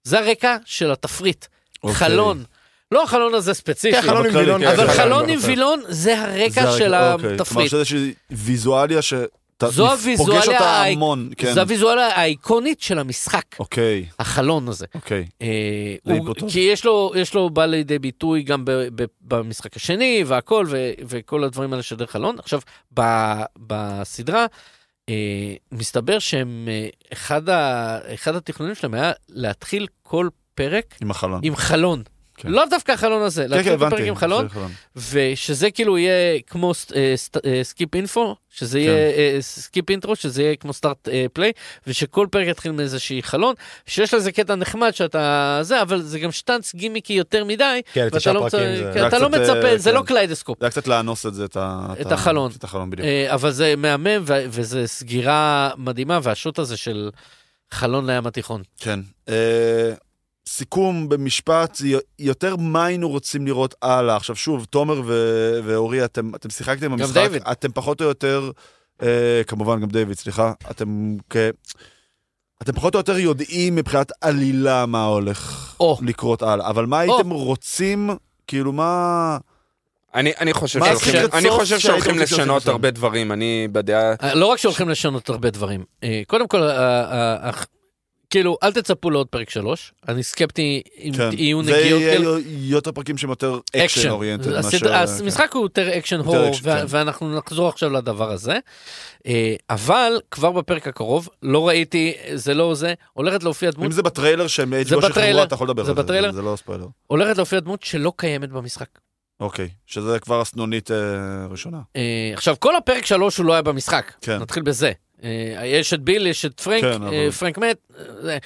זה הרקע של התפריט.
אוקיי.
חלון. לא החלון הזה
כן,
ספציפי,
חלון עם
בכללי,
וילון.
כן,
אבל
כן,
חלון
כן,
עם
כן.
וילון זה
זה
הרקע
הרקע,
של
אוקיי. כלומר
התפריט.
שזה איזושהי ויזואליה ש...
זו הוויזואליה
פוגש אותה
האי-
המון, כן.
זו הוויזואליה האיקונית של המשחק,
אוקיי,
החלון הזה.
אוקיי.
אה,
זה
הוא-
היפותוז.
כי יש לו, יש לו בא לידי ביטוי גם ב, ב, במשחק השני והכל ו, וכל הדברים האלה של דרך אלון. עכשיו, ב, בסדרה אה, מסתבר שהם, אה, אחד, ה, אחד התכנונים שלהם היה להתחיל כל פרק
עם החלון.
עם חלון.
כן.
לא דווקא החלון הזה,
כן, כן,
להתחיל את הפרק
הבנתי.
עם חלון,
זה חלון.
ושזה כאילו יהיה כמו אה, סקיפ אינפו,
כן.
שזה יהיה סקיפ אינטרו, שזה יהיה כמו סטארט פליי, ושכל פרק יתחיל מאיזשהי חלון, שיש לזה קטע נחמד שאתה זה, אבל זה גם שטאנץ גימיקי יותר מדי,
כן,
ואתה
תשעה
לא
פרקים
מצ-
זה-
כן, אתה לא
קצת,
מצפה,
אה,
זה לא
כן.
קליידסקופ.
זה היה קצת לאנוס את זה, את ה-
את החלון.
את החלון בדיוק.
אה, אבל זה מהמם, ו- וזה סגירה מדהימה, והשוט הזה של חלון לים התיכון.
כן. אה, סיכום במשפט, י- יותר מה היינו רוצים לראות הלאה. עכשיו שוב, תומר ו- ואורי, אתם, אתם שיחקתם במשחק,
דיוויד.
אתם פחות או יותר, אה, כמובן גם דיוויד, סליחה, אתם כ... אתם פחות או יותר יודעים מבחינת עלילה מה הולך
או.
לקרות הלאה, אבל מה הייתם רוצים, כאילו מה...
אני, אני חושב
מה
שהולכים-
הסרט
אני
סוף
חושב
שהיית רוצה
שהולכים
לראות
לשנות
בסוף?
הרבה דברים, אני בדעה...
אה, לא רק שהולכים לשנות הרבה דברים. אה, קודם כל, אה, אה, אך- כאילו, אל תצפו לעוד פרק שלוש. אני סקפטי אם
כן.
יהיו
זה
נגיעות
יהיה
כאלה.
יותר פרקים שהם יותר אקשן אוריינטד.
הסד- המשחק הוא יותר אקשן
אה, כן. יותר
הורור,
אקשן,
ו-
כן.
ואנחנו נחזור עכשיו לדבר הזה. אה, אבל כבר בפרק הקרוב, לא ראיתי, זה לא זה, הולכת להופיע דמות,
אם זה בטריילר שהם
זה
HBO שחררו,
בטריילר.
אתה יכול לדבר על
זה
זה,
בטריילר.
זה לא ספיילר.
הולכת להופיע דמות שלא קיימת במשחק.
אוקיי, שזה כבר הסנונית אה, ראשונה.
אה, עכשיו, כל הפרק שלוש הוא לא היה במשחק.
כן.
נתחיל בזה. אה, יש את ביל, יש את פרנק,
כן, אבל-
אה, פרנק מת, אה, זה.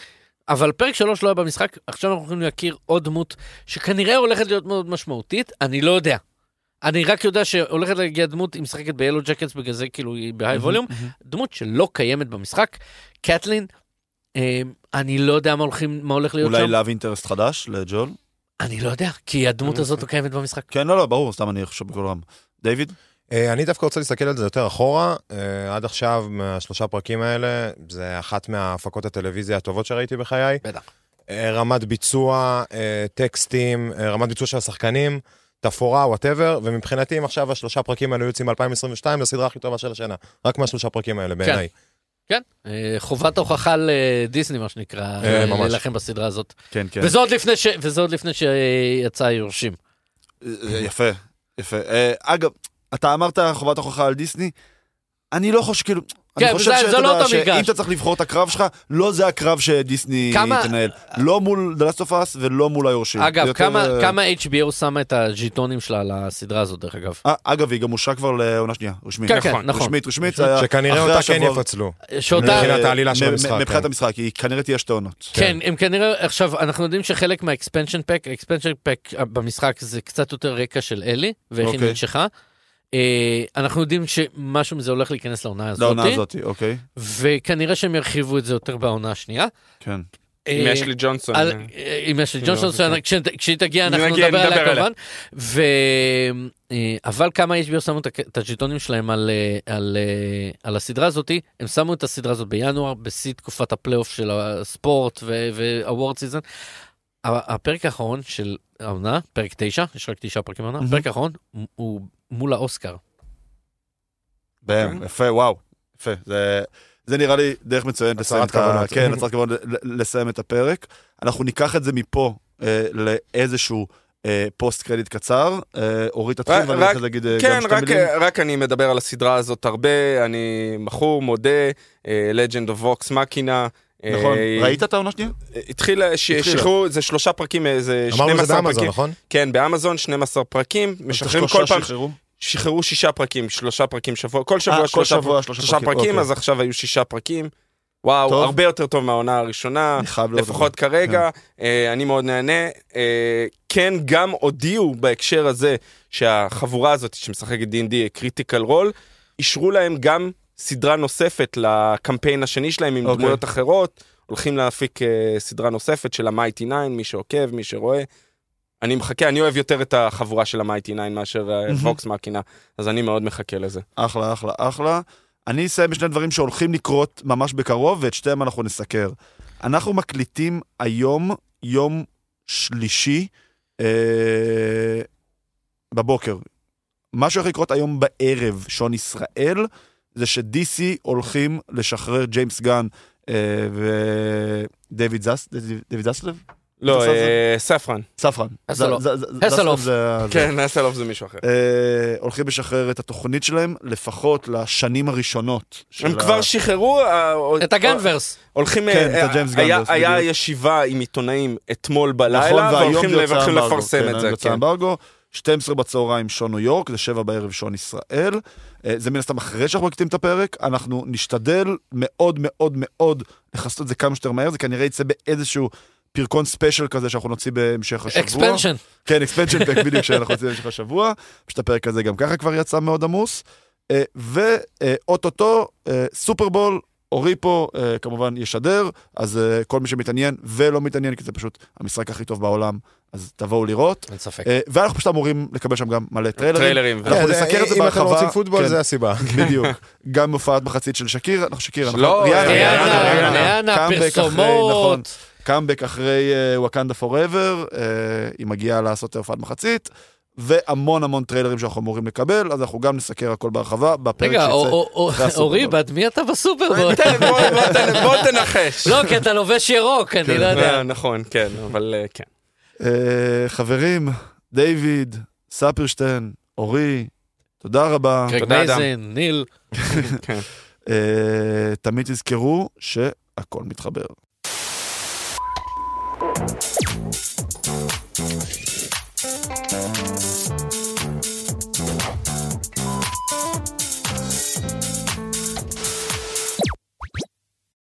אבל פרק שלוש לא היה במשחק, עכשיו אנחנו הולכים להכיר עוד דמות שכנראה הולכת להיות מאוד משמעותית, אני לא יודע. אני רק יודע שהולכת להגיע דמות, היא משחקת ב-Yellow Jackets, בגלל זה כאילו היא בהיי ווליום, דמות שלא קיימת במשחק, קטלין, אה, אני לא יודע מה הולכים- מה הולך להיות
אולי
שם,
להב אינטרסט חדש לג'ול?
אני לא יודע, כי הדמות הזאת לא קיימת במשחק.
אוקיי. כן, לא, לא, ברור, סתם אני חושב בקול רם. דיוויד?
אה, אני דווקא רוצה להסתכל על זה יותר אחורה. אה, עד עכשיו, מהשלושה פרקים האלה, זה אחת מההפקות הטלוויזיה הטובות שראיתי בחיי.
בטח.
אה, רמת ביצוע, אה, טקסטים, אה, רמת ביצוע של השחקנים, תפאורה, וואטאבר, ומבחינתי, אם עכשיו השלושה פרקים האלה היו יוצאים ב-2022, זו הסדרה הכי טובה של השנה. רק מהשלושה פרקים האלה, בעיניי.
אה, חובת הוכחה לדיסני, מה שנקרא,
אה, ממש.
להילחם בסדרה הזאת.
כן, כן.
וזה עוד לפני ש- וזה עוד לפני שיצא היורשים.
אה, יפה, יפה. אה, אגב, אתה אמרת חובת הוכחה על דיסני, אני לא חושב, כאילו... אני
כן,
חושב
זה-
שאתה
זה לא
יודע
אותו
שאם
מגרש.
אתה צריך לבחור את הקרב שלך, לא זה הקרב שדיסני
כמה-
תנהל. לא מול The Last of Us ולא מול היורשים. זה
אגב,
יותר,
כמה-
אה,
כמה HBO שמה את הז'יטונים שלה על הסדרה הזאת, דרך אגב?
אה, אגב, היא גם אושרה כבר לעונה שנייה, רשמית.
כן, כן,
נכון,
נכון.
רשמית, רשמית, זה היה
שכנראה
אחרי
אותה כן
השבוע-
יפצלו.
שאותה,
מבחינת
אה,
העלילה של
מ- מ-
המשחק,
מבחינת
כן.
המשחק, היא כנראה תהיה שתי עונות.
כן, הם כנראה, עכשיו, אנחנו יודעים שחלק מהאקספנשן פק, אקספנשן פק במשחק זה קצת יותר רקע של אלי, ואיך היא
אוקיי.
ננשכה. אה, אנחנו יודעים שמשהו מזה הולך להיכנס לעונה
לעונה
הזאת,
הזאת, אוקיי.
וכנראה שהם ירחיבו את זה יותר בעונה השנייה.
כן.
אם
אה,
יש לי ג'ונסון...
על-
אה,
אה, אם יש לי
לא,
ג'ונסון,
זה
שאני- כש- כשהיא תגיע אנחנו
נגיע,
נדבר
נדבר
עליה
עליה.
כמובן. ו- אה, אבל כמה HBO שמו את הק- את הג'יטונים שלהם על, אה, על, אה, על הסדרה הזאתי, הם שמו את הסדרה הזאת בינואר, בשיא תקופת הפלייאוף של הספורט והוורד סיזון. הפרק האחרון של העונה, פרק 9, יש רק 9 פרקים העונה,
Mhm.
הפרק האחרון הוא מול האוסקר.
אוקיי.
בהם, יפה, וואו. יפה. זה- זה נראה לי דרך מצוינת לסיים
הצהרת
את ה...
כוונות.
כן, הצהרת כוונות ל- ל- לסיים את הפרק. אנחנו ניקח את זה מפה אה, לאיזשהו אה, פוסט קרדיט קצר. אה, אורית תתחיל
רק-
ואני
רק-
רוצה להגיד אה,
כן,
גם שתי
רק,
מילים.
רק אני מדבר על הסדרה הזאת הרבה, אני מכור, מודה, אה, Legend of Vox Machina. אה,
נכון, ראית את העונה השנייה?
התחיל, אה, ש-
התחילה.
שחררו, זה שלושה פרקים, אה, זה
אמרנו את זה
12
באמזון,
פרקים.
נכון?
כן, באמזון 12 פרקים, משחררים כל פעם,
שחררו.
שחררו שישה פרקים, שלושה פרקים שבוע, כל
אה,
שבוע
כל
שלושה פרקים.
שבוע שלושה
שלושה פרקים,
אוקיי.
אז עכשיו היו שישה פרקים. וואו,
טוב.
הרבה יותר טוב מהעונה הראשונה,
אני חייב כן. לראות את
לפחות כרגע. אה, אני מאוד נהנה. אה, כן, גם הודיעו בהקשר הזה שהחבורה הזאת שמשחקת D&D, קריטיקל רול, אישרו להם גם סדרה נוספת לקמפיין השני שלהם עם
אוקיי.
דמויות אחרות. הולכים להפיק אה, סדרה נוספת של המייטי 9, מי שעוקב, מי שרואה. אני מחכה, אני אוהב יותר את החבורה של המייטי 9 מאשר
מהמם.
ווקס מקינה, אז אני מאוד מחכה לזה.
זה. אחלה, אחלה, אחלה. אני אסיים בשני דברים שהולכים לקרות ממש בקרוב, ואת שתיהם אנחנו נסקר. אנחנו מקליטים היום, יום שלישי, אה, בבוקר. מה שהולך לקרות היום בערב, שעון ישראל, זה ש-DC הולכים לשחרר ג'יימס גן אה, ודייוויד זס, דיוויד זסלב?
לא,
אתה עושה
אה, ספרן.
ספרן.
הסלוב.
ז- ז- ז-
הסלוב.
זסלב אה, זה- זה-
כן, אסלוף זה מישהו אחר.
אה, הולכים לשחרר את התוכנית שלהם, לפחות לשנים הראשונות. של
הם כבר שחררו, אה,
את הגנברס.
הולכים,
כן,
אה,
את הג'יימס
היה-
גנברס,
היה
בדיוק.
ישיבה עם עיתונאים אתמול בלילה,
נכון, והיום
והולכים
זה יוצא
והולכים
אמברגו.
לפרסם
כן,
את זה.
היום יוצא
כן.
אמברגו, 12 בצהריים שעון ניו יורק, זה 7 בערב שעון ישראל. אה, זה מן הסתם אחרי שאנחנו מקטים את הפרק, אנחנו נשתדל מאוד מאוד מאוד לכסות את זה כמה שיותר מהר, זה כנראה יצא באיזשהו... פרקון ספיישל כזה שאנחנו נוציא בהמשך השבוע.
אקספנשן.
כן, אקספנשן פק בדיוק שאנחנו עושים במשך השבוע, פשוט הפרק אה, הזה גם ככה כבר יצא מאוד עמוס. ואו-טו-טו, סופרבול, אה, אוריפו אה, כמובן ישדר, אז אה, כל מי שמתעניין ולא מתעניין, כי זה פשוט המשחק הכי טוב בעולם, אז תבואו לראות.
אין ספק.
אה, ואנחנו פשוט אמורים לקבל שם גם מלא טריילרים.
טריילרים.
אנחנו
כן,
נסקר את זה
אם אתם לא
בהרחבה,
רוצים פוטבול,
כן.
זה הסיבה.
בדיוק. גם הופעת מחצית של שקירה, אנחנו שקירה, נכון?
לא, ריאנה, ריאנה,
ריאנה,
קאמבק אחרי, נכון.
פרסומות.
קאמבק אחרי אה, וואקנדה פוראבר, אה, היא מגיעה לעשות הופעת מחצית, והמון המון טריילרים שאנחנו אמורים לקבל, אז אנחנו גם נסקר הכל בהרחבה בפרק
רגע, או-
שיצא.
או- או-
זה הסופר
אורי,
בול.
בעד מי אתה בסופר? בול?
תן, בוא- בוא תן- בוא תנחש.
נכון. לא, כי אתה לובש ירוק, אני לא יודע.
אה, נכון, כן, אבל אה, כן.
אה, חברים, דיוויד, ספרשטיין, אורי, תודה רבה.
קרק
תודה, אדם.
מייזן, ניל.
כן.
אה, תמיד תזכרו שהכל מתחבר.